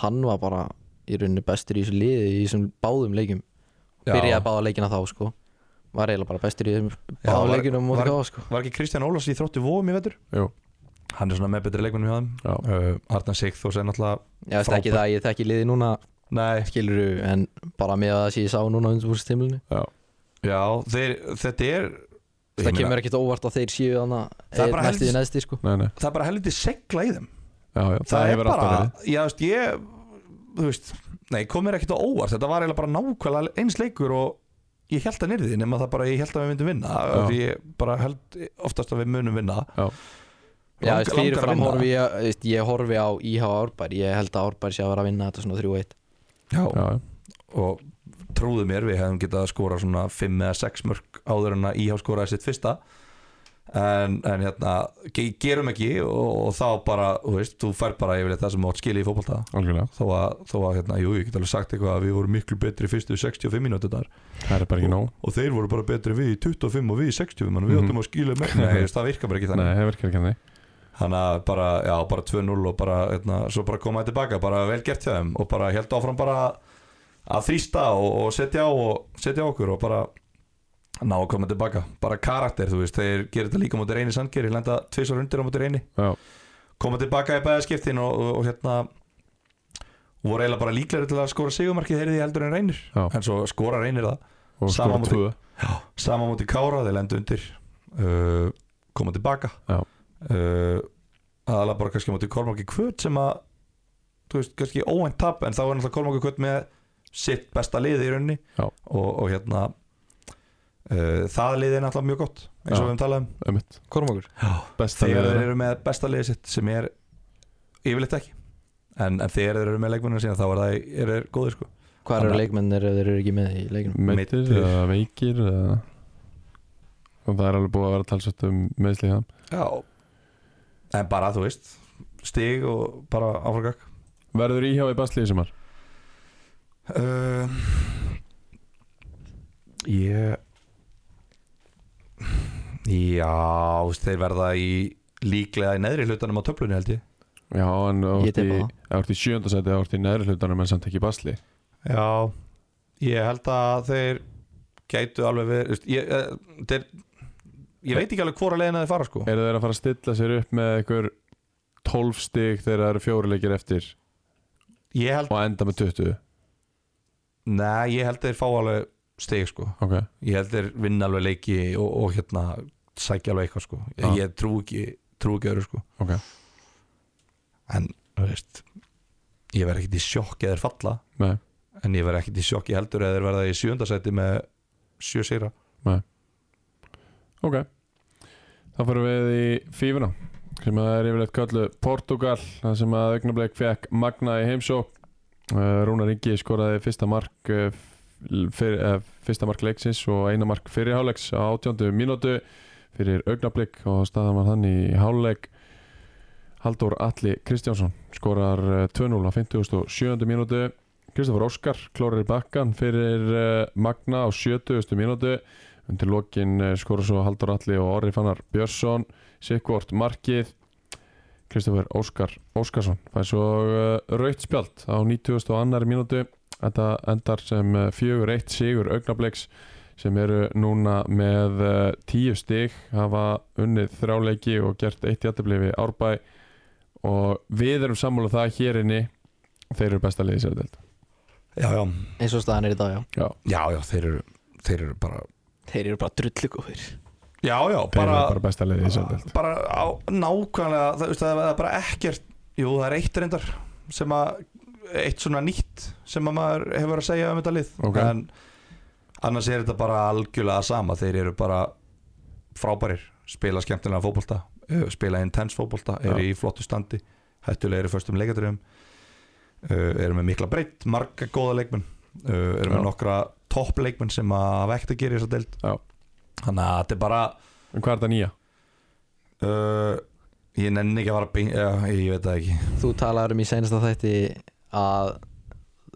Hann var bara í rauninni bestur í þessu liði í þessum báðum leikum Byrjaði að báða leikina þá, sko Var eiginlega bara bestur í þessum
Já,
báðum
var-
leikinum móti
var-
KOF, sko
Var ekki Kristján Ólafs í þróttu vóum í vetur?
Jú.
Hann er svona með betri leikmennum hjá þeim
já,
uh, Arna Sigþ og sér náttúrulega
Já, veist ekki
frábær.
það, ég þekki liði núna
Nei,
Skiluru, en bara með að það sé ég sá núna á vendabúinnstimulinu
já, þeir, þetta er Ég
Það
meina,
kemur ekkert á óvart að þeir séu þannig
Það er bara
næstu í
helst-
næsti, sko
nei, nei
Það er bara helviti segla í þeim
Já, já, það, hefur alltaf verið
já, veist, ég, þú veist nei, kom mér ekkert á óvart, þetta var eiginlega bara nákvæmlega eins leikur og ég held að nýrði því nema það bara, ég held að við myndum vinna
Já.
því ég bara held oftast að við munum vinna
Já.
Já,
Lang-
veist, fyrir
langar að
fram
vinna.
horfi ég, veist, ég horfi á IH Árbær, ég held að Árbær sé að vera að vinna þetta svona 3-1
já,
Já, já,
og trúðu mér, við hefum getað að skora svona 5 eða 6 mörg áður en að íhá skoraði sitt fyrsta en, en hérna, ge gerum ekki og, og þá bara, þú veist, þú fær bara yfirleitt það sem átt skilja í fótbolta
algjörlega
þó að, þó að hérna, jú, ég get alveg sagt eitthvað að við vorum miklu betri fyrstu 65 mínútur
Það er bara ekki nóg
og þeir voru bara betri en við í 25 og við í 60 mann, við
Mhm.
áttum að skýla með Nei, þú veist, það virkar bara ekki
Nei,
þannig
það virkar ekki þannig
þannig að bara, já, bara 2-0 og bara, eitna, svo bara komaði tilbaka, bara vel gert hjá þeim og bara held áfram bara að þrýsta og, og setja á og setja á okkur og bara ná að koma tilbaka, bara karakter, þú veist þeir gerir þetta líka mútið reyni sandgeri, lenda tvisar undir á mútið reyni,
Já,
koma tilbaka í bæðaskiptin og, og, og hérna voru eiginlega bara líklegri til að skora sigumarkið heyrði ég heldur en reynir,
Já.
en svo skora reynir það
og skora
Sama móti-
tvö
Sama múti Kára, þeir lendu undir uh, koma tilbaka
Já.
uh, aðalega bara kannski múti Kormáki Kvöt sem að þú veist, kannski óvænt tap en þá er náttúrulega Kormáki Kvöt með sitt besta liði í rauninni
Já.
og, og hérna uh, það liði er náttúrulega mjög gott eins og
Já.
við höfum talað um
Ömmit
Kormákur?
Besta
þegar
liðið
þeir
þeirra.
eru með besta liði sitt sem er yfirleitt ekki en, en þegar þeir eru með leikmennina sína þá er það er, er góðir sko
Hvar eru
Þannig-
leikmennir ef þeir eru ekki með í leikinum?
Meittir
Meiddir.
eða veikir eða Og það er alveg búið að vera talsvægt um meðsli það
Já. en bara þú veist stig og bara áfragak
Verður íhjá í basli í sumar?
Uh, ég Já, þú veist, þeir verða í líklega í neðri hlutanum á töflunni held ég
Já, en
Ég
ef
tippa það.
þú ert í sjöndasæti eða þú ert í neðri hlutanum en samt ekki í basli
Já, ég held að þeir gætu alveg verið þú veist, ég, eh, þeir, ég veit ekki alveg hvora leiðina þeir fara sko
Eru þeir að fara að stilla sér upp með einhver 12 stig þegar það eru fjóruleikir eftir
Ég held,
og enda með 20
neða, ég held þeir fá alveg stig sko
Ok,
Ég held þeir vinna alveg leiki og, og hérna sækja alveg eitthvað sko Ég,
Já.
ég trú ekki, trú ekki öru sko
ok
en þú veist ég verð ekkert í sjokk eða þeir falla
Nei,
en ég verð ekkert í sjokk í heldur eða þeir verða í sjöndasæti með sjö sýra
ok Þá fyrir við í fífuna sem að er yfirleitt kallu Portugal þar sem að augnablik fekk Magna í heimsók Rúnar Ingi skoraði fyrsta mark eh, fyr, eh, fyrsta mark leiksins og eina mark fyrir hálfleiks á 18. mínútu fyrir augnablik og staðan var þannig í hálfleik Haldur Alli Kristjánsson skorar eh, 2-0 á 57. mínútu Kristoffer Óskar klórar í bakkan fyrir eh, Magna á 70. mínútu undir lokin eh, skora svo Haldur Alli og Orri Fannar Björnsson Sikvort Markið Kristoffer Óskar Óskarsson fær svo uh, raut eh, spjald á 92. mínútu þetta endar sem eh, 4-1 sigur augnabliks sem eru núna með eh, tíu stig hafa unnið þráleiki og gert eitt jættibli við Árbæ og við erum sammála um það hér inni þeir eru besta liðið sér delt
já, já,
eins og staðan er í dag, já
já, já þeir, eru, þeir eru bara
Þeir eru bara drullugóðir
já, já,
þeir
bara,
eru bara besta liðið sér delt
bara á, nákvæmlega það, veist, það er bara ekkert jú, það er eitt reyndar sem að eitt svona nýtt sem að maður hefur verið að segja um þetta lið
Ok.
en annars er þetta bara algjörlega sama þeir eru bara frábærir spila skemmtilega fótbolta eh, spila intense fótbolta, eru í flottu standi hættulegri förstum leikadröfum eh, eru með mikla breytt marga góða leikmenn eh, eru með
Já.
nokkra topp leikmenn sem að vekta gerir þess að deild
Já.
þannig að þetta er bara
en hvað er það nýja?
Uh, ég nenni ekki að fara beint Já, ég veit það ekki
Þú talaður um í senasta þætti að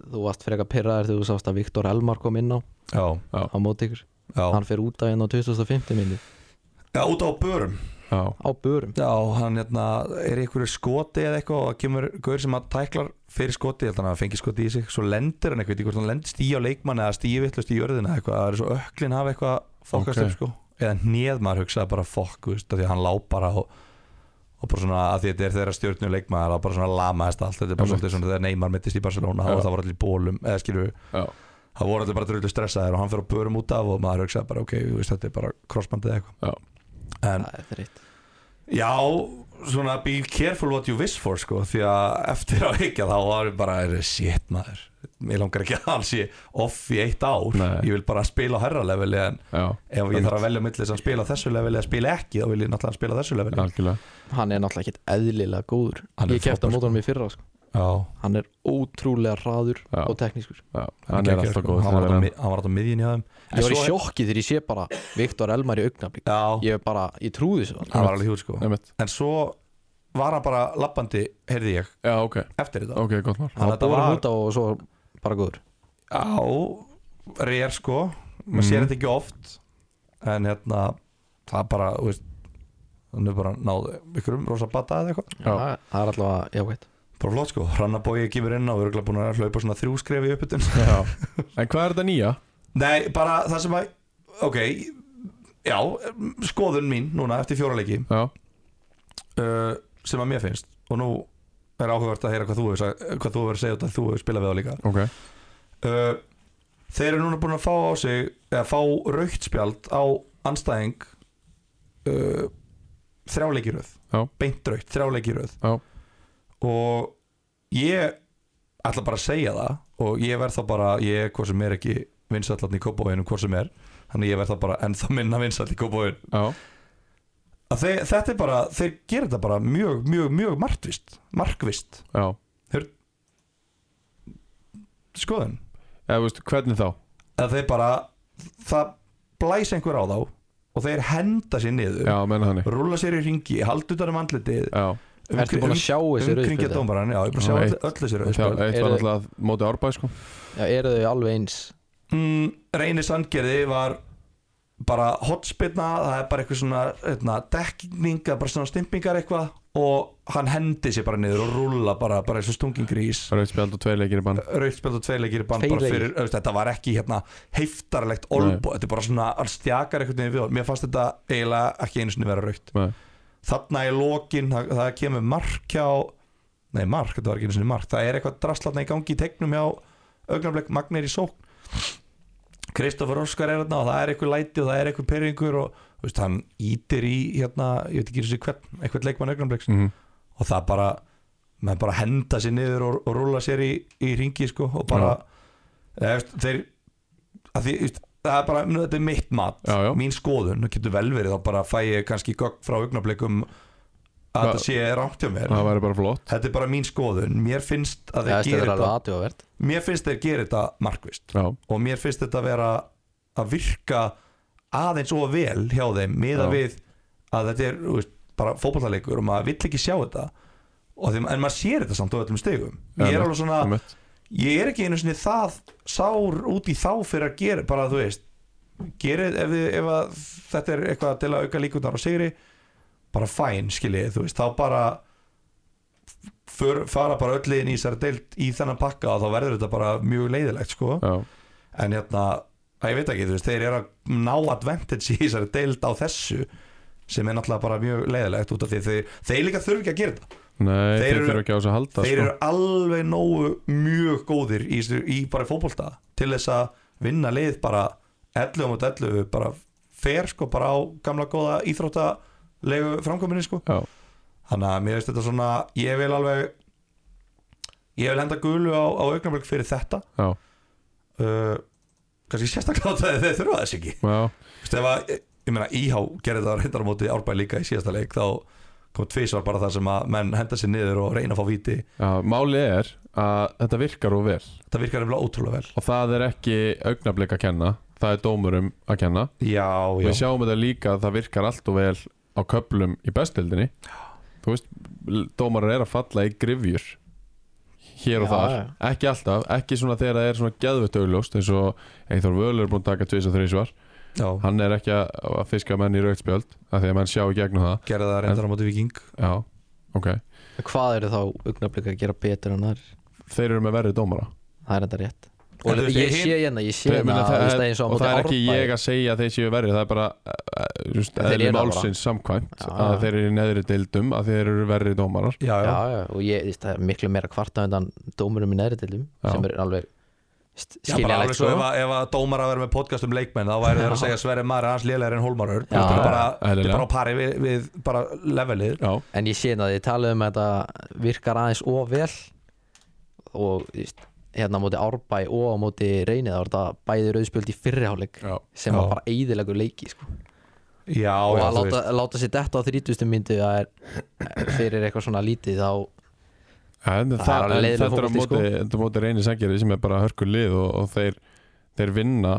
þú varst frekar pyrraður þegar þú sást að Viktor Elmar kom inn á
Já,
á móti ykkur,
já,
hann fer út af henn á 2005 minni,
já út á börum
Já,
á börum
Já, hann hérna, er í einhverju skoti eða eitthvað og það kemur gaur sem að tæklar fyrir skoti, ég held að hann fengi skoti í sig svo lendir hann eitthvað, ég veit ekki hvort hann lendir stíð á leikmann eða stíð vittlust í jörðina eða eitthvað, það er svo öklin hafa eitthvað
Ok.
fokkast upp sko eða hneð maður hugsaði bara fokk, þú veist, af því að hann lá bara og, og bara svona að því að þetta er þeirra stjórnu leikmann það bara svona lamaðist allt, þetta er bara
Einmitt.
svolítið svona þegar Neymar mittist í Barcelona, þá
Já.
var það var allir í bólum eða skilur
já,
það voru allir bara drullu stressaðir og hann fyrir að börum út af og maður hugsaði bara ok, þú veist, þetta er bara crossbandið eða
Já.
eitthvað en
Það er þreytt.
já, svona be careful what you wish for sko, því að eftir að higgja þá var ég bara, er, shit maður ég langar ekki að hans ég off í eitt ár,
Nei.
ég vil bara spila á herra leveli en
já,
ef ég
Einmitt.
þarf að velja millis að spila á þessu leveli eða spila ekki, þá vil ég náttúrulega spila á þessu leveli
algjörlega
Hann er náttúrulega ekkert eðlilega góður
Hann er
Ég kefti á
frábær, sko.
mótunum í fyrra sko.
já,
Hann er ótrúlega hraður
Já.
og teknískur
já, hann er
geggjaður,
alltaf
sko.
góð
hann var alltaf á mið- hann var alltaf miðjinn í aðeim
Ég var í sjokki þegar ég sé bara Viktor Elmar í augnablik
já,
Ég er bara, ég trúði þessu alveg.
hann var alveg hjúr sko
Einmitt.
en svo var hann bara lappandi, heyrði ég,
Já, ok,
eftir þetta
ok, gott mál
Hann
Þannig að
var
þetta
búin
var-
út á og svo bara góður
á reyr sko maður
Mhm.
sér þetta ekki oft en hérna það er bara þú veist, hann er bara náðu ykkurum rosa bata eða eitthvað
Já.
Það það er allavega jákvæmt
bara flott sko hrannabói kemur inn á og örgulega búin að hlaupa svona þrjú skref í upputun
Já. En hvað er þetta nýja?
nei bara það sem að ok já skoðun mín núna eftir fjóra leiki
Já,
uh, sem að mér finnst og nú er áhugavert að heyra hvað þú hefur sagt- hvað þú hefur að segja út af því þú hefur spilað við á líka
ok
uh, þeir eru núna búin að fá á sig eða fá rautspjald á anstæðing uh, þrjáleikiröð
Já.
beint raut, þrjáleikiröð
Já.
og ég ætla bara að segja það og ég verð þá bara, ég er hvort sem er ekki vinsætlarni í kópavæðinu hvort sem er þannig ég verð þá bara ennþá minna vinsætl í kópavæðinu
Já,
að þeir, þetta er bara, þeir gerir þetta bara mjög, mjög, mjög markvist markvist,
já
skoðun
Eða, veist, hvernig þá?
að þeir bara, það blæs einhver á þá og þeir henda sér niður
Já, menna þannig
rúla sér í ringi, halda utan um andlitið
Já,
Ertu búin að sjá
um-
þessu
umkringja
rauðspjöldi?
dómarann, já, ég búin að
Já,
sjá
eitt.
öll, öll þessi
það
rauðspjöld
eitt
Eru
var
þið-
alltaf móti árbæð sko
Já, eru þau alveg eins
mm, Reyni Sandgerði var bara hotspilna, það er bara eitthvað svona eitna, dekking, eða bara svona stimpingar eitthvað og hann hendi sér bara niður og rúla bara, bara eins og stungin grís
Rauðt spjald og tveir leikir í bann
rauðspjöld og tveilegir bann
Tveir
bara
leikir?
fyrir, auðvitað, þetta var ekki hérna heiftarlegt olbo, þetta er bara svona hann stjakar einhvern veginn við honum, mér fannst þetta eiginlega ekki einu sinni vera raukt
Nei.
þarna í lokin, það, það kemur mark hjá, nei mark, þetta var ekki einu sinni mark það er eitthvað drastlatna í gangi í tegnum hjá augnablik Magnir í sókn Kristoffer Óskar er hérna og það er eitthvað læti og það er eitthvað perringur og þú veist, hann ítir í hérna, ég veit ekki einu sinni hvern eitthvað leikmann augnabliks
Mhm.
og það bara menn bara henda sér niður og, og rúla sér í, í ringi sko og bara eða, veist, þeir að því, veist, það er bara, nú, þetta er mitt mat
Já, já.
mín skoðun, nú getur vel verið þá bara fæ ég kannski gögn frá augnablikum að
Það-
þetta sé rangt hjá mér
Það væri bara flott
þetta er bara mín skoðun, mér finnst að
Það
þeir
er
gera
alveg
þetta
aðtjóðavert
mér finnst þeir gera þetta markvist
Já,
og mér finnst þetta að vera að virka aðeins og vel hjá þeim miða
Já.
við að þetta er þú veist, bara fótballtaleikur og maður vill ekki sjá þetta og þeim, en maður sér þetta samt á öllum stegum ég
Einmitt,
er alveg svona,
einmitt
ég er ekki einu sinni það sár út í þá fyrir að gera bara þú veist gera, ef, þið- ef að þetta er eitthvað til að auka líkundar á sigri bara fæn skiljið, þú veist, þá bara för, fara bara öll liðin í þessari deild í þennan pakka og þá verður þetta bara mjög leiðilegt sko
Já,
en hérna að ég veit ekki, þú veist, þeir eru að ná advantage í þessari deild á þessu sem er náttúrulega bara mjög leiðilegt út af því þeir, þeir líka þurfi ekki að gera þetta
Nei,
Þeir
þeir,
eru-
þurfa ekki á þess að halda sko.
þeir eru alveg nógu mjög góðir í, þessu- í bara fótbolta til þess að vinna lið bara 11 mot 11 bara fer sko bara á gamla góða íþróttalegu framkominni sko
sko.
þannig að mér veist þetta svona ég vil alveg ég vil henda gulu á, á augnablik fyrir þetta
Já, já,
uh, kannski sérstaklega á það að þeir þurfa þess ekki
já,
Þú veist, ef að, ég meina íhá gerði það reyndar á móti árbæði líka í síðasta leik þá kom tvisvar bara það sem að menn henda sér niður og reyna að fá víti
já Máli er að þetta virkar og vel
það virkar nefnilega ótrúlega vel
og það er ekki augnablik að kenna það er dómurum að kenna og
já,
við sjáum þetta líka að það virkar allt og vel á köplum í bestildinni þú veist, l- dómarar er að falla í grifjur hér og
Já,
þar,
já.
ekki alltaf ekki svona þegar það er svona geðvett augljóst eins og Eithor Völur er búin að taka tvis og þrísvar
já,
hann er ekki að að fiska menn í rauðspjöld af því að menn sjá í gegnum það
gerði það reyndar á móti viking
já, ok,
Hvað eru þá augnablik að gera betur en þar?
þeir eru með verri dómara
Það er þetta rétt
En
Og
þú veist,
ég
hin-
sé hérna, ég sé
Ég
hérna
meina,
þú veist,
það er,
eins og á
og
móti
það er ekki
Árbæ.
ég að segja að þeir séu verri það er bara eh, eh, þú veist,
En þeir
eðli
eru það bara.
málsins samkvæmt
Já,
að
já.
þeir eru í neðri deildum að þeir eru verri dómarar
já, já,
já, já, og ég, þú veist, það er miklu meira kvarta undan dómurum í neðri dildum
Já.
sem er alveg
já
st-
bara
skiljanlegt
alveg
sko
svo ef að, ef að dómar að vera með podcast um leikmenn þá væri það að segja Sverri Mari hans lélæri en Hólmar Örn
Já,
þetta er
já,
bara, þetta er
eðlilega.
bara á pari við, við bara levelið
já,
en ég sé hérna að þið talið um að þetta virkar aðeins of vel og þú veist, hérna á móti árbæ og á móti reynið þá er þetta bæði rauðspjöld í fyrriháleik
já,
sem
Já.
var bara eðilegur leiki sko.
já,
og
já,
að
þú
láta,
veist
láta sér detta á 30. myndu það er fyrir eitthvað svona lítið þá
En
er
það,
alveg
en
leiðilegur
þetta er á
fótbolti,
móti, sko? móti reynir sækjari sem er bara hörku lið og, og þeir, þeir vinna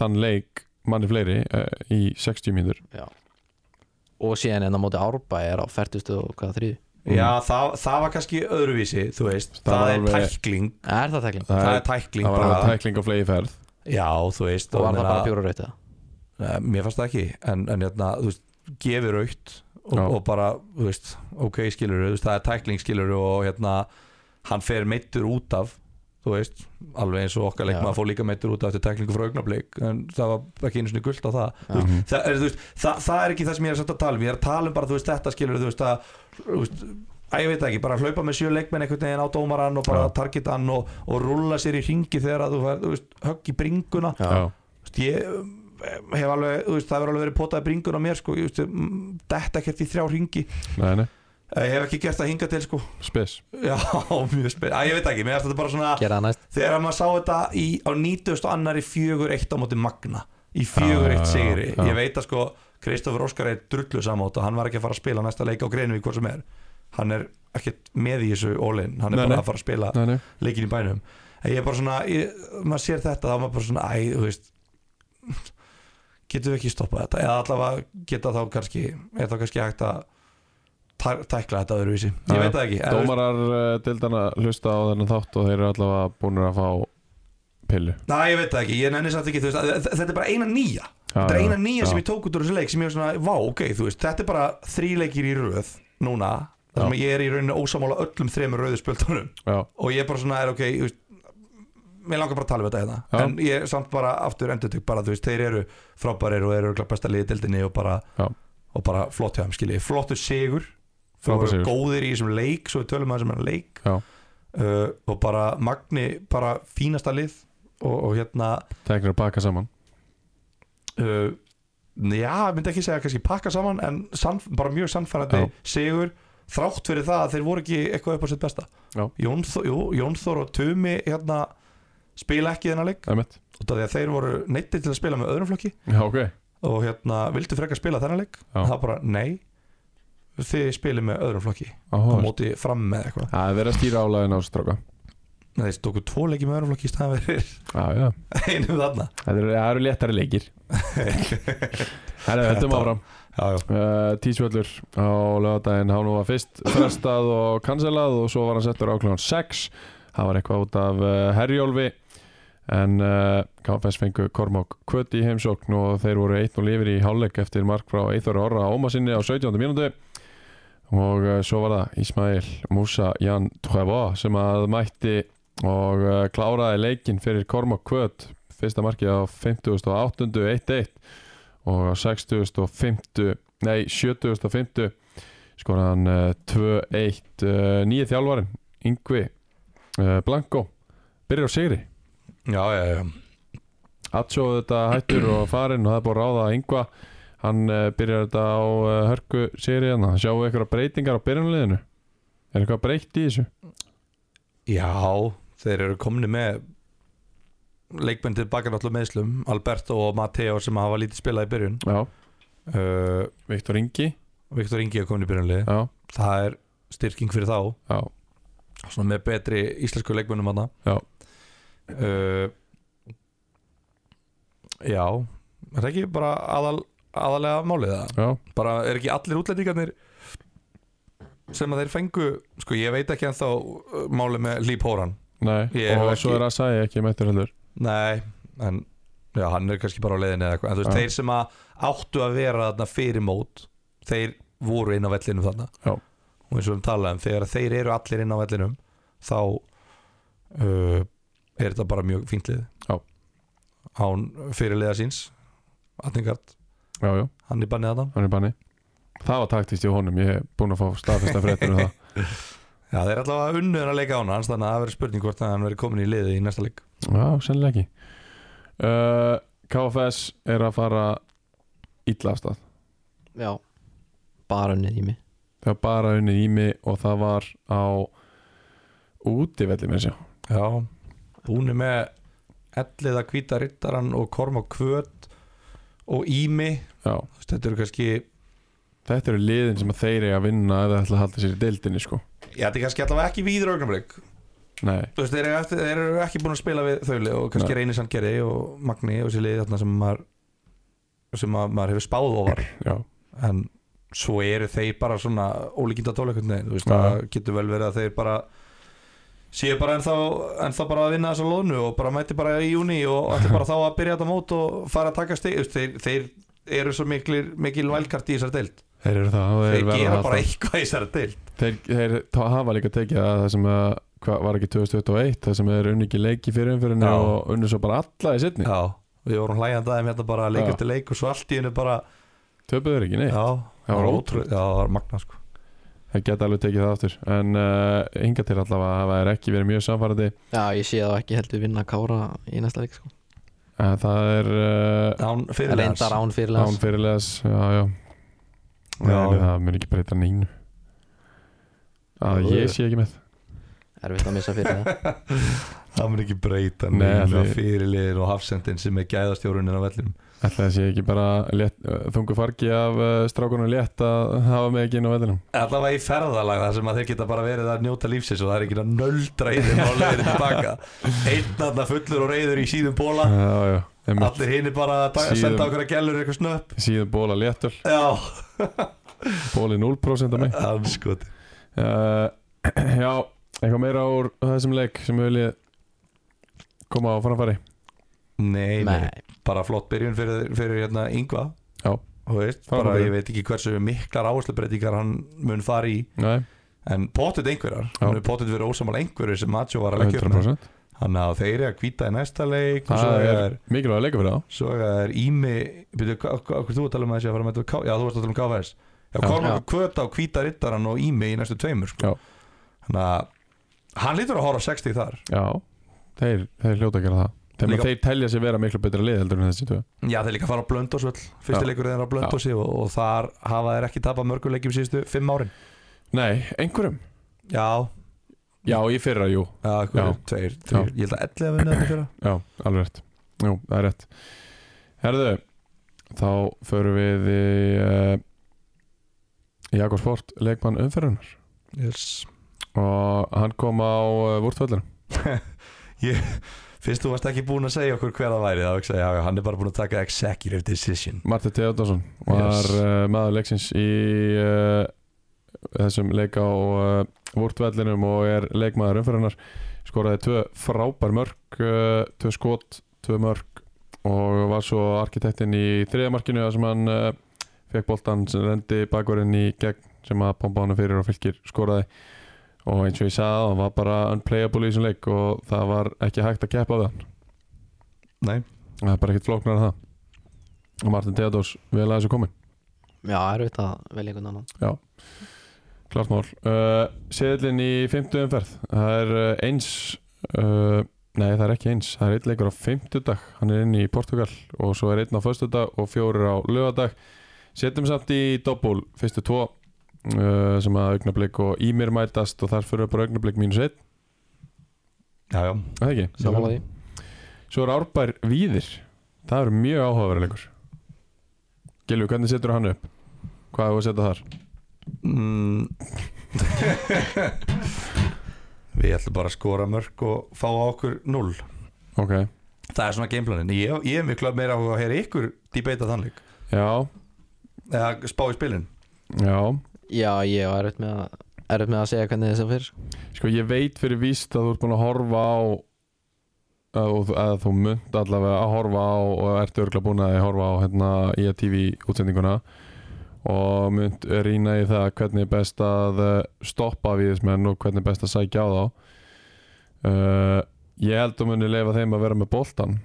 þann leik manni fleiri uh, í 60 mínútur
og síðan en á móti árbæ er á 40. og hvaða þrjú
já, það, það var kannski öðruvísi þú veist,
Það
það,
var
er
alveg-
tækling
er það tekling?
það er
er-
tækling
það var alveg
bara
tækling á flegi ferð
já, þú veist
og
og
var það
meina-
bara bjóra rautið
Nei, Mér fannst það ekki En, en hérna, þú veist, gefur aukt og,
Já.
og bara, þú veist, ok skilur veist, Það er tækling skilur og hérna Hann fer meittur út af Þú veist, alveg eins og okkar
Já.
leikmaður fór líka meittur út af eftir tæklingu frá augnablik En það var ekki einu sinni gult á það
Já.
Þú veist, það, er, þú veist, það, það er ekki það sem ég er samt að tala um Ég er að tala um bara, þú veist, þetta skilur Þú veist, að, þú veist Að ég veit það ekki, bara hlaupa með sjö leikmenn einhvern veginn á dómarann og bara
Já.
targetann og, og rúlla sér í ringi þegar að þú, fær, þú veist, högg í bringuna
já.
Þú veist, ég um, hef alveg, þú veist, það hefur alveg verið potaði bringun á mér sko, ég veist, mm, detta ekkert í þrjá ringi
Nei, nei,
ég hef ekki gert það hinga til sko
spes
já, mjög spennt, að ég veit ekki, mér finnst þetta bara svona
gera það næst
þegar maður sá þetta í, á 90 og annari fjögur eitt á móti Magna í
Já,
fjögur eitt
já,
sigri,
já.
ég veit að sko Kristofur Óskar er drullu samóta, hann var ekki að fara að spila næsta leik á Greinvík hvort sem er hann er ekkert með í þessu ólinn, hann er
Nei, nei.
bara að fara að spila
nei, nei.
leikin í bænum en ég er bara svona, ég, maður sér þetta þá er maður bara svona, æ, þú veist getum við ekki stoppað þetta eða allavega geta þá kannski er þá kannski hægt að tæ- tækla þetta öðruvísi,
Já,
ég veit það ekki en, þú veist,
Dómarar uh, dildana hlusta á þennan þátt og þeir eru allavega búinir að fá pillu
næ, ég veit það ekki, ég nenni samt ekki þú veist, að- þ- þetta er bara eina nýja
Já,
þetta er
já,
eina nýja
já.
sem ég tók út úr þessu leik sem ég er svona, vá, ok, þú veist, þetta er bara þríleikir í röð núna þar sem
Já.
ég er í rauninni ósamála öllum þremur rauðu spjöldunum
Já,
og ég er bara svona er ok þú veist, mér langar bara að tala um þetta hérna
Já.
en ég er samt bara aftur endur tök bara þú veist þeir eru frábærir og eru örugglega besta liðið dildinni og bara,
Já.
og bara flott hjá þeim skilji flottu sigur þau
Frábær
eru
sigur.
góðir í þessum leik svo við tölum að þessum er leik
Já.
Uh, og bara Magni bara fínasta lið og, og hérna
teknir að baka saman
uh, já, ég myndi ekki segja kannski pakka saman en sann, bara mjög sannfærandi
Já.
sigur þrátt fyrir það að þeir voru ekki eitthvað upp á sitt besta
Já.
Jón Þó- jú, Jón Þór og Tumi hérna, spila ekki þennan leik
Það er mitt
út af því að þeir voru neittir til að spila með öðrum flokki
Já, ok
og hérna, vildu frekar spila þennan leik
Já.
það bara nei þið spilið með öðrum flokki á
Áhugavert.
móti fram með eitthvað
Það er verið að stýra álæðin á stráka
Nei, þeir stóku tvo leiki með öðrum flokki í staðan verið
Já, já
einum þarna
Það eru- það eru léttari leikir Það er höldum áfram
já, já.
Uh, Tísvöllur á lögadaginn hann var fyrst frestað og cancelað og svo var hann settur á klukkan 6 það var eitthvað út af uh, herjólfi en uh, KFS fengu Kormák Kvöt í heimsókn og þeir voru 1-0 yfir í hálfleik eftir mark frá Eithor Orra Óma sinni á 17. mínútu og uh, svo var það Ismail Musa eh, Jan Tvebo sem að mætti og uh, kláraði leikinn fyrir Kormák Kvöt fyrsta markið á 50.8. 1-1 og á 60.50 nei 70.50 skoraði hann eh, 2-1 eh, nýju þjálfarin Yngvi eh, Blanko byrjar á sigri
já, já, já
Atsjó þetta hættur og farinn og það er búið að ráða Yngva hann uh, byrjar þetta á uh, hörku sigri hérna sjáum við eitthvað breytingar á byrjunliðinu er eitthvað breytt í þessu
Já, þeir eru komni með leikmenn tilbaka náttúrulega meðslum Alberto og Matteo sem hafa lítið spilað í byrjun
já
uh,
Viktor Ingi
Viktor Ingi er komin í byrjunlið
já
það er styrking fyrir þá
já
svona með betri íslensku leikmennum hana
Já.
uh, Já er það ekki bara aðal, aðalega málið það
já
bara er ekki allir útlendingarnir sem að þeir fengu sko ég veit ekki ennþá uh, málið með Lee Horan
Nei,
Ég hef
og
ekki-
svo er að sagja ekki mættur heldur
Nei, en já, hann er kannski bara á leiðinni eða eitthvað En þú veist,
Já.
þeir sem að áttu að vera þarna fyrir mót Þeir voru inn á vellinum þarna
Já.
Og eins og við talaðum, þegar þeir eru allir inn á vellinum Þá uh, er þetta bara mjög fínt lið
Já.
Án fyrirliða síns Atningard,
Já, já,
hann er bannið þarna
hann er banni Það var taktist í honum, ég er búinn að fá staðfesta fréttur um það
Já, þeir er allavega unnuður að leika á hann Þannig að það verður spurning hvort að hann verður komin í liðið í næsta leik
Já, sennilega ekki uh, KFS er að fara illa af stað
Já Bara unnið í mig
Það var bara unnið í mig og það var á útivelli með sér
Já, búni með elliða hvíta rittaran og korm og kvöt og ími
Já,
Þú veist, þetta eru kannski já,
þetta eru liðin sem að þeir eiga að vinna ef það ætla að halda sér í deildinni sko
þetta er kannski allavega ekki víður augnablik
Nei,
þú veist, þeir eru, eftir, þeir eru ekki búin að spila við þauli og kannski
Nei.
reynir sandgerði og magni og sér liði þarna sem maður sem að maður hefur spáð ofar
já,
en svo eru þeir bara svona ólíkinda tóleikundin, þú veist,
Já.
það getur vel verið að þeir bara séu bara ennþá, ennþá bara að vinna þessa lónu og bara mæti bara í júni og ætli bara þá að byrja þetta mót og fara að taka stig þú veist, þeir, þeir eru svo mikil, mikil vælkart í þessari deild
þeir eru það og
þeir
verða að
gera
halda-
bara eitthvað í þessari deild
Þeir, þeir ta- hafa líka tekið að það sem að, hvað var ekki 2021 það sem er unni ekki leiki fyrir umfyrinni
Já.
og unni svo bara alla í sittni
já, við vorum hlægjandi aðeim hérna bara
Já.
leik eftir leik og svo allt í hennu bara
töpuður ekki, nei,
já,
það var
ótrú- já, það var magna sko
það geta alveg tekið það aftur en uh, hinga til allavega hafa er ekki verið mjög samfærandi
Já ég sé það ekki heldur vinna Kára í næsta leik sko
en það er uh,
án fyrir
Reyndar án fyrirlega
án fyrirlegas já, já,
Já,
En
já.
það mun ekki breyta neinu að
Jú, jú.
ég sé ekki með
Erfitt að missa fyrir það
það mun ekki breyta
Nei,
neina
því-
fyrirliðin og hafsendin sem er gæðastjóruninn á vellinum
ætla að sé ekki bara létt, uh, þungu fargi af uh, strákunum létt að hafa mig ekki inn á vellinum
allavega í ferðalag þar sem að þeir geta bara verið að njóta lífsins og það er ekki að nöldra í þeim á leiðinu tilbaka einn aðna fullur og reyður í síðum bóla
já, já, einmitt.
allir hinn er bara að
Mm.
taka-
Síðum-
senda okkur að gælur eitthvað snöpp
síðan bóla léttul
já,
bóli 0% af mig
anskot
uh, Já, eitthvað meira úr þessum leik sem við viljið koma á framfæri
nei, nei,
Nei
bara flott byrjun fyrir, fyrir hérna yngva
Já.
Þú veist,
Frábær
bara,
byrjun.
ég veit ekki hversu miklar áherslubreytingar hann mun fara í
Nei,
en pottet einhverjar,
Já.
hann er pottet verið ósamal einhverju sem Macho var að leggja upp með.
100%
þannig að þeir eru að kvíta í næsta leik og svo
Það
er
er mikilvæg að leika fyrir þá
Svo er Ími Býtu, okkur þú að tala um að þessi að fara að mæta K- Já, þú varst að tala um KFS Já,
Já.
Kormákur
Já.
kvöta og hvíta rittaran og Ími í næstu tveimur sko.
Já.
Þannig að hann lítur að horfa á 60 þar
Já, þeir, þeir hljóta að gera það Þeim
Líka-
að þeir telja sér vera miklu betra lið heldur en þessi tvö
Já, þeir líka fara á Blöndósvöll Fyrsti
Já.
leikur þeirra á Blöndósi og, og þar hafa þeir ekki tapað mörgum leikjum síðustu fimm árin
Nei, einhverjum
Já,
Já, í fyrra, jú
já,
Já.
já. Tveir, tveir, ég held að 11 að vinna þetta fyrra
Já, alveg rétt Jú, það er rétt Herðu, þá förum við í uh, Jakob Sport, leikmann umferðunar
yes.
og hann kom á uh, vúrtvöllinu
Fyrst þú varst ekki búin að segja okkur hver það væri þá hugsaði ég, já, hann er bara búin að taka executive decision
Marti Theodorsson var
Yes.
uh, maður leiksins í uh, þessum leik á uh, vúrtvellinum og er leikmaður umfyrirnar skoraði tvö frábær mörg uh, tvö skot, tvö mörg og var svo arkitektinn í þriða markinu þar sem hann uh, fekk boltan sem rendi bakverðin í gegn sem að bomba hann fyrir og fylgir skoraði og eins og ég sagði að hann var bara unplayable í þessum leik og það var ekki hægt að keppa við hann
Nei,
það er bara ekkert flóknar en það og Martin Theodors vel að þessu komin
Já, erfitt að velja einhvern annan
klart mál uh, seðlinn í 50 umferð það er uh, eins uh, nei það er ekki eins, það er einn leikur á 50 dag, hann er inn í Portugal og svo er einn á föstu dag og fjórir á lögadag setjum samt í doppul fyrstu tvo uh, sem að augnablik og í mér mætast og þar fyrir bara augnablik mínus einn,
já, já
er það ekki?
Sammála því
Svo er Árbær Víðir Það er mjög áhugaverðilegur Gilvi, hvernig setur hann upp? Hvað er að setja þar?
mm. Við ætlum bara að skora mörg og fá á okkur 0
Ok,
Það er svona gameplanin Ég, ég er miklu meira áhuga að heyra ykkur debata þannleik
já,
Eða spá í spilin
já
Já, ég var erfitt með að erfitt með að segja hvernig þess að fyrir
Sko ég veit fyrir víst að þú ert búin að horfa á að, þú- að þú munt allavega að horfa á og ertu örgla búin að horfa á hérna í að TV útsendinguna og munt rýna í það hvernig er best að eh, stoppa viðismenn og hvernig er best að sækja á þá uh, Ég held að muni leifa þeim að vera með boltan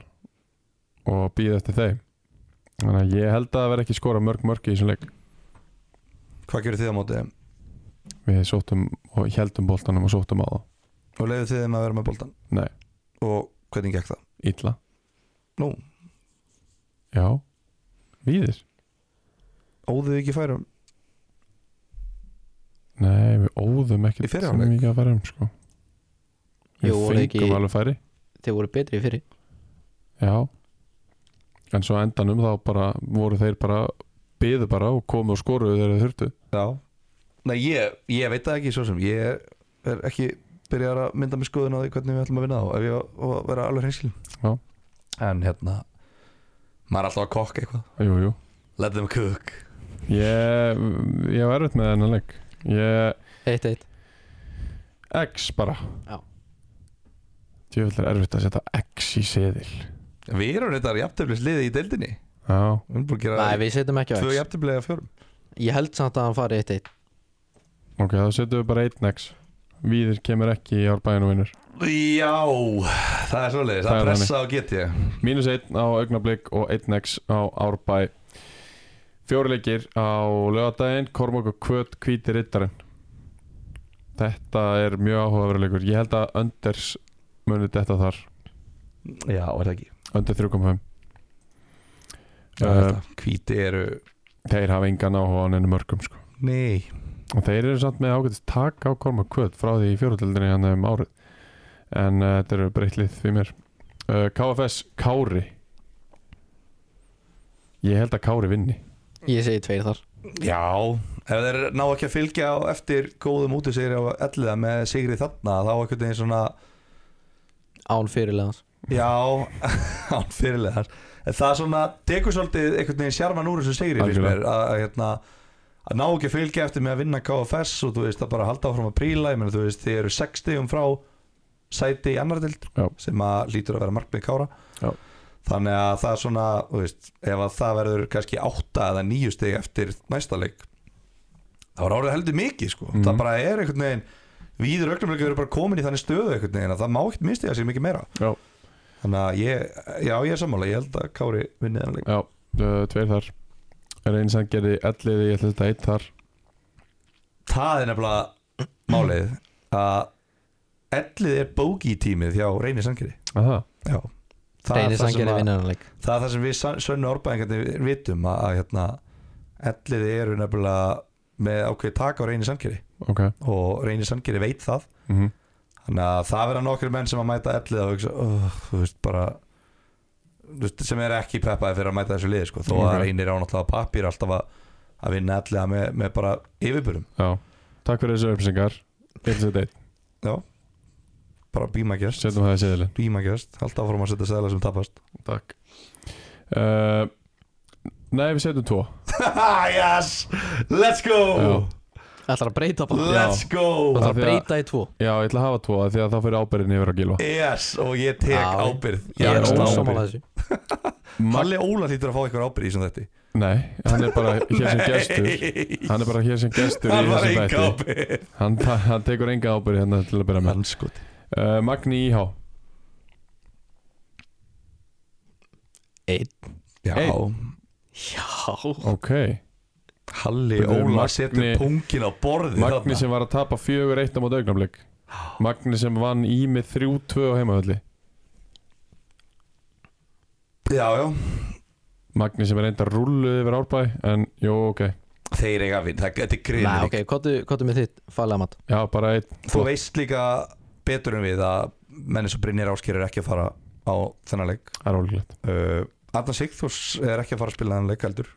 og býða eftir þeim Þannig að ég held að það vera ekki skora mörg mörg í þessum leik
Hvað gerir þið á móti þeim?
Við sóttum og heldum boltanum og sóttum á það
Og leiðu þið þeim að vera með boltan?
Nei.
Og hvernig gekk það?
Ítla
Nú,
Já, víðir
óðuðu ekki færum
Nei, við óðum ekkert
Í fyrra
sem
hálfleik?
mikið að fara um sko. Við
Jú, voru
fengum
ekki-
alveg færi
Þeir voru betri í fyrri
Já En svo á endanum þá bara voru þeir bara byðu bara og komu og skoruðu þegar þeir þurftu
Já Nei, ég, ég veit það ekki svo sem Ég er ekki byrjar að mynda mér skoðun á því hvernig við ætlum að vinna þá ef ég á á að vera alveg hreinskil
Já.
En hérna maður er alltaf að kokka eitthvað
Jú, jú
Let them cook
Ég, ég var erfitt með þennan leik Ég,
Eitt, eitt
X bara
Já.
Djöfull er erfitt að setja X í seðil
Við erum þetta jafnteflisliði í deildinni
Já,
Við erum búin að gera
Nei, við setjum ekki á
tvö
X
jafnteflið af fjórum
Ég held samt að hann fari eitt, eitt
ok, þá setjum við bara einn X Víðir kemur ekki í árbæðinu vinnur
Já, það er svoleiðis
Það
að
er
pressa og get ég
Mínus 1 á augnablík og 1x á árbæ Fjórileikir á lögadaginn Kormok og Kvöt hvíti rittarinn Þetta er mjög áhugaveruleikur Ég held að Önders muni þetta þar
Já, er það ekki
Önder 3.5
Já,
Eh,
þetta. Hvíti eru
Þeir hafa engan áhuga á neinu mörgum sko.
Nei
og þeir eru samt með ágætist tak á Kormok Kvöt frá því í fjóruðildinni hann um árið en uh, þetta eru breytlið því mér uh, KFS Kári Ég held að Kári vinni
Ég segi tveir þar
Já, ef þeir ná ekki að fylgja á eftir góðum útisegri á elliða með sigri þarna þá ekkert einn svona,
Án fyrirlegans
já án fyrirlegar, en það svona tekur svolítið einhvern veginn sjarman úr þessu sigri finnst mér, að, að, hérna, að ná ekki að fylgja eftir með að vinna KFS og þú veist að bara halda áfram að príla, ég meina þú veist þið eru 60 um frá sæti í annar dild
Já.
sem að lítur að vera markmið kára
Já.
þannig að það er svona, þú veist ef að það verður kannski 8 eða 9 stig eftir næsta leik það var árið heldur mikið sko
Mhm.
það bara er einhvern veginn viður augnumleikur eru bara komin í þannig stöðu einhvern veginn að það má ekkert mistiða sig mikið meira
Já.
þannig að ég, já ég er sammála ég held að Kári vinni þannig leik
Já, uh, tveir þar er einn sem gerði elliði, ég ætla þetta eitt þar
það er nefnilega málið að ellið er bóki tímið hjá Reyni Sangeri
Aha.
já það er
Reynir
það, sem
sangeri
að,
vinnanleik
það er það sem við san- sönnu orðbæðingarnir vitum að, að hérna, ellið eru nefnilega með ákveð tak á Reyni Sangeri
ok
og Reyni Sangeri veit það
mm
Þannig að það verða nokkri menn sem að mæta ellið og hugsa, "Ugh," þú veist, bara þú veist, sem er ekki peppaði fyrir að mæta þessu liði, sko, þó að
Ok.
reynir á náttúrulega pappir alltaf að, að vinna elliða með, með bara yfirburum,
Já, takk fyrir þessu upplýsingar Ég ætla þetta eitt,
bara bímagjast
setjum það í seðilin
bímagjast, alltaf fórum að setja sæðla sem tapast
Takk uh, Nei, við setjum tvo
Yes, let's go
Ætlar að breyta bara
Let's go
Af
Ætlar að
því að-
breyta í tvo
Já, ég ætla að hafa tvo af því að þá fyrir ábyrðin yfir að gilva
Yes, og ég tek
Já.
ábyrð
Já,
Ég er
já,
axla
já.
ósamála þessu
Mag
Halli Óla hlýtur að fá eitthvað ábyrð í sem þetta
Nei, hann er bara hér sem gestur Hann er bara hér sem gestur í
Hann var
þessum
enga
þætti
ábyrð
hann, hann tekur enga ábyrði hérna til að byrja með
Hann skot
uh, Magni Íhá
Einn
Já,
Já
ok
Halli
Þetta er
Óla
Magni-
setur punkin á borði
Magni sem var að tapa 4-1 á mót augnablik Magni sem vann í með 3-2 á heimavöldi
Já, já
Magni sem er enda rulluð yfir árbæ en jú, ok,
Þeir eiga að vinna, það- þetta er
Nei,
greiðin
ok, kottu með þitt faglega mat
já, bara einn
Þú veist líka betur en við að menni sem Brynjar Ásker er ekki að fara á þennan leik
það er ólíklegt
uh, Arnar Sigþórs er ekki að fara að spila þennan leik heldur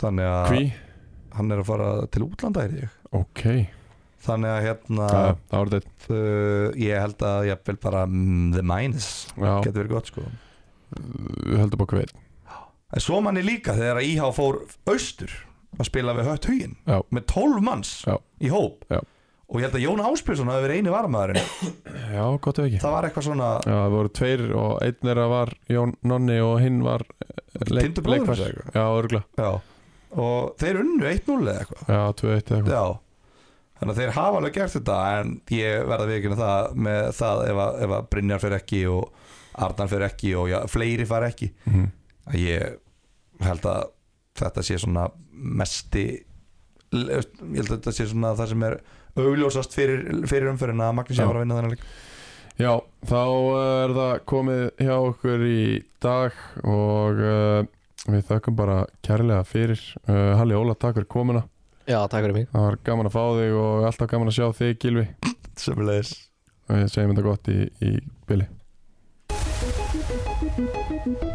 Þannig að
Hví?
hann er að fara til útlanda er ég
Ok,
Þannig að hérna
það það var þetta
uh, ég held að ég vil bara mm, the minus
Já,
getur verið gott sko
við höldum okkur við
En svo manni líka þegar að IH fór austur að spila við hött huginn
Já.
með 12 manns
Já.
í hóp
Já.
og ég held að Jón Áspjörsson hafi verið eini varmaðurinn
Já, gott ef ekki
það var eitthvað svona
Já, það voru tveir og einn er að var Jón Nonni og hinn var eh, leik-
Tindur bróðir
leikfær.
hans eða eitthvað?
Já, örgla
já. og þeir unnu 1-0 eða eitthvað
Já, 2-1 eða eitthvað
já. þannig að þeir hafa alveg gert þetta en ég verða viðkynna það með það ef að, ef að Brynjar fyrir ekki og Arnar fyrir ekki og já, fleiri fara ekki
Mhm.
að ég held að þetta sé svona mesti ég held að þetta sé svona það sem er augljósast fyrir, fyrir umferðin að Magnús sé
Já.
að fara að vinna þennan leik
Já, þá eh, er það komið hjá okkur í dag og uh, við þökkum bara kærlega fyrir uh, Halli Óla, takk fyrir komuna
Já, takk fyrir mig
Það var gaman að fá þig og alltaf gaman að sjá þig, Gilvi
Sömulegis
og ég segjum þetta gott í, í bili
Thank you.